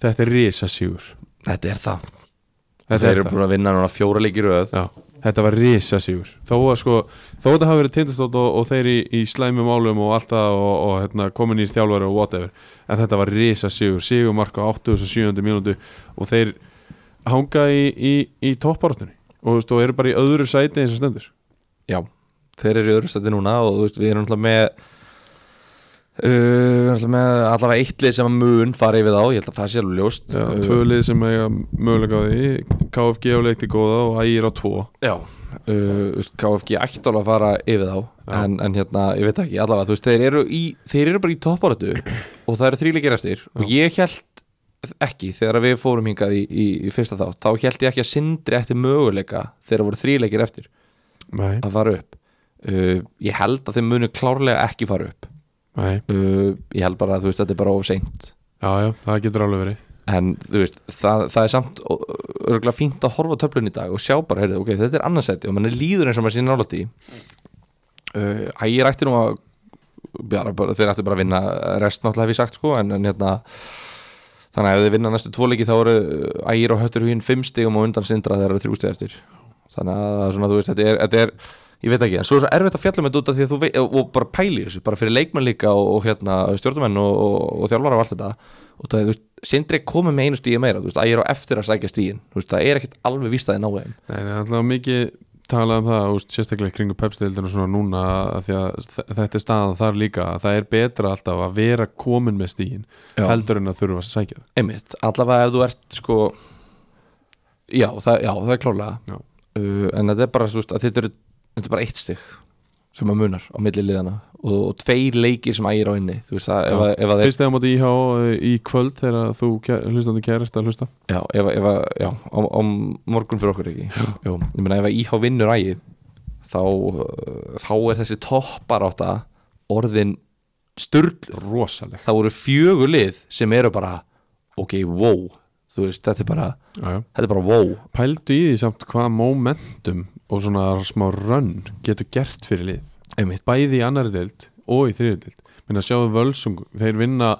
[SPEAKER 1] þetta er risa sigur
[SPEAKER 2] þetta er það
[SPEAKER 1] Þetta
[SPEAKER 2] Þeir
[SPEAKER 1] er
[SPEAKER 2] eru
[SPEAKER 1] það.
[SPEAKER 2] búin að vinna núna fjóra leikir röð
[SPEAKER 1] Já, þetta var risa sigur þó að sko, þó að þetta hafi verið tindastótt og, og þeir í, í slæmum álum og allt það og, og hérna, komin í þjálfari og whatever en þetta var risa sigur, sigur marka 87. mínútu og þeir hanga í, í, í topparáttunni og, þú veist, og eru bara í öðru sæti eins og stendur
[SPEAKER 2] Já, þeir eru í öðru stætti núna og þú veist, við erum alltaf með uh, við erum alltaf með allavega eitt lið sem að mun fara yfir þá, ég held að það sé alveg ljóst
[SPEAKER 1] Já,
[SPEAKER 2] Uh,
[SPEAKER 1] tvö lið sem eiga mögulega á því KFG á leikti góða og ægir á tvo
[SPEAKER 2] Já, uh, þú veist, KFG ætti alveg að fara yfir þá
[SPEAKER 1] Já.
[SPEAKER 2] en, en hérna, ég veit ekki, allavega þú veist, þeir, eru í, þeir eru bara í toppáratu og það eru þríleikir eftir og ég held ekki, þegar við fórum hingað í, í, í fyrsta þátt, þá held ég ekki að sindri eftir möguleika þegar voru þríleikir eftir
[SPEAKER 1] Nei,
[SPEAKER 2] að fara upp uh, ég held að þeim munu klárlega ekki fara upp
[SPEAKER 1] nei,
[SPEAKER 2] uh, ég held bara að þú veist þetta er bara of seint
[SPEAKER 1] já, já, það getur alveg verið
[SPEAKER 2] en þú veist það, það er samt örgulega fínt að horfa á töflun í dag og sjá bara heyrðu, ok, þetta er annarsæti og manni líður eins og maður sé nálægt í uh, ægir ætti nú að bara, bara, þeir ætti bara að vinna rest náttúrulega hef ég sagt sko en, en hérna þannig að ef þeir vinna næstu tvo leiki þá eru uh, ægir og höttur hinn fimm stigum og undan sindra þeir eru þrjú stig eftir þannig að það er svona, þú veist, þetta er, þetta er ég veit ekki, en svo er svo erfitt að fjalla með þetta út af því að þú veit, og bara pæli þessu, bara fyrir leikmenn líka og, og hérna, stjórnumenn og, og, og þjálfara og allt þetta, og það er, þú veist, sindri komið með einu stíði meira, þú veist, að ég er á eftir að sækja stíðin, þú veist, það er ekkert alveg vístaði náðum,
[SPEAKER 1] Nei, það er alltaf mikið talað um það úst, sérstaklega kringu pepsdeildina svona núna að því að þ- þetta er staðan þar líka að það er betra alltaf að vera komin með stígin
[SPEAKER 2] Já.
[SPEAKER 1] heldur en að þurfa að sækja það
[SPEAKER 2] einmitt, allavega ef þú ert sko, já, það, já, það er klárlega
[SPEAKER 1] Já.
[SPEAKER 2] uh, en þetta er bara, þú veist, að þetta er, þetta er bara eitt stig sem að munar á milli liðana og, og tveir leikir sem ægir á inni, þú veist, það, ef, að- ef að þeir
[SPEAKER 1] Fyrst eða mátti íhá í kvöld þegar þú hlustandi kærist að hlusta
[SPEAKER 2] Já, ef, ef, já á, á morgun fyrir okkur ekki Jú, Ég meina ef að IH vinnur ægi þá, uh, þá er þessi toppar átta orðin sturl
[SPEAKER 1] Rosaleg
[SPEAKER 2] þá eru fjögulið sem eru bara ok, wow þú veist, þetta er bara,
[SPEAKER 1] Já, já.
[SPEAKER 2] þetta er bara wow
[SPEAKER 1] Pældu í því samt hvað momentum og svona smá rönn getur gert fyrir lið
[SPEAKER 2] einmitt,
[SPEAKER 1] bæði í annari deild og í þriði deild minna sjáðu völsung, þeir vinna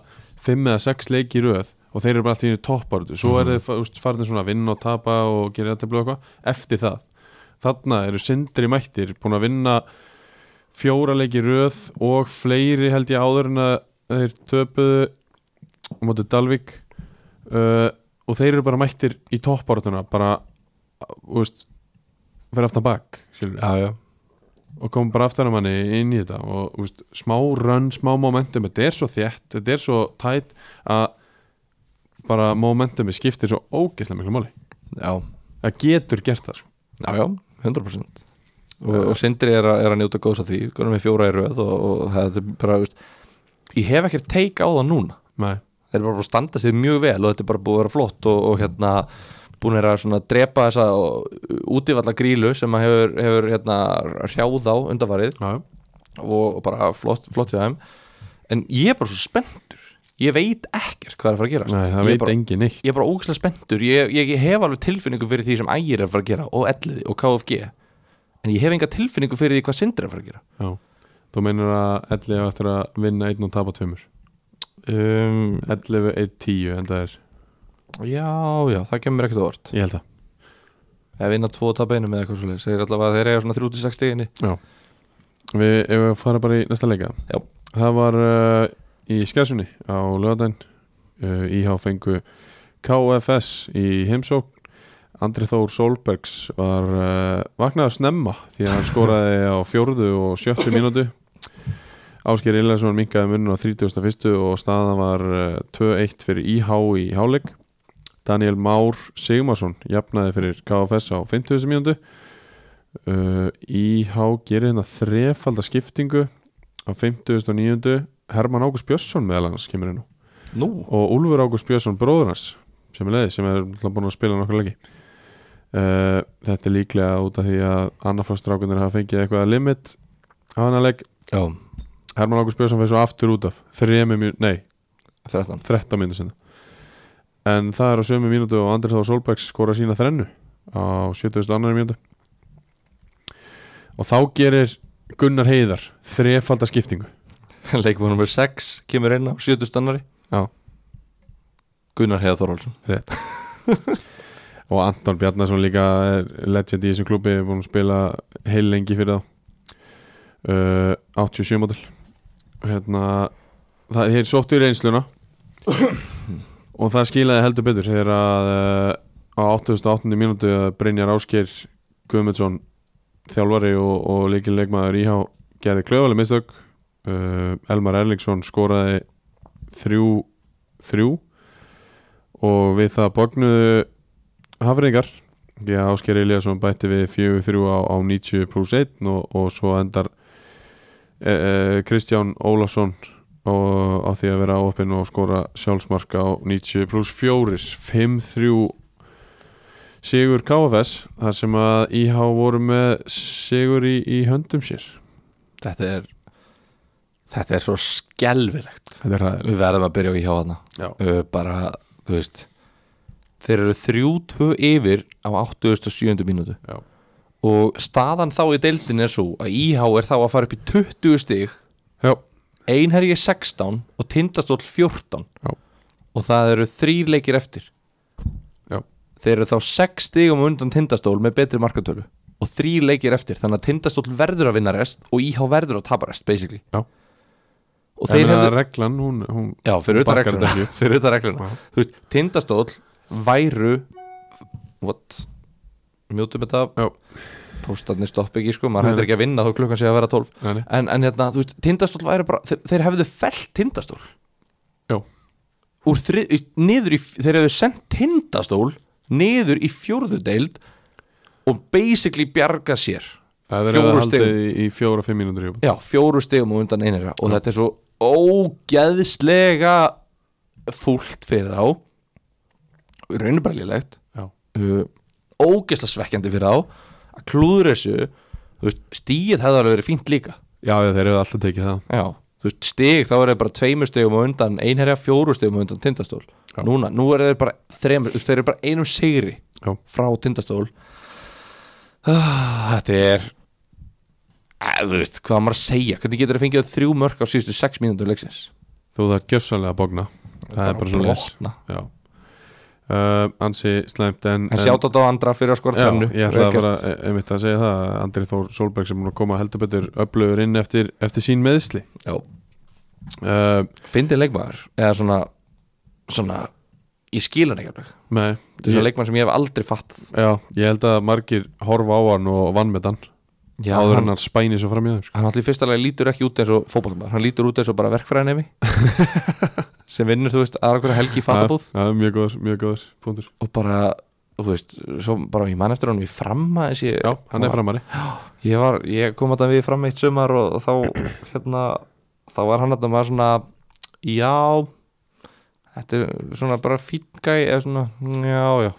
[SPEAKER 1] fimm eða sex leiki í röð og þeir eru bara allir í toppáratu, svo mm. er þeir farin svona að vinna og tapa og gera þetta blöð eitthvað eftir það, þarna eru sindri mættir, búin að vinna fjóra leiki í röð og fleiri held ég áður en að þeir töpuðu á móti Dalvik uh, og þeir eru bara mættir í toppáratuna bara, þú veist fyrir aftan bak, skilur
[SPEAKER 2] já, já
[SPEAKER 1] og kom bara aftan að manni inn í þetta og úst, smá run, smá momentum þetta er svo þétt, þetta er svo tætt að bara momentumi skiptir svo ógeðslega miklu máli
[SPEAKER 2] já,
[SPEAKER 1] það getur gert það sko.
[SPEAKER 2] já, já 100% og, og Sindri er, að- er að njóta góðs af því, konum við fjóra í röð og, og þetta er bara, þú veist ég hef ekkert teika á það núna
[SPEAKER 1] Nei,
[SPEAKER 2] þeir eru bara búin að standa sig mjög vel og þetta er bara búið að vera flott og, og hérna búin að svona drepa þessa uh, útivalla grílu sem að hefur, hefur hérna, hrjáð á undanfarið
[SPEAKER 1] já, já.
[SPEAKER 2] og bara flott, flott hjá þeim en ég er bara svo spenntur ég veit ekkert hvað er að fara að gera
[SPEAKER 1] Nei, það
[SPEAKER 2] ég,
[SPEAKER 1] veit
[SPEAKER 2] er bara,
[SPEAKER 1] engin neitt
[SPEAKER 2] ég er bara ógæslega spenntur ég, ég, ég hef alveg tilfinningu fyrir því sem ægir er að fara að gera og elliði og KFG en ég hef enga tilfinningu fyrir því hvað sindir er að fara að gera
[SPEAKER 1] já. Þú meinar að 11 á eftir að vinna einn og tapa tveimur
[SPEAKER 2] um,
[SPEAKER 1] 11, 1, 10 en það er,
[SPEAKER 2] já, já, það kemur mér ekkert á orð
[SPEAKER 1] ég held það
[SPEAKER 2] eða vinna tvo og tapa einu með eitthvað svolítið segir allavega að þeir eiga svona 36 steginni
[SPEAKER 1] Við ef við fara bara í næsta leika
[SPEAKER 2] Já.
[SPEAKER 1] Það var uh, í skjæðsunni á löðan uh, IH fengu KFS í heimsókn Andri Þór Solbergs var uh, vaknaði að snemma því að hann skoraði á fjórðu og sjöttu mínútu Ásker Illarsson minkaði munum á 31. og staðan var uh, 2-1 fyrir IH í háleik Daniel Már Sigmarsson jafnaði fyrir KFS á 50. mínútu uh, IH gerir hérna þrefalda skiptingu á 59. Herman Ágúst Björnsson meðal annars kemur inn á.
[SPEAKER 2] Nú?
[SPEAKER 1] og Úlfur Ágúst Björnsson bróður hans sem er leiði, sem er náttúrulega búin að spila nokkur leiki uh, þetta er líklega út af því að annarflagstrákunnir hafa fengið eitthvað limit á hann að leik
[SPEAKER 2] Já,
[SPEAKER 1] Herman Ágúst Björnsson fyrir svo aftur út af þremi, mjú- nei,
[SPEAKER 2] 13
[SPEAKER 1] 13 mínútur sinna en það er á sömu mínútu og Andri Þór Solbergs skora sína þrennu á 72. mínútu og þá gerir Gunnar Heiðar þrefalda skiptingu
[SPEAKER 2] Leikmann nummer 6 kemur inn á 70 stannari
[SPEAKER 1] Já.
[SPEAKER 2] Gunnar Heiða Þorvaldsson
[SPEAKER 1] og Anton Bjarnason líka er legend í þessum klubbi, er búin að spila heil lengi fyrir þá uh, 87 mótil hérna það er sóttu í reynsluna og það skilaði heldur betur þegar að uh, á 88. mínútu að Brynjar Ásker Guðmundsson þjálfari og, og líkil leikmaður íhá gerði klöðvaleg mistök uh, Elmar Erlingsson skoraði þrjú þrjú og við það bognuðu hafringar því að Ásker Eliasson bætti við 4-3 á, á 90 pluss 1 og, og svo endar e, e, Kristján Ólafsson og, á því að vera áopinn og skora sjálfsmark á 90 pluss 4 5-3 Sigur KFS þar sem að IH voru með Sigur í, í höndum sér
[SPEAKER 2] Þetta er Þetta er svo skelfilegt
[SPEAKER 1] Þetta er ræðileg
[SPEAKER 2] Við verðum að byrja á í hjá hana
[SPEAKER 1] Já.
[SPEAKER 2] uh, Bara, þú veist Þeir eru 3-2 yfir á 87. mínútu
[SPEAKER 1] Já.
[SPEAKER 2] Og staðan þá í deildin er svo að IH er þá að fara upp í 20 stig
[SPEAKER 1] Já,
[SPEAKER 2] Einherji 16 og Tindastóll 14
[SPEAKER 1] Já.
[SPEAKER 2] og það eru þrýr leikir eftir
[SPEAKER 1] Já.
[SPEAKER 2] þeir eru þá 6 stigum á undan Tindastól með betri markatölu og þrýr leikir eftir þannig að Tindastóll verður að vinna rest og IH verður að tapa rest basically
[SPEAKER 1] Já. en uh,
[SPEAKER 2] og þeir
[SPEAKER 1] hefðu...
[SPEAKER 2] hefðu
[SPEAKER 1] reglan hún, hún
[SPEAKER 2] Já, fyrir utan
[SPEAKER 1] bakkar
[SPEAKER 2] regluna,
[SPEAKER 1] ekki.
[SPEAKER 2] fyrir utan regluna.
[SPEAKER 1] Já.
[SPEAKER 2] Þú veist, Tindastóll væru what mjótum þetta
[SPEAKER 1] Já.
[SPEAKER 2] póstarnir stopp ekki sko,
[SPEAKER 1] Nei,
[SPEAKER 2] maður hættir
[SPEAKER 1] nei.
[SPEAKER 2] ekki að vinna þá klukkan sé að vera 12
[SPEAKER 1] Nei, nei.
[SPEAKER 2] en, en hérna, þú veist, tindastól væri bara þeir, þeir hefðu fellt tindastól
[SPEAKER 1] Já.
[SPEAKER 2] Úr þrið, í- niður í, þeir hefðu sendt tindastól niður í fjórðu deild og basically bjargað sér
[SPEAKER 1] Það er að
[SPEAKER 2] Fjórum
[SPEAKER 1] halda í, í fjóra-fimm mínútur í viðbót.
[SPEAKER 2] já, fjóru stegum og undan einherja og þetta er svo ógeðslega fúlt fyrir þá raunir bara lélegt
[SPEAKER 1] Já.
[SPEAKER 2] uh, ógeðslega svekkjandi fyrir þá að klúður þessu þú veist, stíð hefði alveg verið fínt líka
[SPEAKER 1] Já, já, þeir hefðu alltaf tekið það
[SPEAKER 2] Já, þú veist, stig, þá er þeir bara tveimur stigum á undan, einherja fjóru stigum á undan tindastól
[SPEAKER 1] Já.
[SPEAKER 2] Núna, nú er þeir bara þreimur, þú veist, þeir eru bara einum sigri
[SPEAKER 1] Já.
[SPEAKER 2] frá tindastól ah, Þetta er að, þú veist, hvað á maður að segja hvernig getur þeir fengið þrjú mörk á síðustu sex mínútur leiksins?
[SPEAKER 1] Þú þarf gjössanlega að bókna Það er bara svo les
[SPEAKER 2] blotna.
[SPEAKER 1] Já Uh, ansi slæmt en
[SPEAKER 2] En sjátt á andra fyrir að skora
[SPEAKER 1] Já,
[SPEAKER 2] þennu
[SPEAKER 1] ég ætla að bara e- einmitt að segja það að Andri Þór Solberg sem er að koma heldur betur öflugur inn eftir, eftir sín meðsli uh,
[SPEAKER 2] Fyndi leikmaður, eða svona svona, ég skil hann ekki alveg
[SPEAKER 1] Nei
[SPEAKER 2] Þetta er svona
[SPEAKER 1] ég,
[SPEAKER 2] leikmaður sem ég hef aldrei fatt
[SPEAKER 1] Já, ég held að margir horfa á hann og vann með hann
[SPEAKER 2] Já,
[SPEAKER 1] áður en hann spæni svo fram í þeim sko.
[SPEAKER 2] hann allir fyrsta lagi lítur ekki út eins og fótballmaður hann lítur út eins og bara verkfræðinemi sem vinnur, þú veist, aðra hverja helgi í fatabúð
[SPEAKER 1] Já, já, Mjög góður, mjög góður, punktur
[SPEAKER 2] og bara, þú veist, svo bara ég man eftir honum í framma þessi,
[SPEAKER 1] Já, hann er framari
[SPEAKER 2] ég, var, ég kom að það við framma eitt sumar og þá hérna, þá var hann að maður svona já þetta er svona bara fínn gæ eða svona, já, já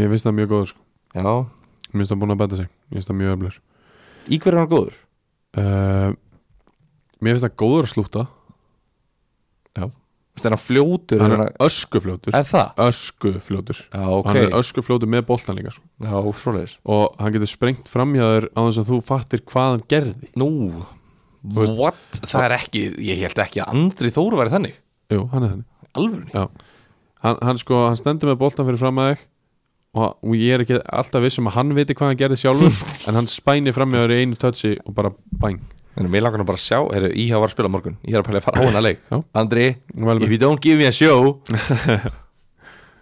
[SPEAKER 1] Mér finnst það mjög góður sko
[SPEAKER 2] já,
[SPEAKER 1] Mér finnst það búin að bæta sig Mér finnst það mjög öflur
[SPEAKER 2] í hverju er hann góður?
[SPEAKER 1] uh, Mér finnst það góður að slúta
[SPEAKER 2] Veistu, er hann fljótur?
[SPEAKER 1] Hann
[SPEAKER 2] er,
[SPEAKER 1] er öskufljótur
[SPEAKER 2] er það?
[SPEAKER 1] Öskufljótur
[SPEAKER 2] já, ok,
[SPEAKER 1] Hann er öskufljótur með boltan líka sko
[SPEAKER 2] já, svoleiðis
[SPEAKER 1] Og hann getur sprengt framhjáður á þess að þú fattir hvað hann gerði
[SPEAKER 2] nú, what? það er ekki, ég held ekki að Andri Þóru væri þannig
[SPEAKER 1] Jú, hann er þannig
[SPEAKER 2] alvörni,
[SPEAKER 1] hann, hann sko, hann stendur með boltan fyrir fram að þig og, og ég er ekki alltaf viss um að hann viti hvað hann gerði sjálfur en hann spænir fram með þér í einu touchi og bara bang
[SPEAKER 2] en mér langar nú bara að sjá heyrðu, íhjá var að spila á morgun, ég er að pæla að fara á hana leik
[SPEAKER 1] Já.
[SPEAKER 2] Andri,
[SPEAKER 1] Vel,
[SPEAKER 2] if you don't give me a show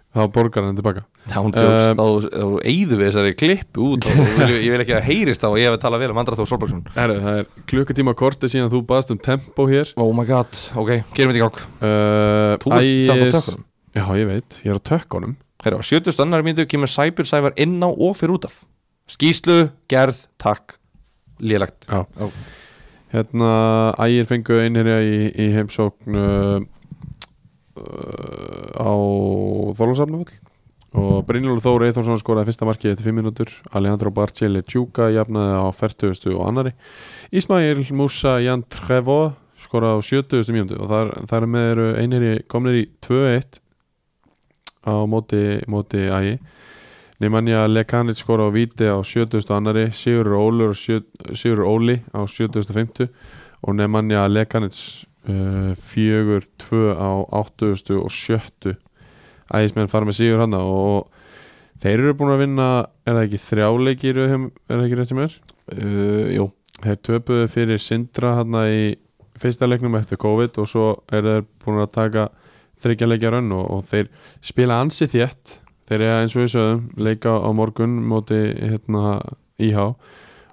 [SPEAKER 1] þá borgar hann tilbaka
[SPEAKER 2] Down jokes, þá, þá eyðu við þessari klipp út og ég vil, ég vil ekki að heyrist þá að ég hef talað vel um Andra Þór Solbergsson
[SPEAKER 1] Herru, það er klukkutíma korti síðan þú baðast um tempo hér
[SPEAKER 2] Oh my god, ok, gerum við þetta í gang
[SPEAKER 1] uh,
[SPEAKER 2] Þú ert samt á tökkunum
[SPEAKER 1] Já, ég veit, ég er á tökkunum
[SPEAKER 2] Herra, á 70 annar mínútu kemur Sæbjörn Sævar inn á og fyrir út af Skýslu, gerð, takk Lélagt
[SPEAKER 1] Já.
[SPEAKER 2] Ó.
[SPEAKER 1] Hérna, ægir fengu einherja í, í heimsókn uh, uh, á Þorlósafnafell og Brynjólfur Þór Eithórsson skoraði fyrsta markið eftir 5 mínútur Alejandro Barcelli Tjúka jafnaði á 40. og annari Ismail Musa Jan Trevo skoraði á 70. mínútu og þar, þar með eru einherji komnir í 2-1 á móti, móti ægi Nemanja Lekanic skora á Víti á 70. annari, Sigur Ólur Sigur Óli á 70. og Nemanja Lekanic uh, 4-2 á 80. og 70. Ægismenn fara með Sigur hana og þeir eru búin að vinna er það ekki þrjáleikir er það ekki rétt hjá mér?
[SPEAKER 2] uh, Jú
[SPEAKER 1] Þeir töpuðu fyrir Sindra hana í fyrsta leiknum eftir COVID og svo er þeir búin að taka þryggja leikja rönn og, og þeir spila ansi þétt þeir eru eins og við sögum leika á morgun móti hérna íhá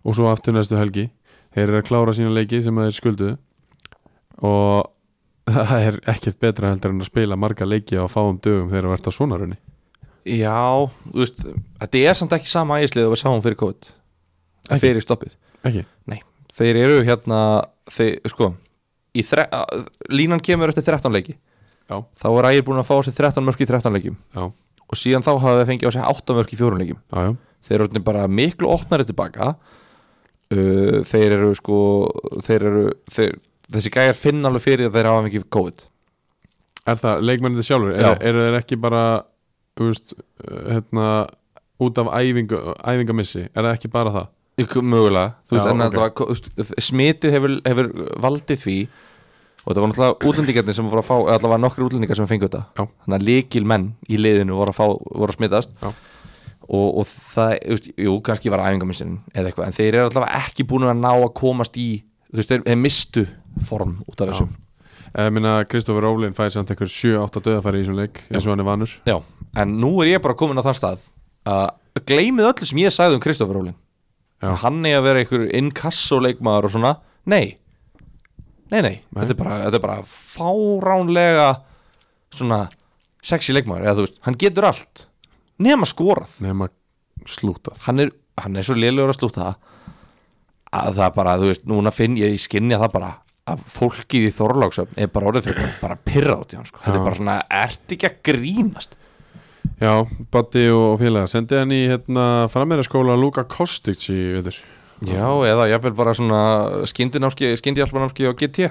[SPEAKER 1] og svo aftur næstu helgi þeir eru að klára sína leiki sem þeir skulduðu og það er ekkert betra heldur en að spila marga leiki á fáum dögum þegar það verðt á svona runni
[SPEAKER 2] Já, þú veist, þetta er samt ekki sama ægislið og við sáum fyrir COVID
[SPEAKER 1] Ekki.
[SPEAKER 2] Fyrir stoppið
[SPEAKER 1] ekki,
[SPEAKER 2] Þeir eru hérna, þeir, sko í þre, að- Línan kemur eftir 13 leiki
[SPEAKER 1] Já.
[SPEAKER 2] Þá er ægir búin að fá á sig 13 mörk í 13 leikim
[SPEAKER 1] já,
[SPEAKER 2] Og síðan þá hafa þeir fengið á sig 8 mörk í 4 leikim
[SPEAKER 1] já, já
[SPEAKER 2] þeir eru orðnir bara miklu opnari tilbaka uh, þeir eru sko þeir eru, þeir, þessi gæjar finna alveg fyrir að þeir hafa mikið COVID
[SPEAKER 1] Er það leikmennið sjálfur?
[SPEAKER 2] Já.
[SPEAKER 1] Er, eru þeir ekki bara þú veist, uh, hérna, út af æfingu, æfingamissi? Er það ekki bara það?
[SPEAKER 2] Ykkur mögulega, þú veist,
[SPEAKER 1] Já,
[SPEAKER 2] en
[SPEAKER 1] ok.
[SPEAKER 2] náttúrulega ko- þú veist, smitið hefur, hefur valdið því og þetta var náttúrulega útlendingarnir sem voru að fá, eða allavega nokkri útlendingar sem fengu þetta
[SPEAKER 1] Já.
[SPEAKER 2] þannig að líkil menn í liðinu voru að, fá, voru að smitast
[SPEAKER 1] Já.
[SPEAKER 2] og, og það, þú veist, jú, kannski var æfingarmissin eða eitthvað, en þeir eru allavega ekki búin að ná að komast í, þú veist, þeir, þeir mistu form út af þessum
[SPEAKER 1] Eh, Ég minna Kristofur Rólin fæði samt einhver 7-8 döðafæri í þessum leik eins og hann er vanur
[SPEAKER 2] Já, en nú er ég bara komin á þann stað að gleymið öllu sem ég sagði um Kristoffer Rólin
[SPEAKER 1] Já.
[SPEAKER 2] Hann er að vera einhver inkassoleikmaður og svona Nei, nei, nei, Þetta, er bara, þetta er bara fáránlega svona sexy leikmaður eða þú veist, hann getur allt nema skorað
[SPEAKER 1] nema slútað
[SPEAKER 2] Hann er, hann er svo lélegur að slúta að það bara, þú veist, núna finn ég í skinni að það bara að fólkið í Þorláksöfn er bara orðið fyrir bara pyrra út í hann sko. þetta
[SPEAKER 1] Já.
[SPEAKER 2] er bara svona, ert ekki að grínast
[SPEAKER 1] Já, Batti og og félagar sendið hann í hérna, frammeiraskóla Luka Kostic í vetur
[SPEAKER 2] Já, eða jafnvel bara svona skyndinámski, skyndihjálpanámski á GT
[SPEAKER 1] Já,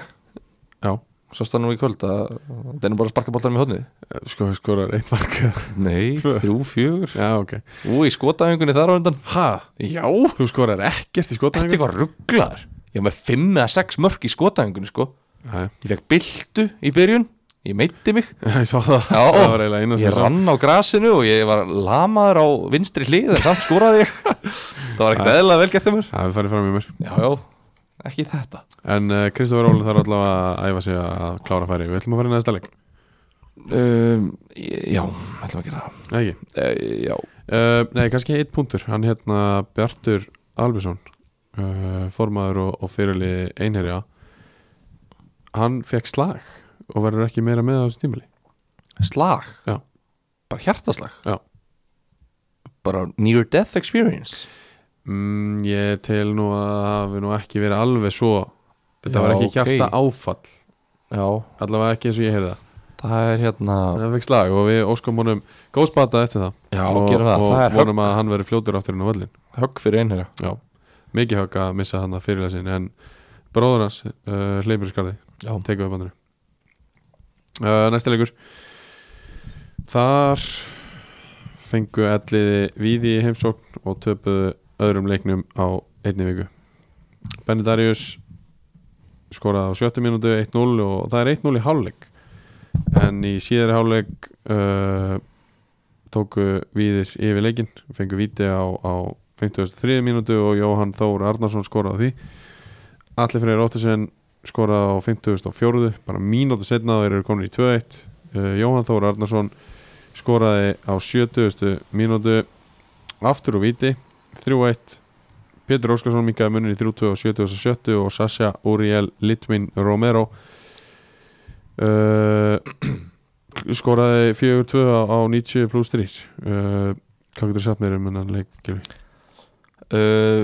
[SPEAKER 1] Eh,
[SPEAKER 2] Svo stað nú í kvöld að það er bara að sparka boltanum í hodnið
[SPEAKER 1] sko, skorar eitt mark
[SPEAKER 2] Nei,
[SPEAKER 1] Tvö.
[SPEAKER 2] þrjú, fjögur
[SPEAKER 1] Já, ok
[SPEAKER 2] Ú, í skotæfingunni þar á undan
[SPEAKER 1] Ha?
[SPEAKER 2] Já,
[SPEAKER 1] Þú skorar ekkert í
[SPEAKER 2] þetta er
[SPEAKER 1] skotæfingu?
[SPEAKER 2] eitthvað rugglaður Ég var með fimm eða sex mörk í skotæfingunni, sko
[SPEAKER 1] Nei,
[SPEAKER 2] Ég fekk byltu í byrjun, ég meitti mig
[SPEAKER 1] ég sá það
[SPEAKER 2] Já.
[SPEAKER 1] Það var eiginlega eina sem
[SPEAKER 2] Ég
[SPEAKER 1] ég sá
[SPEAKER 2] rann á grasinu og ég var lamaður á vinstri hlið en samt skoraði ég Það var ekkert eðlilega vel gert hjá mér
[SPEAKER 1] Það hefur farið fram í mér
[SPEAKER 2] Já, já, ekki þetta
[SPEAKER 1] En uh, Kristofur Rólin þarf allavega að æfa sig að klára færi Við ætlum að fara í næsta leik
[SPEAKER 2] um, Já, ætlum að gera það
[SPEAKER 1] Nei, Ekki.
[SPEAKER 2] Eh, Já,
[SPEAKER 1] Uh, nei, kannski eitt punktur Hann hérna Bjartur Albursson uh, Formaður og, og fyrirli einherja Hann fekk slag Og verður ekki meira með á þessu tímali
[SPEAKER 2] slag
[SPEAKER 1] Já.
[SPEAKER 2] bara hjartaslag
[SPEAKER 1] Já.
[SPEAKER 2] bara near death experience
[SPEAKER 1] mm, Ég tel nú að það hafi nú ekki verið alveg svo Þetta
[SPEAKER 2] Já,
[SPEAKER 1] var ekki
[SPEAKER 2] ok.
[SPEAKER 1] hjarta áfall
[SPEAKER 2] já,
[SPEAKER 1] allavega ekki eins og ég heyrði það
[SPEAKER 2] það er hérna
[SPEAKER 1] hann fekk slag og við óskum honum góð spata eftir það
[SPEAKER 2] já,
[SPEAKER 1] og,
[SPEAKER 2] gerum það,
[SPEAKER 1] og
[SPEAKER 2] það er högg,
[SPEAKER 1] vonum að hann verður fljótur aftur inn á völlin
[SPEAKER 2] högg fyrir einherja
[SPEAKER 1] já, mikið högg að missa hann að fyrirlesin en bróður hans uh, hleypur í skarði,
[SPEAKER 2] já,
[SPEAKER 1] tekum við bandinu uh, næsti leikur þar fengu alliði víði í heimsókn og töpuðu öðrum leiknum á einni viku Benny Darius skoraði á sjöttu mínútu 1-0 og það er 1-0 í hálfleik en í síðari hálfleik uh, tóku víðir yfir leikin fengu víti á, á 53 mínútu og Jóhann Þór Arnarsson skoraði á því Allir fyrir Róttisen skoraði á 54 bara mínútu setna og þeir eru komin í 2-1 uh, Jóhann Þór Arnarsson skoraði á 70 mínútu aftur og víti 3-1 Pétur Óskarsson minkaði munin í 30 og 70 og 70 og Sasha Uriel Litvin Romero uh, skoraði 4-2 á, á 90 pluss 3 uh, hvað getur sagt mér um hennan leik Gylfi?
[SPEAKER 2] Uh,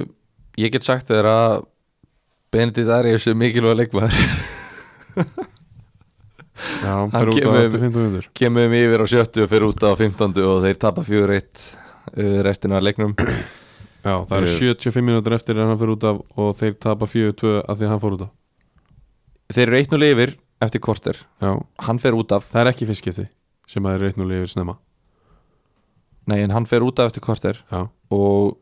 [SPEAKER 2] ég get sagt þér að Benedikt Arius er mikilvæg leikmaður
[SPEAKER 1] Já, hann fer út á
[SPEAKER 2] kemur-
[SPEAKER 1] eftir 15 hundur
[SPEAKER 2] kemum við yfir á 70 og fyrir út á 15 og þeir tapa 4-1 uh, restina af leiknum
[SPEAKER 1] Já, það eru
[SPEAKER 2] Ég-
[SPEAKER 1] 75 mínútur eftir en hann fyrir út af og þeir tapa 4-2 að því að hann fór út af
[SPEAKER 2] þeir eru 1-0 yfir eftir korter
[SPEAKER 1] Já,
[SPEAKER 2] hann fer út af,
[SPEAKER 1] það er ekki fiskipti sem að þeir reitnulega yfir snemma
[SPEAKER 2] nei en hann fer út af eftir korter
[SPEAKER 1] Já,
[SPEAKER 2] og,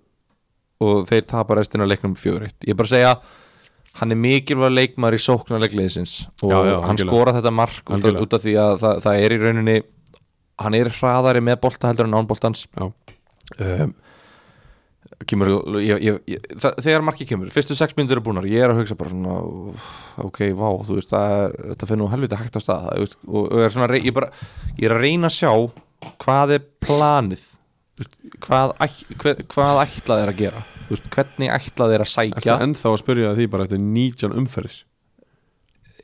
[SPEAKER 2] og þeir tapa restina af leiknum 4-1 ég er bara að segja hann er mikilvæg leikmaður í sóknarleikleisins og
[SPEAKER 1] Já, já,
[SPEAKER 2] hann
[SPEAKER 1] algjörlega.
[SPEAKER 2] skora þetta mark út af,
[SPEAKER 1] Algjörlega.
[SPEAKER 2] út af því að það, það er í rauninni hann er hraðari með bolta heldur en án boltans
[SPEAKER 1] já, Ehm,
[SPEAKER 2] um, kemur, ég, ég, ég, það, þegar markið kemur fyrstu sex myndir eru búnar, ég er að hugsa bara svona úff, ok, vá, þú veist það er, þetta finnur nú helviti hægt á stað það, þú veist, og, og er svona, að rey- ég, bara, ég er að reyna að sjá hvað er planið þú veist, hvað, ætl- hve- hvað ætlað er að gera Þú veist, hvernig ætlað er að
[SPEAKER 1] ertu
[SPEAKER 2] sækja
[SPEAKER 1] ennþá að spyrja því bara eftir 19 umferðir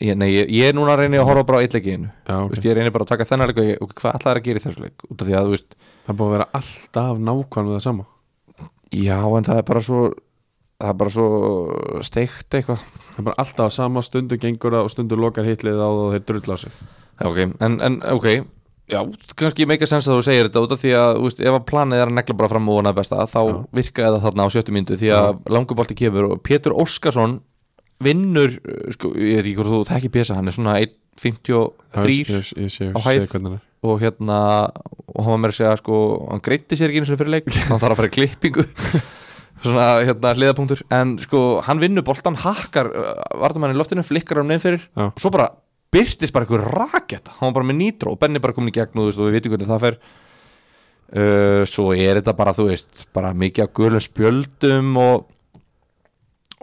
[SPEAKER 2] ég, nei, ég, ég er núna að reyna að horfa bara á eitleginu
[SPEAKER 1] Já, ok,
[SPEAKER 2] okay. ég reyni bara að taka þennan leik og ég- og hvað ætlað er að gera í þessu leik út af því að, þú veist,
[SPEAKER 1] það er búið að vera alltaf nákvæmlega það sama
[SPEAKER 2] já, en það er bara svo það er bara svo steikt eitthvað
[SPEAKER 1] Það er bara alltaf að sama stundu gengur það og stundu lokar hitlið á það og þeir drull á sig
[SPEAKER 2] Já, ok, en, en ok Já, kannski meika sens að þú segir þetta út af því að þú veist, ef að planið er að negla bara fram og vona besta þá
[SPEAKER 1] Já.
[SPEAKER 2] virkaði það þarna á sjöttu myndu því að
[SPEAKER 1] Já.
[SPEAKER 2] langubolti kemur og Pétur Óskarsson vinnur, uh, sko, ég veit ekki hvort þú tekki pjesa, hann er svona 1.53
[SPEAKER 1] Ég, ég sé,
[SPEAKER 2] á
[SPEAKER 1] sé
[SPEAKER 2] hæð.
[SPEAKER 1] hvernig það er
[SPEAKER 2] og hérna og hann var meira að segja sko, hann greitti sér ekki einu sinni fyrir leik hann þarf að fara í klippingu svona hérna hliðapunktur en sko, hann vinnur boltan, hakkar vartamann í loftinu, flikkar hann nefn fyrir
[SPEAKER 1] Já.
[SPEAKER 2] og svo bara byrtist bara einhver rakett hann var bara með nýtró og Benni bara komin í gegn og, þú veist, og við veitum hvernig það fer uh, svo er þetta bara, þú veist bara mikið af gulum spjöldum og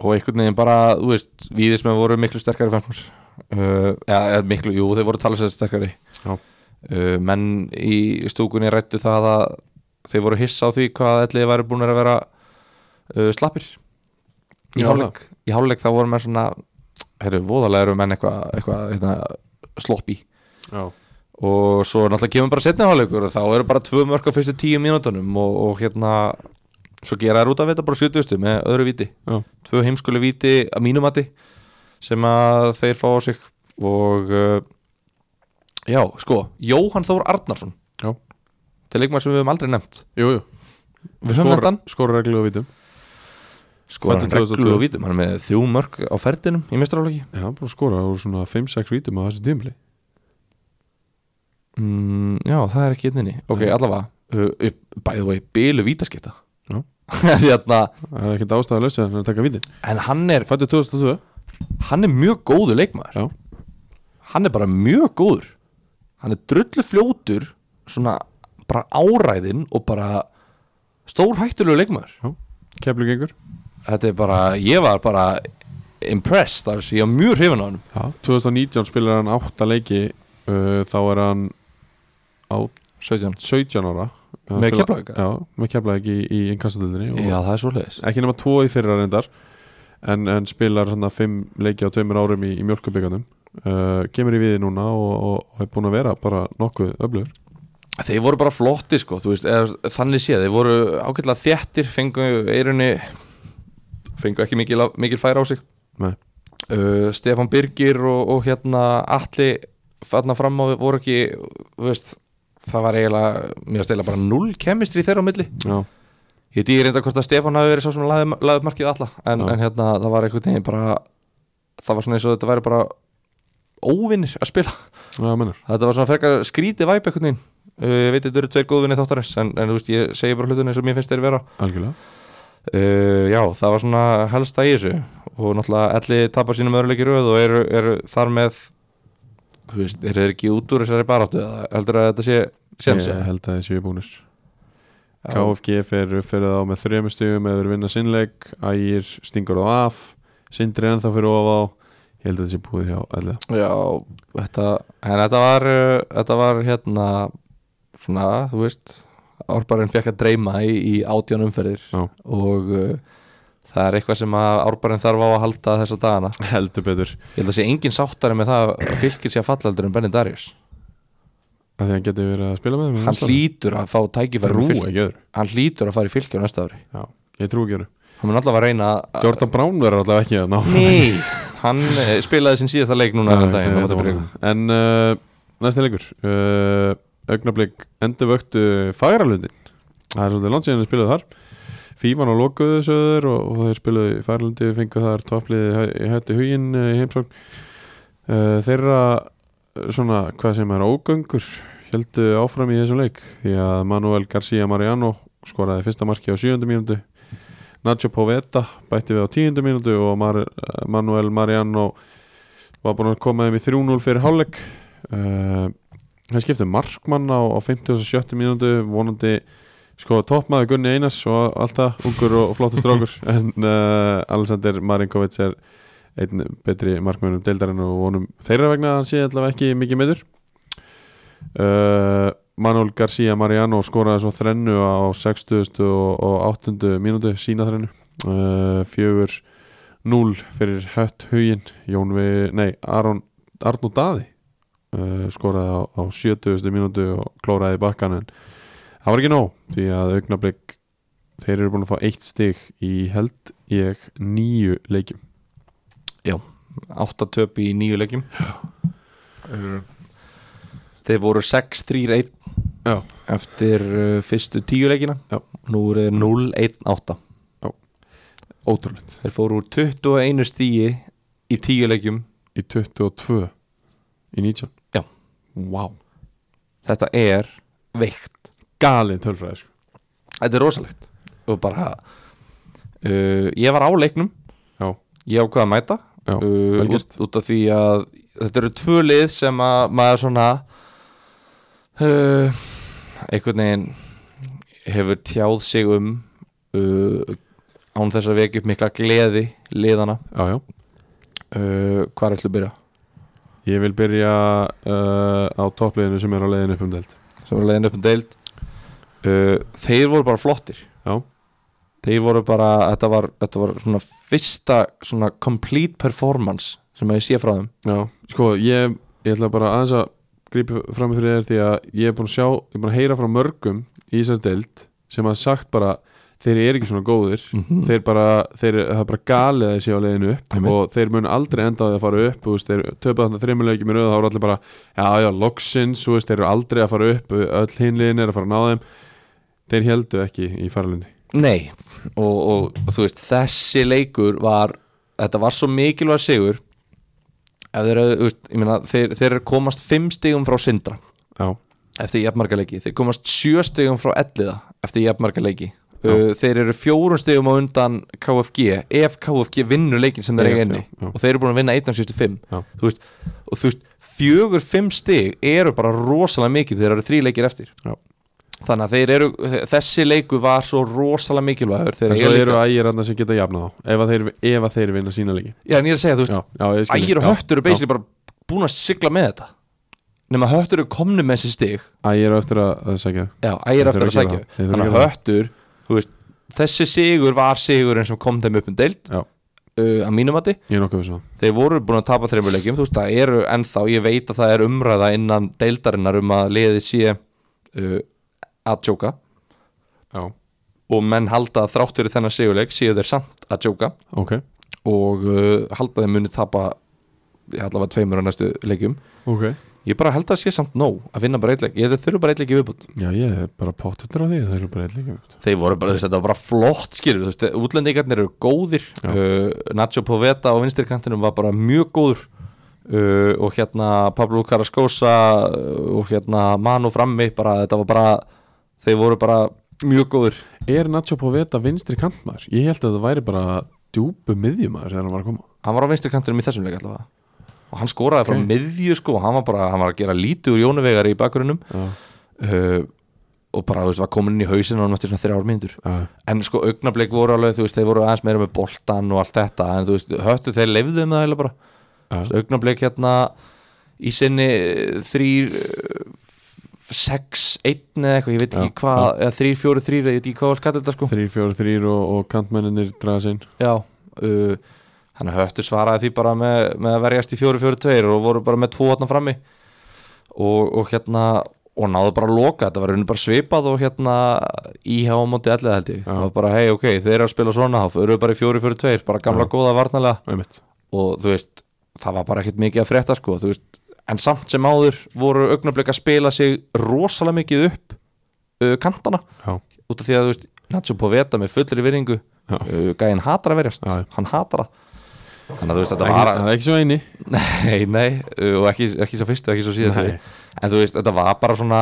[SPEAKER 2] og einhvern veginn bara, þú veist viðismenn voru miklu sterkari fannst mér uh, eða, eða miklu, jú, þeir voru tala sterkari
[SPEAKER 1] Já.
[SPEAKER 2] uh, menn í stúkunni rættu það að þeir voru hissa á því hvað ætliði væri búin að vera uh, slappir í
[SPEAKER 1] Já,
[SPEAKER 2] hálfleik í hálfleik þá voru menn svona herru, voðalega eru menn eitthvað eitthva, hérna, sloppi
[SPEAKER 1] Já,
[SPEAKER 2] og svo náttúrulega kemur bara setni hálfleikur og þá eru bara tvö mörg á fyrstu tíu mínútonum og, og hérna svo gera þær út af þetta bara 70 með öðru viti
[SPEAKER 1] já,
[SPEAKER 2] tvö heimskuli viti að mínumati sem að þeir fá á sig og uh, já, sko, Jóhann Þór Arnarsson
[SPEAKER 1] já
[SPEAKER 2] til leikmaður sem við höfum aldrei nefnt
[SPEAKER 1] Jú, jú,
[SPEAKER 2] við höfum nefnt hann
[SPEAKER 1] skora reglu og vítum
[SPEAKER 2] skorar hann
[SPEAKER 1] Fæddur 2002.
[SPEAKER 2] reglu og vítum, hann er með þrjú mörg á ferdinum í mistralóki
[SPEAKER 1] Já, bara skora og svona 5-6 vítum á þessu tímli
[SPEAKER 2] mm, já, það er ekki einninni ok,
[SPEAKER 1] Nei.
[SPEAKER 2] allavega, uh, uh, by the way, bílu vítaskipta
[SPEAKER 1] Já.
[SPEAKER 2] hérna,
[SPEAKER 1] Það er ekkert ástæða að lausa þannig að taka vítin
[SPEAKER 2] en hann er
[SPEAKER 1] Fættu 2002
[SPEAKER 2] hann er mjög góður leikmaður
[SPEAKER 1] Já.
[SPEAKER 2] hann er bara mjög góður hann er drullu fljótur svona bara áræðin og bara stór hættulegu leikmaður
[SPEAKER 1] Keflu gengur
[SPEAKER 2] þetta er bara, ég var bara impressed, af þessu, ég var mjög hrifin á hann
[SPEAKER 1] Já 2019 spilar hann 8 leiki uh, Þá er hann á
[SPEAKER 2] 17
[SPEAKER 1] 17 ára Hann
[SPEAKER 2] Með
[SPEAKER 1] spilar-
[SPEAKER 2] Keflavík?
[SPEAKER 1] Já, með keflaðið í, í inkassadöldinni
[SPEAKER 2] já, það er svoleiðis
[SPEAKER 1] Ekki nema 2 í fyrra reyndar En, en spilar hann 5 leiki á 2 árum í, í mjölkubyggjandum uh, Kemur í viði núna og, og, og er búin að vera bara nokkuð öflugur
[SPEAKER 2] þeir voru bara flotti sko, þú veist, eða, þannig séð þeir voru ágætlega þéttir, fengu eirunni fengu ekki mikil, mikil færa á sig
[SPEAKER 1] Nei.
[SPEAKER 2] uh, Stefán Birgir og, og hérna Atli þarna fram á voru ekki þú veist, það var eiginlega mér stila bara null kemistri þeirra á milli
[SPEAKER 1] já,
[SPEAKER 2] ég veit ég reynda hvort að Stefán hafi verið sá sem laði, laði markið alla en,
[SPEAKER 1] Já.
[SPEAKER 2] en hérna það var einhvern veginn bara það var svona eins og þetta væri bara óvinnir að spila
[SPEAKER 1] já, mennar
[SPEAKER 2] þetta var svona frekar skrítið væp einhvern veginn uh, ég veit þetta eru tveir góðvinni þáttarins en, en þú veist ég segi bara hlutunni sem mér finnst þeir vera
[SPEAKER 1] algjörlega
[SPEAKER 2] Uh, já, það var svona helsta í þessu og náttúrulega Elli tapar sínum öðruleiki röð og eru, eru þar með þú veist, eru þeir ekki út úr þessari baráttu eða heldur að þetta sé sjensi
[SPEAKER 1] ég held að þessi er búnir KFG fer uppferðið á með þremur stigum eða þeir vinna sinnleik Ægir stingur þá af Sindri ennþá fyrir ofá ég held að þessi búið hjá allir
[SPEAKER 2] Já, þetta, en þetta var uh, þetta var hérna svona, þú veist Árbarinn fekk að dreyma í, í átján umferðir
[SPEAKER 1] Já.
[SPEAKER 2] og uh, það er eitthvað sem að Árbarinn þarf á að halda þessa dagana
[SPEAKER 1] heldur betur
[SPEAKER 2] Ég held að sé engin sáttari með það að fylgir sé að falla heldur en Benny Darius
[SPEAKER 1] að því hann getur verið að spila með þeim
[SPEAKER 2] Hann hlýtur að fá tækifæri með
[SPEAKER 1] trú
[SPEAKER 2] Fylki.
[SPEAKER 1] ekki öðru
[SPEAKER 2] Hann hlýtur að fara í fylgja næsta ári
[SPEAKER 1] já, ég trú ekki öðru
[SPEAKER 2] Hann mun allavega að reyna að
[SPEAKER 1] Jordan Brown verður allavega ekki að ná
[SPEAKER 2] Nei, hann eh, spilaði sinn síðasta leik núna þennan daginn á móti Blikum.
[SPEAKER 1] Nei, en uh, næsti leikur uh, augnablík endur vöktu Fagralundin það er svolítið langt síðan að spilaðu þar Fífan og lokuðu söður og, og þeir spilaðu í Fagralundi fengu þar toppliði í hætti huginn eh, í heimsókn uh, þeirra eh, svona hvað sem er ógöngur heldu áfram í þessum leik því að Manuel García Mariano skoraði fyrsta marki á 7. mínútu Nacho Poveta bætti við á 10. mínútu og Mar eh, Manuel Mariano var búin að koma þeim í 3-0 fyrir hálfleik uh, hann skipti um markmann á, á 57. mínútu vonandi sko toppmaður Gunni Einars og allt það, ungur og flottur strákur en uh, Alexander Marinkovic er einn betri markmannum deildarinn og vonum þeirra vegna að hann sé allavega ekki mikið meður uh, Manuel García Mariano skoraði svo þrennu á 60. og, og 8. mínútu sína þrennu uh, fjögur 0 fyrir Hött Hugin Jón við, nei, Aron Arnó Daði uh, skoraði á, á 70. mínútu og klóraði í bakkan en það var ekki nóg því að augnablik þeir eru búin að fá eitt stig í held ég nýju leikjum
[SPEAKER 2] Átta töp í nýju leikjum Þeir voru 6-3-1
[SPEAKER 1] Já.
[SPEAKER 2] eftir uh, fyrstu tíu leikina
[SPEAKER 1] Já.
[SPEAKER 2] Nú eru þeir 0-1-8
[SPEAKER 1] ótrúlegt
[SPEAKER 2] Þeir fóru úr 21 stíi í tíu leikjum
[SPEAKER 1] í 22 í 19
[SPEAKER 2] Já.
[SPEAKER 1] wow.
[SPEAKER 2] Þetta er veikt
[SPEAKER 1] galin tölfræði sko.
[SPEAKER 2] Þetta er rosalegt og bara uh, ég var á leiknum
[SPEAKER 1] já,
[SPEAKER 2] ég ákvað að mæta
[SPEAKER 1] já,
[SPEAKER 2] uh,
[SPEAKER 1] vel
[SPEAKER 2] út,
[SPEAKER 1] gert
[SPEAKER 2] út af því að þetta eru tvö lið sem að maður svona uh, einhvern veginn hefur tjáð sig um uh, án þess að vekja upp mikla gleði liðana
[SPEAKER 1] já, já.
[SPEAKER 2] uh, hvað er ætlu að byrja?
[SPEAKER 1] ég vil byrja uh, á toppliðinu sem er á leiðinu upp um deild
[SPEAKER 2] sem voru leiðin upp um deild uh, þeir voru bara flottir
[SPEAKER 1] já,
[SPEAKER 2] þeir voru bara, þetta var, þetta var svona fyrsta svona complete performance sem að ég sé frá þeim
[SPEAKER 1] Já, sko ég, ég ætla bara aðeins að grípa fram fyrir þér því að ég er búin að sjá, ég er búin að heyra frá mörgum í þessar deild sem að sagt bara þeir eru ekki svona góðir
[SPEAKER 2] -hmm.
[SPEAKER 1] þeir bara, þeir, það er bara galið að þessi á leiðinu upp
[SPEAKER 2] Einmitt.
[SPEAKER 1] og þeir mun aldrei enda á því að fara upp þú veist, þeir töpa þarna þremulegjum í röð þá eru allir bara, já já, loksins þú veist, þeir eru aldrei að fara upp, öll hinliðin er að fara að ná þeim þeir heldu ekki í faralundi
[SPEAKER 2] Nei, og, og, þú veist þessi leikur var þetta var svo mikilvæg sigur ef þeir, hefðu, þú veist, ég meina, þeir, þeir komast fimm stigum frá Sindra
[SPEAKER 1] Já,
[SPEAKER 2] eftir jafnmarkaleiki, þeir komast sjö stigum frá Elliða eftir jafnmarkaleiki
[SPEAKER 1] Já.
[SPEAKER 2] uh, þeir eru fjórun stigum á undan KFG, ef KFG vinnur leikin sem þeir
[SPEAKER 1] Ef,
[SPEAKER 2] eiga inni
[SPEAKER 1] já, já.
[SPEAKER 2] og þeir eru búin að vinna 1.75
[SPEAKER 1] Já.
[SPEAKER 2] þú veist, og þú veist, fjögur fimm stig eru bara rosalega mikið þeir eru þrý leikir eftir
[SPEAKER 1] Já.
[SPEAKER 2] þannig að þeir eru, þessi leiku var svo rosalega mikilvægur þeir
[SPEAKER 1] en svo
[SPEAKER 2] líka-
[SPEAKER 1] eru ægir annað sem geta jafna þá ef að þeir, ef að þeir vinna sína leiki
[SPEAKER 2] Já, en ég er að segja, þú veist,
[SPEAKER 1] Já, já, ég skil.
[SPEAKER 2] ægir og
[SPEAKER 1] Já,
[SPEAKER 2] höttur
[SPEAKER 1] já.
[SPEAKER 2] eru basically bara búin að sigla með þetta nema höttur eru komnu með þessi stig
[SPEAKER 1] Æ, ég er á eftir að, að segja
[SPEAKER 2] Já, ægir
[SPEAKER 1] Þeir
[SPEAKER 2] eftir
[SPEAKER 1] þurfa að gera
[SPEAKER 2] að sækja
[SPEAKER 1] það. Þeir þurfa að
[SPEAKER 2] Þannig að
[SPEAKER 1] gera það.
[SPEAKER 2] höttur, þú veist þessi sigur var sigurinn sem kom þeim upp um deild
[SPEAKER 1] Já.
[SPEAKER 2] uh, að mínum mati
[SPEAKER 1] Ég er nokkuð um við svona
[SPEAKER 2] þeir voru búin að tapa þreymur leikjum þú veist, það eru ennþá, ég veit að það er umræða innan deildarinnar um að liðið sé uh, að jóka
[SPEAKER 1] Já,
[SPEAKER 2] og menn halda að þrátt fyrir þennan sigurleik séu þeir samt að jóka
[SPEAKER 1] ok
[SPEAKER 2] og uh, halda þeim muni tapa ég allavega tveimur á næstu leikjum
[SPEAKER 1] ok
[SPEAKER 2] ég bara held að sé samt nóg að vinna bara eitthvað ég þeir þurfa bara eitthvað viðbútt
[SPEAKER 1] Já, ég er bara pottetur á því, það eru bara eitt líka
[SPEAKER 2] þeir voru bara, þú veist, þetta var bara flott skilur, þú veist, útlendingarnir eru góðir
[SPEAKER 1] Já.
[SPEAKER 2] uh, Nacho Poveta á vinstri kantinum var bara mjög góður uh, og hérna Pablo Carrascosa uh, og hérna Manu frammi, bara, þetta var bara þeir voru bara mjög góðir
[SPEAKER 1] Er Nacho Poveta vinstri kantmaður? Ég held að það væri bara djúpu miðjumaður þegar hann var að koma
[SPEAKER 2] hann var á vinstri kantinum í þessum leik allavega og hann skoraði frá
[SPEAKER 1] Ok.
[SPEAKER 2] miðju sko, hann var bara, hann var að gera lítið úr Jónuvegar í bakgrunum
[SPEAKER 1] Já,
[SPEAKER 2] uh, og bara, þú veist, var komin inn í hausinn og hann eftir svona þrjár mínútur
[SPEAKER 1] já,
[SPEAKER 2] en sko augnablik voru alveg, þú veist, þeir voru aðeins meira með boltan og allt þetta, en þú veist, höttu þeir leifðu með það eiginlega bara,
[SPEAKER 1] já.
[SPEAKER 2] Þú veist, augnablik hérna í sinni þrýr sex, einn eða eitthvað, ég veit
[SPEAKER 1] Já,
[SPEAKER 2] ekki hvað eða þrýr, fjóri, þrýr, ég veit ekki hvað var skallt þetta sko
[SPEAKER 1] Þrýr, fjóri, þrýr og, og kantmenninir draga sinn
[SPEAKER 2] já, uh, hann höttu svaraði því bara með, með að verjast í fjóri, fjóri, tveir og voru bara með tvo þarna frammi og, og hérna og náðu bara að loka, þetta var raunin bara svipað og hérna íhá á móti allir held ég,
[SPEAKER 1] Já.
[SPEAKER 2] það var bara hei ok, þeir eru að spila svona þá eru bara í fjóri, fjóri, tveir, bara gamla
[SPEAKER 1] Já.
[SPEAKER 2] góða varnalega
[SPEAKER 1] Einmitt.
[SPEAKER 2] og þú veist, það var bara ekkert mikið að frétta sko, þú veist, en samt sem áður voru augnablik að spila sig rosalega mikið upp uh, kantana,
[SPEAKER 1] Já,
[SPEAKER 2] út af því að þú veist Nacho Poveta með fullri virðingu
[SPEAKER 1] já
[SPEAKER 2] uh, gæinn hatar að verjast,
[SPEAKER 1] Já.
[SPEAKER 2] hann hatar það þannig að þú veist,
[SPEAKER 1] Það
[SPEAKER 2] þetta var
[SPEAKER 1] er ekki svo eini
[SPEAKER 2] nei, nei, uh, og ekki, ekki svo fyrstu, ekki svo síðastu
[SPEAKER 1] Nei.
[SPEAKER 2] en þú veist, þetta var bara svona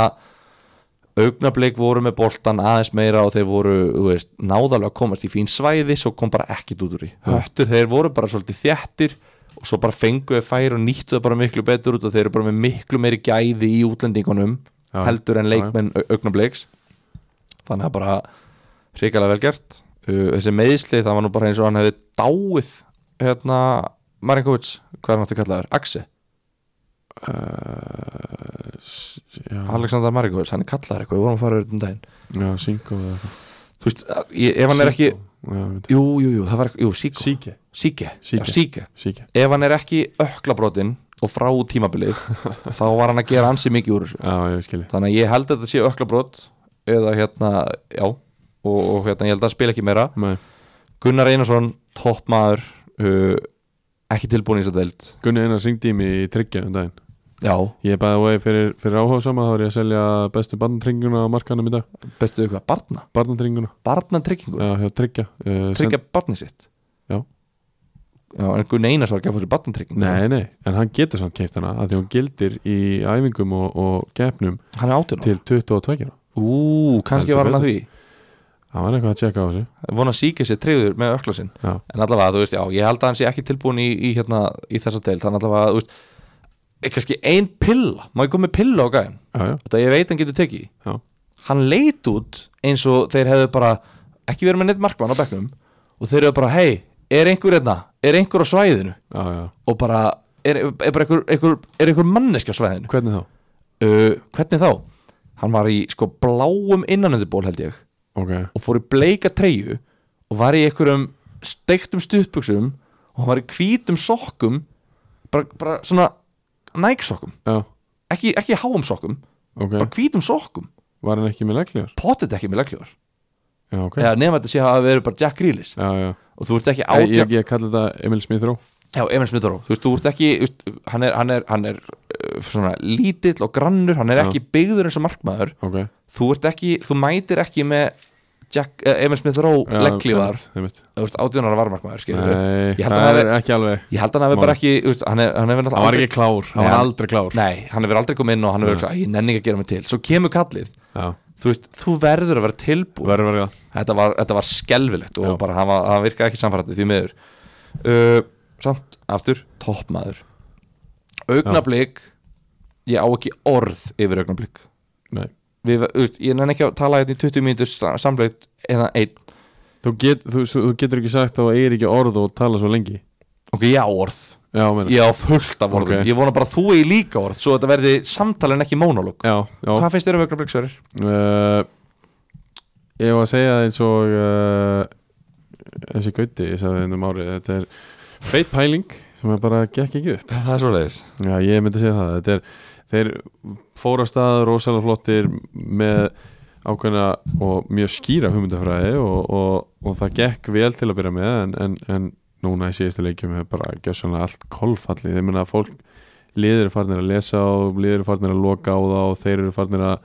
[SPEAKER 2] augnablik voru með boltan aðeins meira og þeir voru, þú veist, náðalega að komast í fín svæði, svo kom bara ekkit út úr í höttur, þeir voru bara svolítið þjættir og svo bara fenguðu færi og nýttu það bara miklu betur út og þeir eru bara með miklu meiri gæði í útlendingunum
[SPEAKER 1] Já,
[SPEAKER 2] heldur en
[SPEAKER 1] já, já.
[SPEAKER 2] leikmenn au- augnabliks þannig að bara hrikalega vel gert uh, þessi meðisli, það var nú bara eins og hann hefði dáið hérna Marinkovic, hvað er hann aftur kallaður? Axi,
[SPEAKER 1] Eh, Já,
[SPEAKER 2] Alexander Marinkovic, hann er kallaður eitthvað, við vorum að fara auðvitað um daginn
[SPEAKER 1] já Sinko eða eitthvað.
[SPEAKER 2] þú veist, að- ég- ef hann er ekki
[SPEAKER 1] Já, ég veit.
[SPEAKER 2] jú, jú, jú, það var eitthvað, jú, Siko
[SPEAKER 1] Síke
[SPEAKER 2] Síke,
[SPEAKER 1] Síke.
[SPEAKER 2] Já, Síke.
[SPEAKER 1] Síke
[SPEAKER 2] ef hann er ekki öklabrotin og frá tímabilið þá var hann að gera ansi mikið úr þessu
[SPEAKER 1] Já, ég skilji
[SPEAKER 2] þannig að ég held að þetta sé öklabrot eða hérna, já og, og hérna, ég held að það spila ekki meira
[SPEAKER 1] Nei.
[SPEAKER 2] Gunnar Einarsson, toppmaður uh, ekki tilbúin í þess að deild
[SPEAKER 1] Gunni Einar syngdi í mig í tryggja um daginn
[SPEAKER 2] já,
[SPEAKER 1] Ég bæði að vegi fyrir, fyrir áhuga sama þá er ég að selja bestu barnatrygginguna á markanum í dag
[SPEAKER 2] bestu eitthvað, barna
[SPEAKER 1] Barnatrygginguna,
[SPEAKER 2] barnatryggingu,
[SPEAKER 1] já, hjá tryggja uh,
[SPEAKER 2] tryggja barni sitt
[SPEAKER 1] Já.
[SPEAKER 2] já, en Gunnar Einarsson var ekki að fóra sér barnatryggingu
[SPEAKER 1] Nei, nei, en hann getur samt keift hana að því hún gildir í æfingum og, og gefnum
[SPEAKER 2] hann er átjón
[SPEAKER 1] til 22 ára.
[SPEAKER 2] ú, kannski
[SPEAKER 1] Heldur
[SPEAKER 2] var hann að því
[SPEAKER 1] Það var eitthvað að tjekka á þessu
[SPEAKER 2] vona síkja sér treyður með ökla sinn
[SPEAKER 1] Já,
[SPEAKER 2] en allavega, þú veist, já, ég held að hann sé ekki tilbúin í, í, hérna, í þessa deild, þannig allavega, þú veist eh, kannski ein pilla, má ég koma með pilla á gæðin
[SPEAKER 1] já, já,
[SPEAKER 2] þetta ég veit hann getur tekið í.
[SPEAKER 1] já,
[SPEAKER 2] hann leit út eins og þeir hefðu bara ekki verið með neitt markmann á bekknum og þeir hefðu bara, hei, er einhver einna er einhver á svæðinu
[SPEAKER 1] já, já.
[SPEAKER 2] og bara, er, er bara einhver, einhver, er einhver manneski á svæðinu
[SPEAKER 1] Hvernig þá?
[SPEAKER 2] uh, hvernig þá? hann var í sko bláum innanönduból held ég
[SPEAKER 1] Ok,
[SPEAKER 2] og fór í bleika treyju og var í einhverjum steiktum stuttbuxum og hann var í hvítum sokkum bara, bara svona nægsokkum,
[SPEAKER 1] já,
[SPEAKER 2] ekki, ekki háum sokkum
[SPEAKER 1] ok
[SPEAKER 2] bara hvítum sokkum,
[SPEAKER 1] Var hann ekki með leglíðar?
[SPEAKER 2] potið ekki með legljóðar
[SPEAKER 1] Já, ok Já,
[SPEAKER 2] eða nema þetta sé að hafa verið bara Jack Grealish
[SPEAKER 1] já,
[SPEAKER 2] og þú ert ekki
[SPEAKER 1] Æ, ég,
[SPEAKER 2] átján
[SPEAKER 1] ég, ég kalli þetta Emil Smith-Ró
[SPEAKER 2] já, Emil Smith-Ró, þú veist, þú ert ekki þú veist, hann er, hann er, hann er uh, svona lítill og grannur, hann er
[SPEAKER 1] Já.
[SPEAKER 2] ekki byggður eins og markmaður,
[SPEAKER 1] Ok
[SPEAKER 2] þú ert ekki þú mætir ekki með Jack, uh, Emil Smith-Ró
[SPEAKER 1] Já,
[SPEAKER 2] legglívar
[SPEAKER 1] einmitt, einmitt.
[SPEAKER 2] þú veist, átjánar varmarkmaður, skilur við
[SPEAKER 1] Nei,
[SPEAKER 2] Ég held að
[SPEAKER 1] það
[SPEAKER 2] hann
[SPEAKER 1] er ekki alveg
[SPEAKER 2] ég held að hann hefur bara ekki, þú veist, hann hefur hann hefur
[SPEAKER 1] Hann var ekki klár, hann
[SPEAKER 2] Nei,
[SPEAKER 1] var
[SPEAKER 2] hann-
[SPEAKER 1] aldrei klár
[SPEAKER 2] nei, hann hefur aldrei komið inn og hann hefur
[SPEAKER 1] Nei.
[SPEAKER 2] verið, ég nenni ekki að gera mig til, svo kemur kallið
[SPEAKER 1] Já,
[SPEAKER 2] þú veist, þú verður að vera tilbúin
[SPEAKER 1] verður verið það
[SPEAKER 2] þetta var, þetta var skelvilegt og
[SPEAKER 1] Já.
[SPEAKER 2] bara hann, var, hann virkaði ekki samfærandi því miður uh, samt aftur toppmaður augnablik ég á ekki orð yfir augnablik
[SPEAKER 1] Nei
[SPEAKER 2] Við, veist, ég nenni ekki að tala hérna í 20 mínútur samleitt eða einn
[SPEAKER 1] Þú, get, þú, þú getur ekki sagt að þú eigir ekki orð og tala svo lengi
[SPEAKER 2] ok, ég á orð,
[SPEAKER 1] Já, meina
[SPEAKER 2] ég á fullt af orðum
[SPEAKER 1] Ok.
[SPEAKER 2] ég vona bara að þú eigi líka orð svo þetta verði samtala en ekki mónalóg
[SPEAKER 1] Já, já
[SPEAKER 2] hvað finnst þér um augnablik, Sverrir?
[SPEAKER 1] uh, Ég var að segja eins og uh, þessi gauti ég sagði hennum árið, þetta er feit pæling sem að bara gekk ekki upp
[SPEAKER 2] það er svo leiðis
[SPEAKER 1] Já, ég myndi að segja það þetta er, þeir fóru á stað rosalega flottir með ákveðna og mjög skýra hugmyndafræði og, og, og það gekk vel til að byrja með en, en, en núna í síðustu leikjum hefur bara gjössanlega allt kolfallið, ég meina að fólk liðir er farnir að lesa og liðir er farnir að loka á það og þeir eru farnir að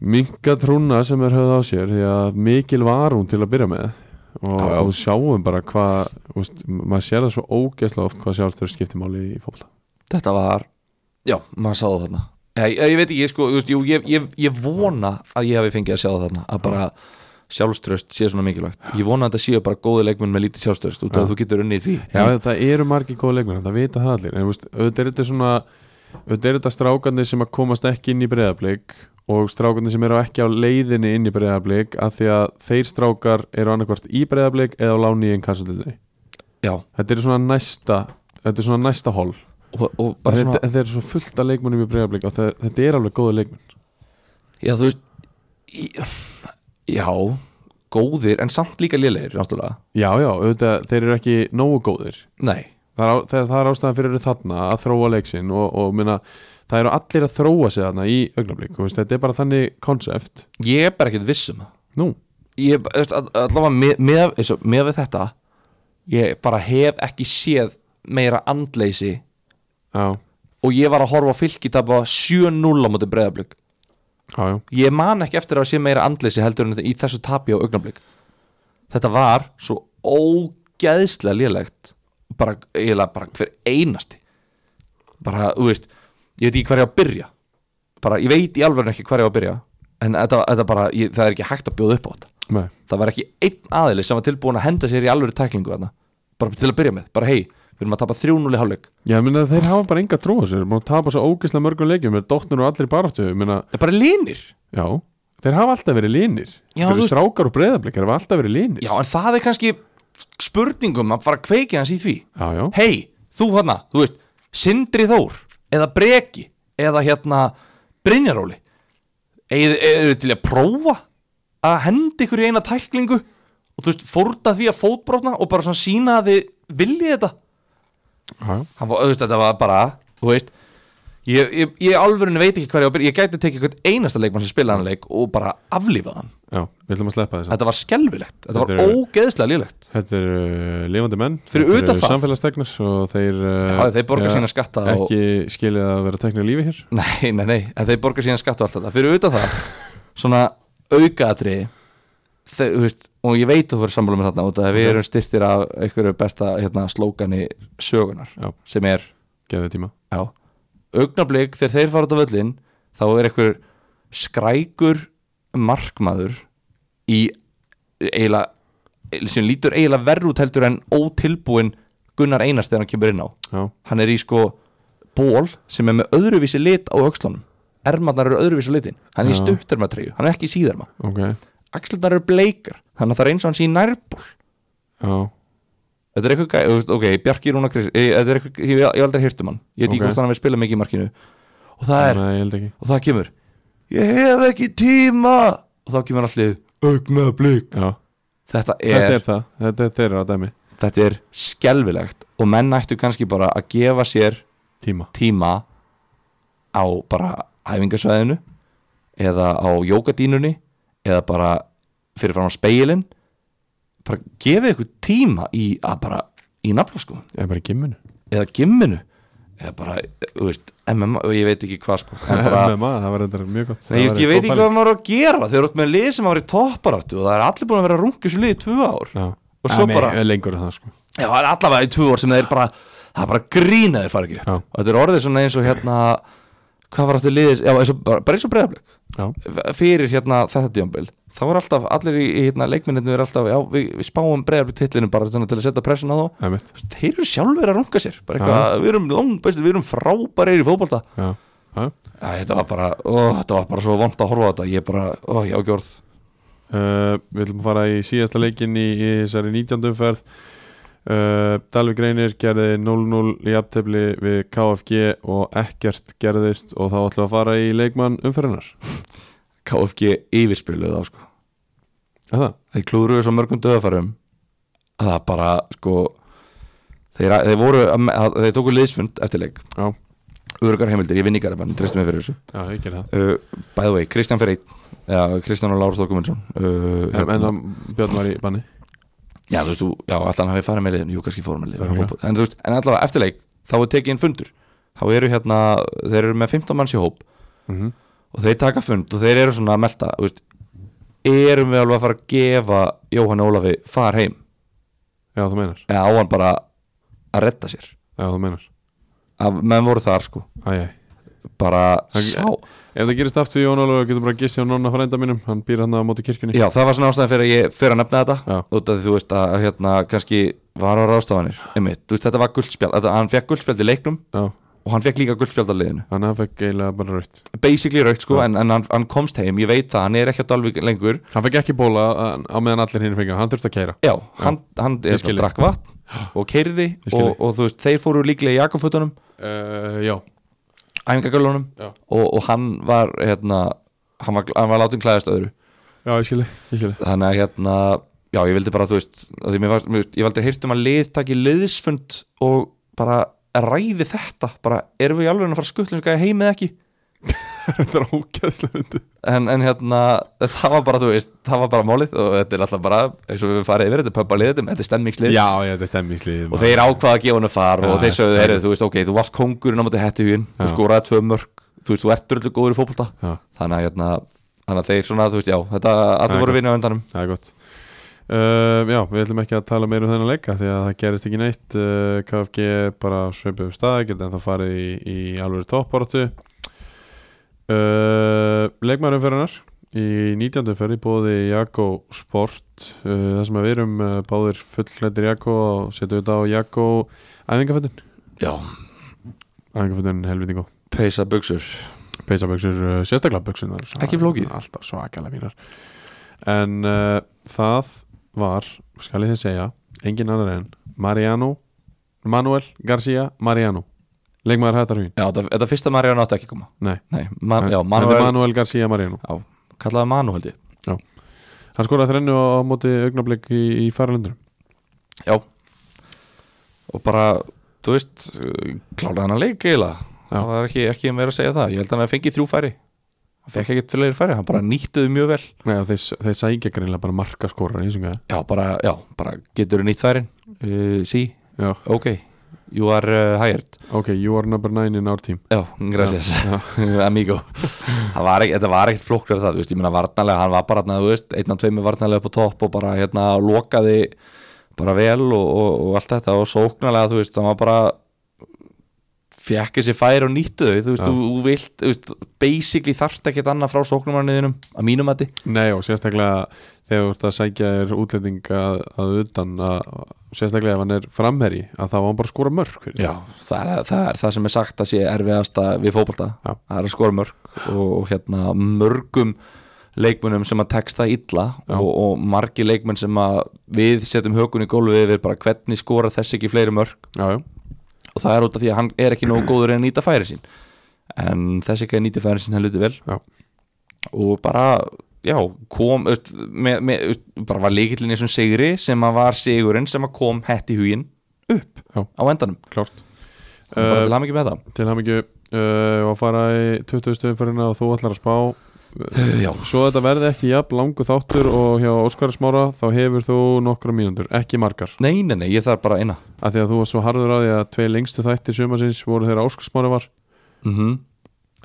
[SPEAKER 1] minka trúna sem er höfð á sér því að mikil var hún til að byrja með og,
[SPEAKER 2] Já, já.
[SPEAKER 1] og sjáum bara hvað þú veist, maður sér það svo ógeðslega oft hvað sjálfstöður skiptir máli í fólk
[SPEAKER 2] Þetta var, já, maður sá það þarna Ég, ég, ég veit ekki, ég, sko, þú veist, jú, ég, ég, ég vona að ég hafi fengið að sjá það þarna að bara sjálfströst sé svona mikilvægt Ég vona að þetta séu bara góði leikmenn með lítið sjálfströst út af
[SPEAKER 1] Já.
[SPEAKER 2] að þú getur unnið í því
[SPEAKER 1] Já, það eru margir góða leikmenn, það vita það allir en þú veist, auðvitað er þetta svona auðvitað er þetta strákarnir sem að komast ekki inn í breyðablík og strákarnir sem eru ekki á leiðinni inn í breyðablík af því að þeir strákar eru annarkvart í breyðablík eða á láni í einn kassatildinni
[SPEAKER 2] Já,
[SPEAKER 1] Þetta er svona næsta þetta er svona næsta hol
[SPEAKER 2] og, og bara
[SPEAKER 1] þetta,
[SPEAKER 2] svona
[SPEAKER 1] þetta er svo fullt af leikmennum í breyðablík og það, þetta er alveg góða leikmenn
[SPEAKER 2] Já, þú veist í- Já, góðir en samt líka lélegir, náttúrulega
[SPEAKER 1] Já, já, auðvitað, þeir eru ekki nógu góðir
[SPEAKER 2] Nei,
[SPEAKER 1] það er, á- það, það er ástæðan fyrir þarna að þróa leiksin og, og minna, það eru allir að þróa sig þarna í augnablík þú veist, þetta er bara þannig konsept
[SPEAKER 2] ég er bara ekkert viss um það
[SPEAKER 1] nú,
[SPEAKER 2] Ég, þú veist, all- allavega með, með, eins og með við þetta Ég bara hef ekki séð meira andleysi
[SPEAKER 1] já,
[SPEAKER 2] og ég var að horfa á fylki tapa 7-0 á móti breyðablík
[SPEAKER 1] já, já
[SPEAKER 2] ég man ekki eftir að sé meira andleysi heldur en í þessu tapi á augnablík þetta var svo ógeðslega lélegt bara, eiginlega bara hver einasti bara, þú veist ég veit ekki hvað ég á að byrja bara, ég veit í alveg ekki hvað ég á að byrja en þetta, þetta bara, ég, það er ekki hægt að bjóða upp á þetta
[SPEAKER 1] Nei.
[SPEAKER 2] það var ekki einn aðili sem var tilbúin að henda sér í alveg tæklingu þarna bara til að byrja með, bara hei, við erum að tapa 3-0 í hálfleik
[SPEAKER 1] Já, minna, þeir hafa bara enga trú á sér, maður tapa svo ógeðslega mörgum leikjum, þeir dóttnur og allir baráttu minna,
[SPEAKER 2] það er bara línir
[SPEAKER 1] já, þeir hafa alltaf verið línir
[SPEAKER 2] Já,
[SPEAKER 1] þeir
[SPEAKER 2] þú
[SPEAKER 1] eru
[SPEAKER 2] veist-
[SPEAKER 1] strákar og breyðablikar hafa alltaf verið línir
[SPEAKER 2] Já, en það er kannski spurningum að fara að kveikið hans í því
[SPEAKER 1] já, já,
[SPEAKER 2] Hei, þú hérna, þú veist Sindri Þór, eða Breki eða hérna Brynjaróli Eða eru til að prófa að henda ykkur í eina tæklingu og þú veist, fórta því að fótbrotna og bara svona sína að þið viljið þetta
[SPEAKER 1] já, já.
[SPEAKER 2] Hann var, þú veist, þetta var bara, þú veist Ég, ég, ég alvörinu veit ekki hvað ég á að byrja Ég gæti tekið eitthvað einasta leikmann sem spilaði hann leik og bara aflífað hann
[SPEAKER 1] já við ætlum að sleppa þess
[SPEAKER 2] Þetta var skelfilegt, þetta var
[SPEAKER 1] Þetta er-
[SPEAKER 2] ógeðslega lélegt
[SPEAKER 1] Þetta eru uh, lifandi menn
[SPEAKER 2] Fyrir
[SPEAKER 1] þetta
[SPEAKER 2] utan
[SPEAKER 1] eru
[SPEAKER 2] það.
[SPEAKER 1] Samfélagstegnar og þeir uh,
[SPEAKER 2] Já, þeir borga sína skatta og-
[SPEAKER 1] Ekki skilið að vera teknir lífi hér
[SPEAKER 2] Nei, nei, nei, en þeir borga síðan skatt og allt þetta Fyrir auðvitað það, svona aukaatri þau, þú veist, Og ég veit að þú fyrir sammála með þarna út af því að Við erum styrtir af einhverju besta hérna, slókani sögunar
[SPEAKER 1] Já.
[SPEAKER 2] Sem er,
[SPEAKER 1] Geðu tíma
[SPEAKER 2] já, augnablik þegar þeir fara út á völlin Þá er einhver skrækur markmaður Í eiginlega, sem lítur eiginlega verð út heldur en ótilbúin Gunnar Einars þegar hann kemur inn á
[SPEAKER 1] Já,
[SPEAKER 2] hann er í sko ból sem er með öðruvísi lit á öxlunum ermarnar eru öðruvísi litin hann er í
[SPEAKER 1] Já.
[SPEAKER 2] stuttarmatreyju, hann er ekki í síðarma
[SPEAKER 1] ok Já,
[SPEAKER 2] axlurnar eru bleikar, þannig að það er eins og hann sé í nærból þetta er eitthvað, gæ- þú veist, ok, Bjarki Rúna Krist eh, þetta er eitthvað, ég, ég hef aldrei hýrt um hann ég veit ekki
[SPEAKER 1] Ok.
[SPEAKER 2] hvort hann hefur spilað mikið í markinu og það er,
[SPEAKER 1] nei, ég held ekki
[SPEAKER 2] og það kemur ég hef ekki tíma og þá kemur allir, augnablík
[SPEAKER 1] Já,
[SPEAKER 2] þetta
[SPEAKER 1] þetta
[SPEAKER 2] er,
[SPEAKER 1] er það, þetta er þeirra að dæmi
[SPEAKER 2] þetta er skelvilegt og menn ættu kannski bara að gefa sér
[SPEAKER 1] Tíma
[SPEAKER 2] tíma á bara æfingasvæðinu eða á jókadínunni eða bara fyrir fram á speilin bara gefið ykkur tíma í að bara í nafnarskóðun
[SPEAKER 1] Ég er bara í gimminu
[SPEAKER 2] eða gimminu eða bara, þú veist, MMA ég veit ekki hvað sko en bara,
[SPEAKER 1] MMA, það var þetta mjög gott
[SPEAKER 2] Nei,
[SPEAKER 1] Það var
[SPEAKER 2] ég, ég veit
[SPEAKER 1] góð
[SPEAKER 2] ekki
[SPEAKER 1] pæling.
[SPEAKER 2] hvað maður á að gera þegar þú ert með lið sem maður er í topparáttu og það er allir búin að vera rungu svo liðið í tvö ár
[SPEAKER 1] Já
[SPEAKER 2] Og svo
[SPEAKER 1] Nei,
[SPEAKER 2] bara-
[SPEAKER 1] nei, Lengur en það sko
[SPEAKER 2] Já, það er allavega í tvö ár sem þeir bara það er bara grín að þeir fara ekki upp.
[SPEAKER 1] Já.
[SPEAKER 2] og þetta er orðið svona eins og hérna hvað var áttu liðis, já, eins og, bara bara eins og breyðablik
[SPEAKER 1] Já,
[SPEAKER 2] fyrir hérna þetta djómbil þá er alltaf, allir í, í hérna leikminni er alltaf, já, við, við spáum breyðablik titlinu bara svona til að setja pressun á þá
[SPEAKER 1] það er mitt
[SPEAKER 2] þeir eru sjálfur að runga sér bara eitthvað, við erum langbæstu, við erum frábærir í fótbolta
[SPEAKER 1] Já, já
[SPEAKER 2] Æ, þetta var bara, ó, þetta var bara svo vond að horfa á þetta ég bara, ó, já, gjörð
[SPEAKER 1] Uh, við ætlum að fara í síðasta leikin í, í þessari 19. umferð uh, Dalvi Greinir gerði 0-0 í aftefli við KFG og ekkert gerðist og þá ætlum við að fara í leikmann umferðinar
[SPEAKER 2] KFG yfirspiluð á sko
[SPEAKER 1] Er það?
[SPEAKER 2] þeir klúðruðu svo mörgum döðafærum að það bara sko þeir, þeir voru, að, að, þeir tóku liðsfund eftir leik,
[SPEAKER 1] Já,
[SPEAKER 2] örgar heimildir ég vinn í garðabænum, treystum mig fyrir þessu
[SPEAKER 1] já, ég gerði það
[SPEAKER 2] uh, by the way, Kristján Ferreit ja, Kristján og Lárus Þorkumundsson uh,
[SPEAKER 1] En, en það Björn var í banni
[SPEAKER 2] já, já, þú veist, þú, já, allan hafi farið með liðin jú, kannski fórum með liðin
[SPEAKER 1] Örugglega.
[SPEAKER 2] en, þú veist, en allavega eftirleik, þá er tekið inn fundur þá eru hérna, þeir eru með 15 manns í hóp
[SPEAKER 1] Mhm.
[SPEAKER 2] og þeir taka fund og þeir eru svona að melta þú veist, erum við alveg að fara að gefa Jóhann Ólafi far heim
[SPEAKER 1] Já, þú meinar
[SPEAKER 2] eða á hann bara að redda sér
[SPEAKER 1] Já, þú meinar
[SPEAKER 2] að menn voru þar sko
[SPEAKER 1] Æ, æ
[SPEAKER 2] bara
[SPEAKER 1] Það-
[SPEAKER 2] sá
[SPEAKER 1] Ef það gerist aftur Jón Ólafur getur bara gissið á nonna frænda mínum Hann býr hann á móti kirkjunni
[SPEAKER 2] Já, það var svona ástæðan fyrir að ég fyrir að nefna þetta
[SPEAKER 1] Já.
[SPEAKER 2] út af því þú veist að hérna kannski var á ráðstafanir, einmitt, þú veist þetta var guldspjald þetta, hann fekk guldspjald í leiknum
[SPEAKER 1] Já,
[SPEAKER 2] og hann fekk líka guldspjald á liðinu
[SPEAKER 1] hann hann fekk eiginlega bara raut
[SPEAKER 2] basically raukt sko, en, en hann, hann komst heim ég veit það, hann er ekki að dalvi lengur
[SPEAKER 1] Hann fekk ekki bóla uh, á meðan allir hinn fengar Hann þurfti að keira
[SPEAKER 2] Já, hann, hann
[SPEAKER 1] Ég
[SPEAKER 2] er
[SPEAKER 1] skil
[SPEAKER 2] sko
[SPEAKER 1] þig.
[SPEAKER 2] drakk vatn og keirði
[SPEAKER 1] Ég skil
[SPEAKER 2] og,
[SPEAKER 1] þig.
[SPEAKER 2] og þú veist, þeir fóru líklega í Jakobfutunum
[SPEAKER 1] uh, Já,
[SPEAKER 2] æfingagölunum
[SPEAKER 1] Já.
[SPEAKER 2] og, og hann var hérna, hann var, hann var látin klæðast öðru
[SPEAKER 1] já, ég skilji Ég skilji
[SPEAKER 2] þannig að hérna já, ég vildi bara, þú veist, að því mér var, mér veist ég valdi heyrt um að lið taki liðsfund og bara ræði þetta bara, erum við í alveg að fara að skuttla eins og gæja heim eða ekki
[SPEAKER 1] Þetta er ógeðslega myndi
[SPEAKER 2] en, en hérna, það var bara, þú veist það var bara málið og þetta er alltaf bara eins og við höfum farið yfir, þetta er pöppa liðið þetta er stemmingslið
[SPEAKER 1] Já, já, þetta er stemmislið
[SPEAKER 2] og þeir ákvaða að gefa hann að fara og
[SPEAKER 1] Já,
[SPEAKER 2] þeir sögðu,
[SPEAKER 1] það er
[SPEAKER 2] heyrðu, þú veist, ok, þú varst kongurinn á móti hættu huginn, þú
[SPEAKER 1] Já.
[SPEAKER 2] skoraði tvö mörg þú veist, þú ert öllu góður í fótbolta
[SPEAKER 1] Já.
[SPEAKER 2] þannig að hérna, þannig að þeir svona, þú veist, já, þetta,
[SPEAKER 1] Það er
[SPEAKER 2] allir voru
[SPEAKER 1] gott.
[SPEAKER 2] vinna á endanum
[SPEAKER 1] Það er gott uh, Já, við ætlum ekki að tala meira um þennan leika því að það gerist ekki neitt uh, KFG bara sveipið um stað geta en það farið í, í alveg topportu uh, Leikmarum fyrir hennar í 19. ferri bóði Jakko Sport uh, það sem að við erum uh, báðir fullklættir Jakko og setjum þetta á Jakko æfingafötun
[SPEAKER 2] já,
[SPEAKER 1] æfingafötun helviti góð
[SPEAKER 2] peysa buksur
[SPEAKER 1] peysaböksur, uh, sérstaklega böksunar
[SPEAKER 2] Ekki flókið.
[SPEAKER 1] Alltaf svakalega mínar En uh, það var, skal ég þið segja engin annar en Mariano Manuel Garcia Mariano Leikmaður hættarhugin
[SPEAKER 2] Já, þetta, þetta fyrsta Mariano átti ekki að koma
[SPEAKER 1] Nei,
[SPEAKER 2] Nei, man, já,
[SPEAKER 1] Þetta
[SPEAKER 2] Manuel,
[SPEAKER 1] er Manuel Garcia Mariano
[SPEAKER 2] já, kallaði Manu held ég
[SPEAKER 1] Hann skoraði þrennu á, á móti augnablik í, í faralundur
[SPEAKER 2] Já Og bara, þú veist, uh, kláraði hann að leika eiginlega
[SPEAKER 1] Já.
[SPEAKER 2] Það var ekki, ekki meira að segja það Ég held að hann að fengi þrjú færi Hann fekk ekkert fleiri færi, hann bara nýttuði mjög vel
[SPEAKER 1] Nei, og þeir, þeir sækja greinlega bara marka skorar Já,
[SPEAKER 2] Já, bara, já, bara getur þú nýtt færin uh,
[SPEAKER 1] Eh,
[SPEAKER 2] Sí, ok You are uh, hired
[SPEAKER 1] ok, you are number nine in our team
[SPEAKER 2] Já, gracias Amigo Það var ekki, Þetta var ekkert flóknar það, þú veist, ég meina varnarlega hann var bara, þarna, þú veist, einn af tveimur varnarlega upp á topp og bara hérna lokaði bara vel og, og, og allt þetta og sóknarlega, þú veist, hann var bara fekk þessi færi og nýttu þau þú veist,
[SPEAKER 1] Já.
[SPEAKER 2] þú, þú vilt, þú veist, basically þarft ekkert annað frá sóknarmanniðinum að mínum að
[SPEAKER 1] Nei og sérstaklega þegar þú ert að sækja þér útlending að, að utan að, sérstaklega ef hann er framherji að þá var hann bara að skora mörg fyrir.
[SPEAKER 2] Já, það er, það er það sem er sagt að sé erfiðasta við fótbolta
[SPEAKER 1] Já.
[SPEAKER 2] það er að skora mörg og hérna mörgum leikmunum sem að texta illa
[SPEAKER 1] Já.
[SPEAKER 2] og, og margi leikmun sem að við setjum hökun í gólfið yfir bara hvernig skora þess ekki fleiri mörg
[SPEAKER 1] já, já.
[SPEAKER 2] og það er út af því að hann er ekki nógu góður en að nýta færi sín en þess ekki að nýta færi sín hann luti vel
[SPEAKER 1] Já.
[SPEAKER 2] og bara já, kom öst, með, með, öst, bara var leikillin í þessum sigri sem að var sigurinn sem að kom hett í huginn upp
[SPEAKER 1] Já.
[SPEAKER 2] á endanum
[SPEAKER 1] Klárt
[SPEAKER 2] bara
[SPEAKER 1] uh,
[SPEAKER 2] til hamingi með það
[SPEAKER 1] Til hann ekki uh, að fara í 20 stöðumferðina og þú ætlar að spá
[SPEAKER 2] Eh, Já,
[SPEAKER 1] Svo þetta verði ekki jafn langu þáttur og hjá Óskar Smára þá hefur þú nokkra mínútur, ekki margar
[SPEAKER 2] Nei, nei, nei, ég þarf bara eina
[SPEAKER 1] af því að þú var svo harður á því að tvei lengstu þættir sumarsins voru þegar Óskar Smára var
[SPEAKER 2] mm -hmm.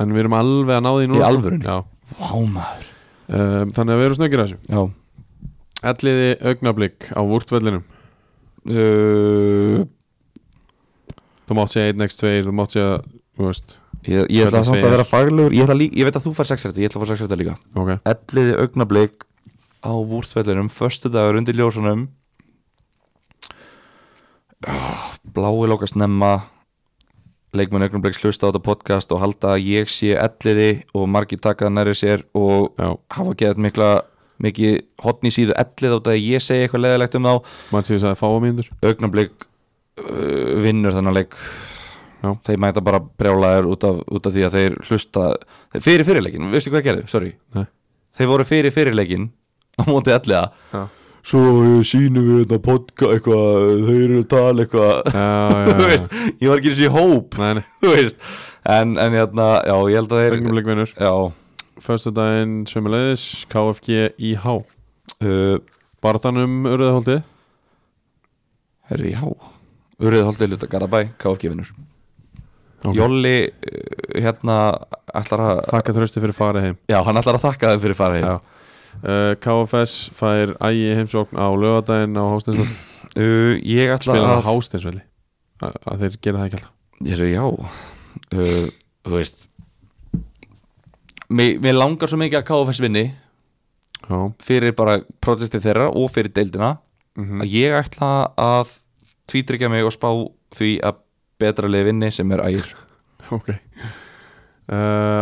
[SPEAKER 1] en við erum alveg að ná því núna
[SPEAKER 2] Í alvörunni?
[SPEAKER 1] Já,
[SPEAKER 2] Vá maður
[SPEAKER 1] um, þannig að við erum snöggir að þessu
[SPEAKER 2] Já
[SPEAKER 1] Elliði augnablík á vúrtvellinum
[SPEAKER 2] uh,
[SPEAKER 1] Þú mátt segja 1x2, þú mátt segja Þú veist,
[SPEAKER 2] Ég, ég ætla
[SPEAKER 1] Hvernig
[SPEAKER 2] samt
[SPEAKER 1] fer?
[SPEAKER 2] að vera faglegur ég, ætla líka, ég veit að þú fær sexrættu, ég ætla að fá sexrættu líka
[SPEAKER 1] ok
[SPEAKER 2] Elliði augnablik á vúrtvellinum Föstu dagur undir ljósunum Ah, Blái lókast nemma Leikmenn augnablik slusta á þetta podcast og halda að ég sé elliði og margir taka það næri sér og
[SPEAKER 1] Já,
[SPEAKER 2] hafa geðað mikla mikið hotn í síðu ellið á þetta að ég segi eitthvað leðilegt um þá
[SPEAKER 1] mann séu þess að fáa mínútur
[SPEAKER 2] augnablik uh, vinnur þennan leik
[SPEAKER 1] Já.
[SPEAKER 2] þeir mæta bara brjálæður út af, út af því að þeir hlusta fyrir fyrirleikin, veistu hvað gerðu, sorry
[SPEAKER 1] Nei.
[SPEAKER 2] þeir voru fyrir fyrirleikin á móti allega
[SPEAKER 1] Já.
[SPEAKER 2] svo sínum við þetta podka eitthvað, þeir eru að tala eitthvað
[SPEAKER 1] Já, já,
[SPEAKER 2] þú
[SPEAKER 1] já
[SPEAKER 2] veist, ég var ekki eins og í hóp
[SPEAKER 1] Nei, nei,
[SPEAKER 2] þú veist, en, en hérna já, ég held að þeir
[SPEAKER 1] augnablik vinnur
[SPEAKER 2] já,
[SPEAKER 1] Föstudaginn sömulegðis, KFG IH
[SPEAKER 2] uh,
[SPEAKER 1] Barðan um Urðaholti
[SPEAKER 2] Herri, já Urrið holdið luta Garabæ, KFG vinnur
[SPEAKER 1] Ok.
[SPEAKER 2] Jolli, eh, hérna ætlar að,
[SPEAKER 1] Þakka þröstu fyrir farið heim
[SPEAKER 2] já, hann ætlar að þakka þeim fyrir farið heim.
[SPEAKER 1] Já. Uh, KFS fær ægi heimsókn á lögadaginn á Hásteinsvöld
[SPEAKER 2] uh, Ég ætla
[SPEAKER 1] Spila á
[SPEAKER 2] að
[SPEAKER 1] Hásteinsvöldi Að að þeir gera það ekki alltaf
[SPEAKER 2] Herri, já uh, Þú veist mér, mér langar svo mikið að KFS vinni
[SPEAKER 1] Já,
[SPEAKER 2] fyrir bara protestið þeirra og fyrir deildina
[SPEAKER 1] Mhm.
[SPEAKER 2] að ég ætla að tvítryggja mig og spá því að betra leið vinni sem er ægir
[SPEAKER 1] ok uh,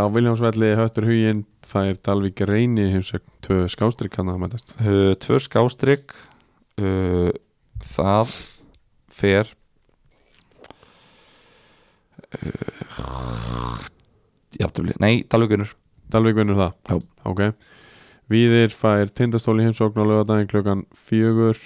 [SPEAKER 1] Á Viljámsvelli höttur huginn fær Dalvík reyni heimsókn Tvö skástrík kann að mætast
[SPEAKER 2] uh, Tvö skástrygg uh, Það fer uh, Jafntöfli, nei, Dalvíkunur
[SPEAKER 1] Dalvík vinnur það
[SPEAKER 2] Já.
[SPEAKER 1] Ok Víðir fær tindastóli heimsókn á lögadaginn klukkan fjögur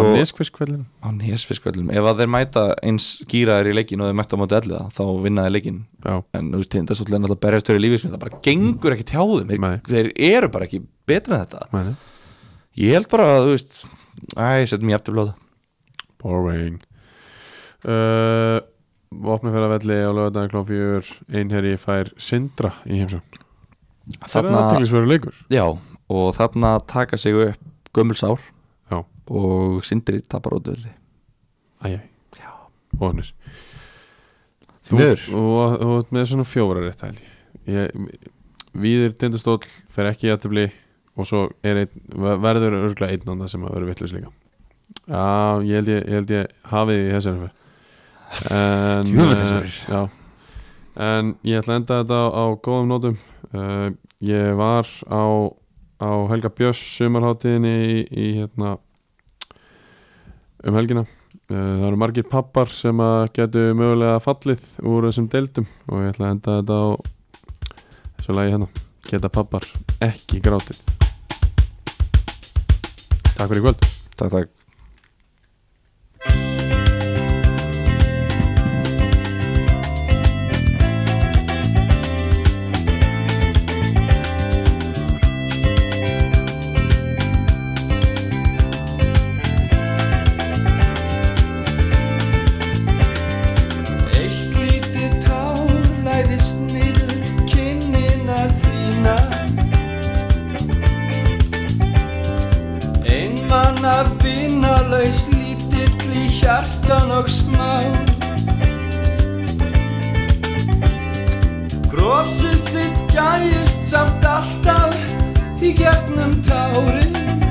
[SPEAKER 1] Á Neskviskvellin
[SPEAKER 2] á Nesfiskvöllum Ef að þeir mæta eins gýraðir í leikin og þeir mæta á móti elliða þá vinna þeir leikin
[SPEAKER 1] Já,
[SPEAKER 2] en þú veist, tindastóllin alltaf berjast fyrir lífið sinu það bara gengur ekki tjá þeim
[SPEAKER 1] Nei.
[SPEAKER 2] þeir, þeir eru bara ekki betra en þetta
[SPEAKER 1] mæni
[SPEAKER 2] Ég held bara að, þú veist, æ, setjum ég aftur blóða
[SPEAKER 1] Boring uh, Vopnafjörðavelli á lögadaginn klá fjögur Einherji fær Sindra í heimsókn Það er aðteglisveru leikur
[SPEAKER 2] Já, og þarna taka sig upp gömulsár
[SPEAKER 1] Já.
[SPEAKER 2] og Sindri tapar út öðli
[SPEAKER 1] Æjæ
[SPEAKER 2] Já.
[SPEAKER 1] Vonir Þú
[SPEAKER 2] Því miður.
[SPEAKER 1] og- og þú ert með svona fjóra rétt held ég. ég Víðir tindastóll fer ekki í aðtefli og svo er einn, ver- verður örgla einn annað sem að verður vittlust líka Já, ég held ég, ég, held ég hafið í þessari fer En
[SPEAKER 2] Djöfull
[SPEAKER 1] eh,
[SPEAKER 2] þessari.
[SPEAKER 1] Já En ég ætla að enda þetta á, á góðum nótum uh, Ég var á, á Helga Björns sumarháttiðinni í, í hérna um helgina Eh, Það eru margir pappar sem að getu mögulega fallið úr þessum deildum og ég ætla að enda þetta á þessu lagi hérna Geta pappar ekki grátið Takk fyrir í kvöld
[SPEAKER 2] Takk, takk
[SPEAKER 4] Eitt lítið tár læðist niður kinnina þína Einmann að vinalaus lítill í hjartan og smá Brosið þitt gæjist samt alltaf í gegnum tárin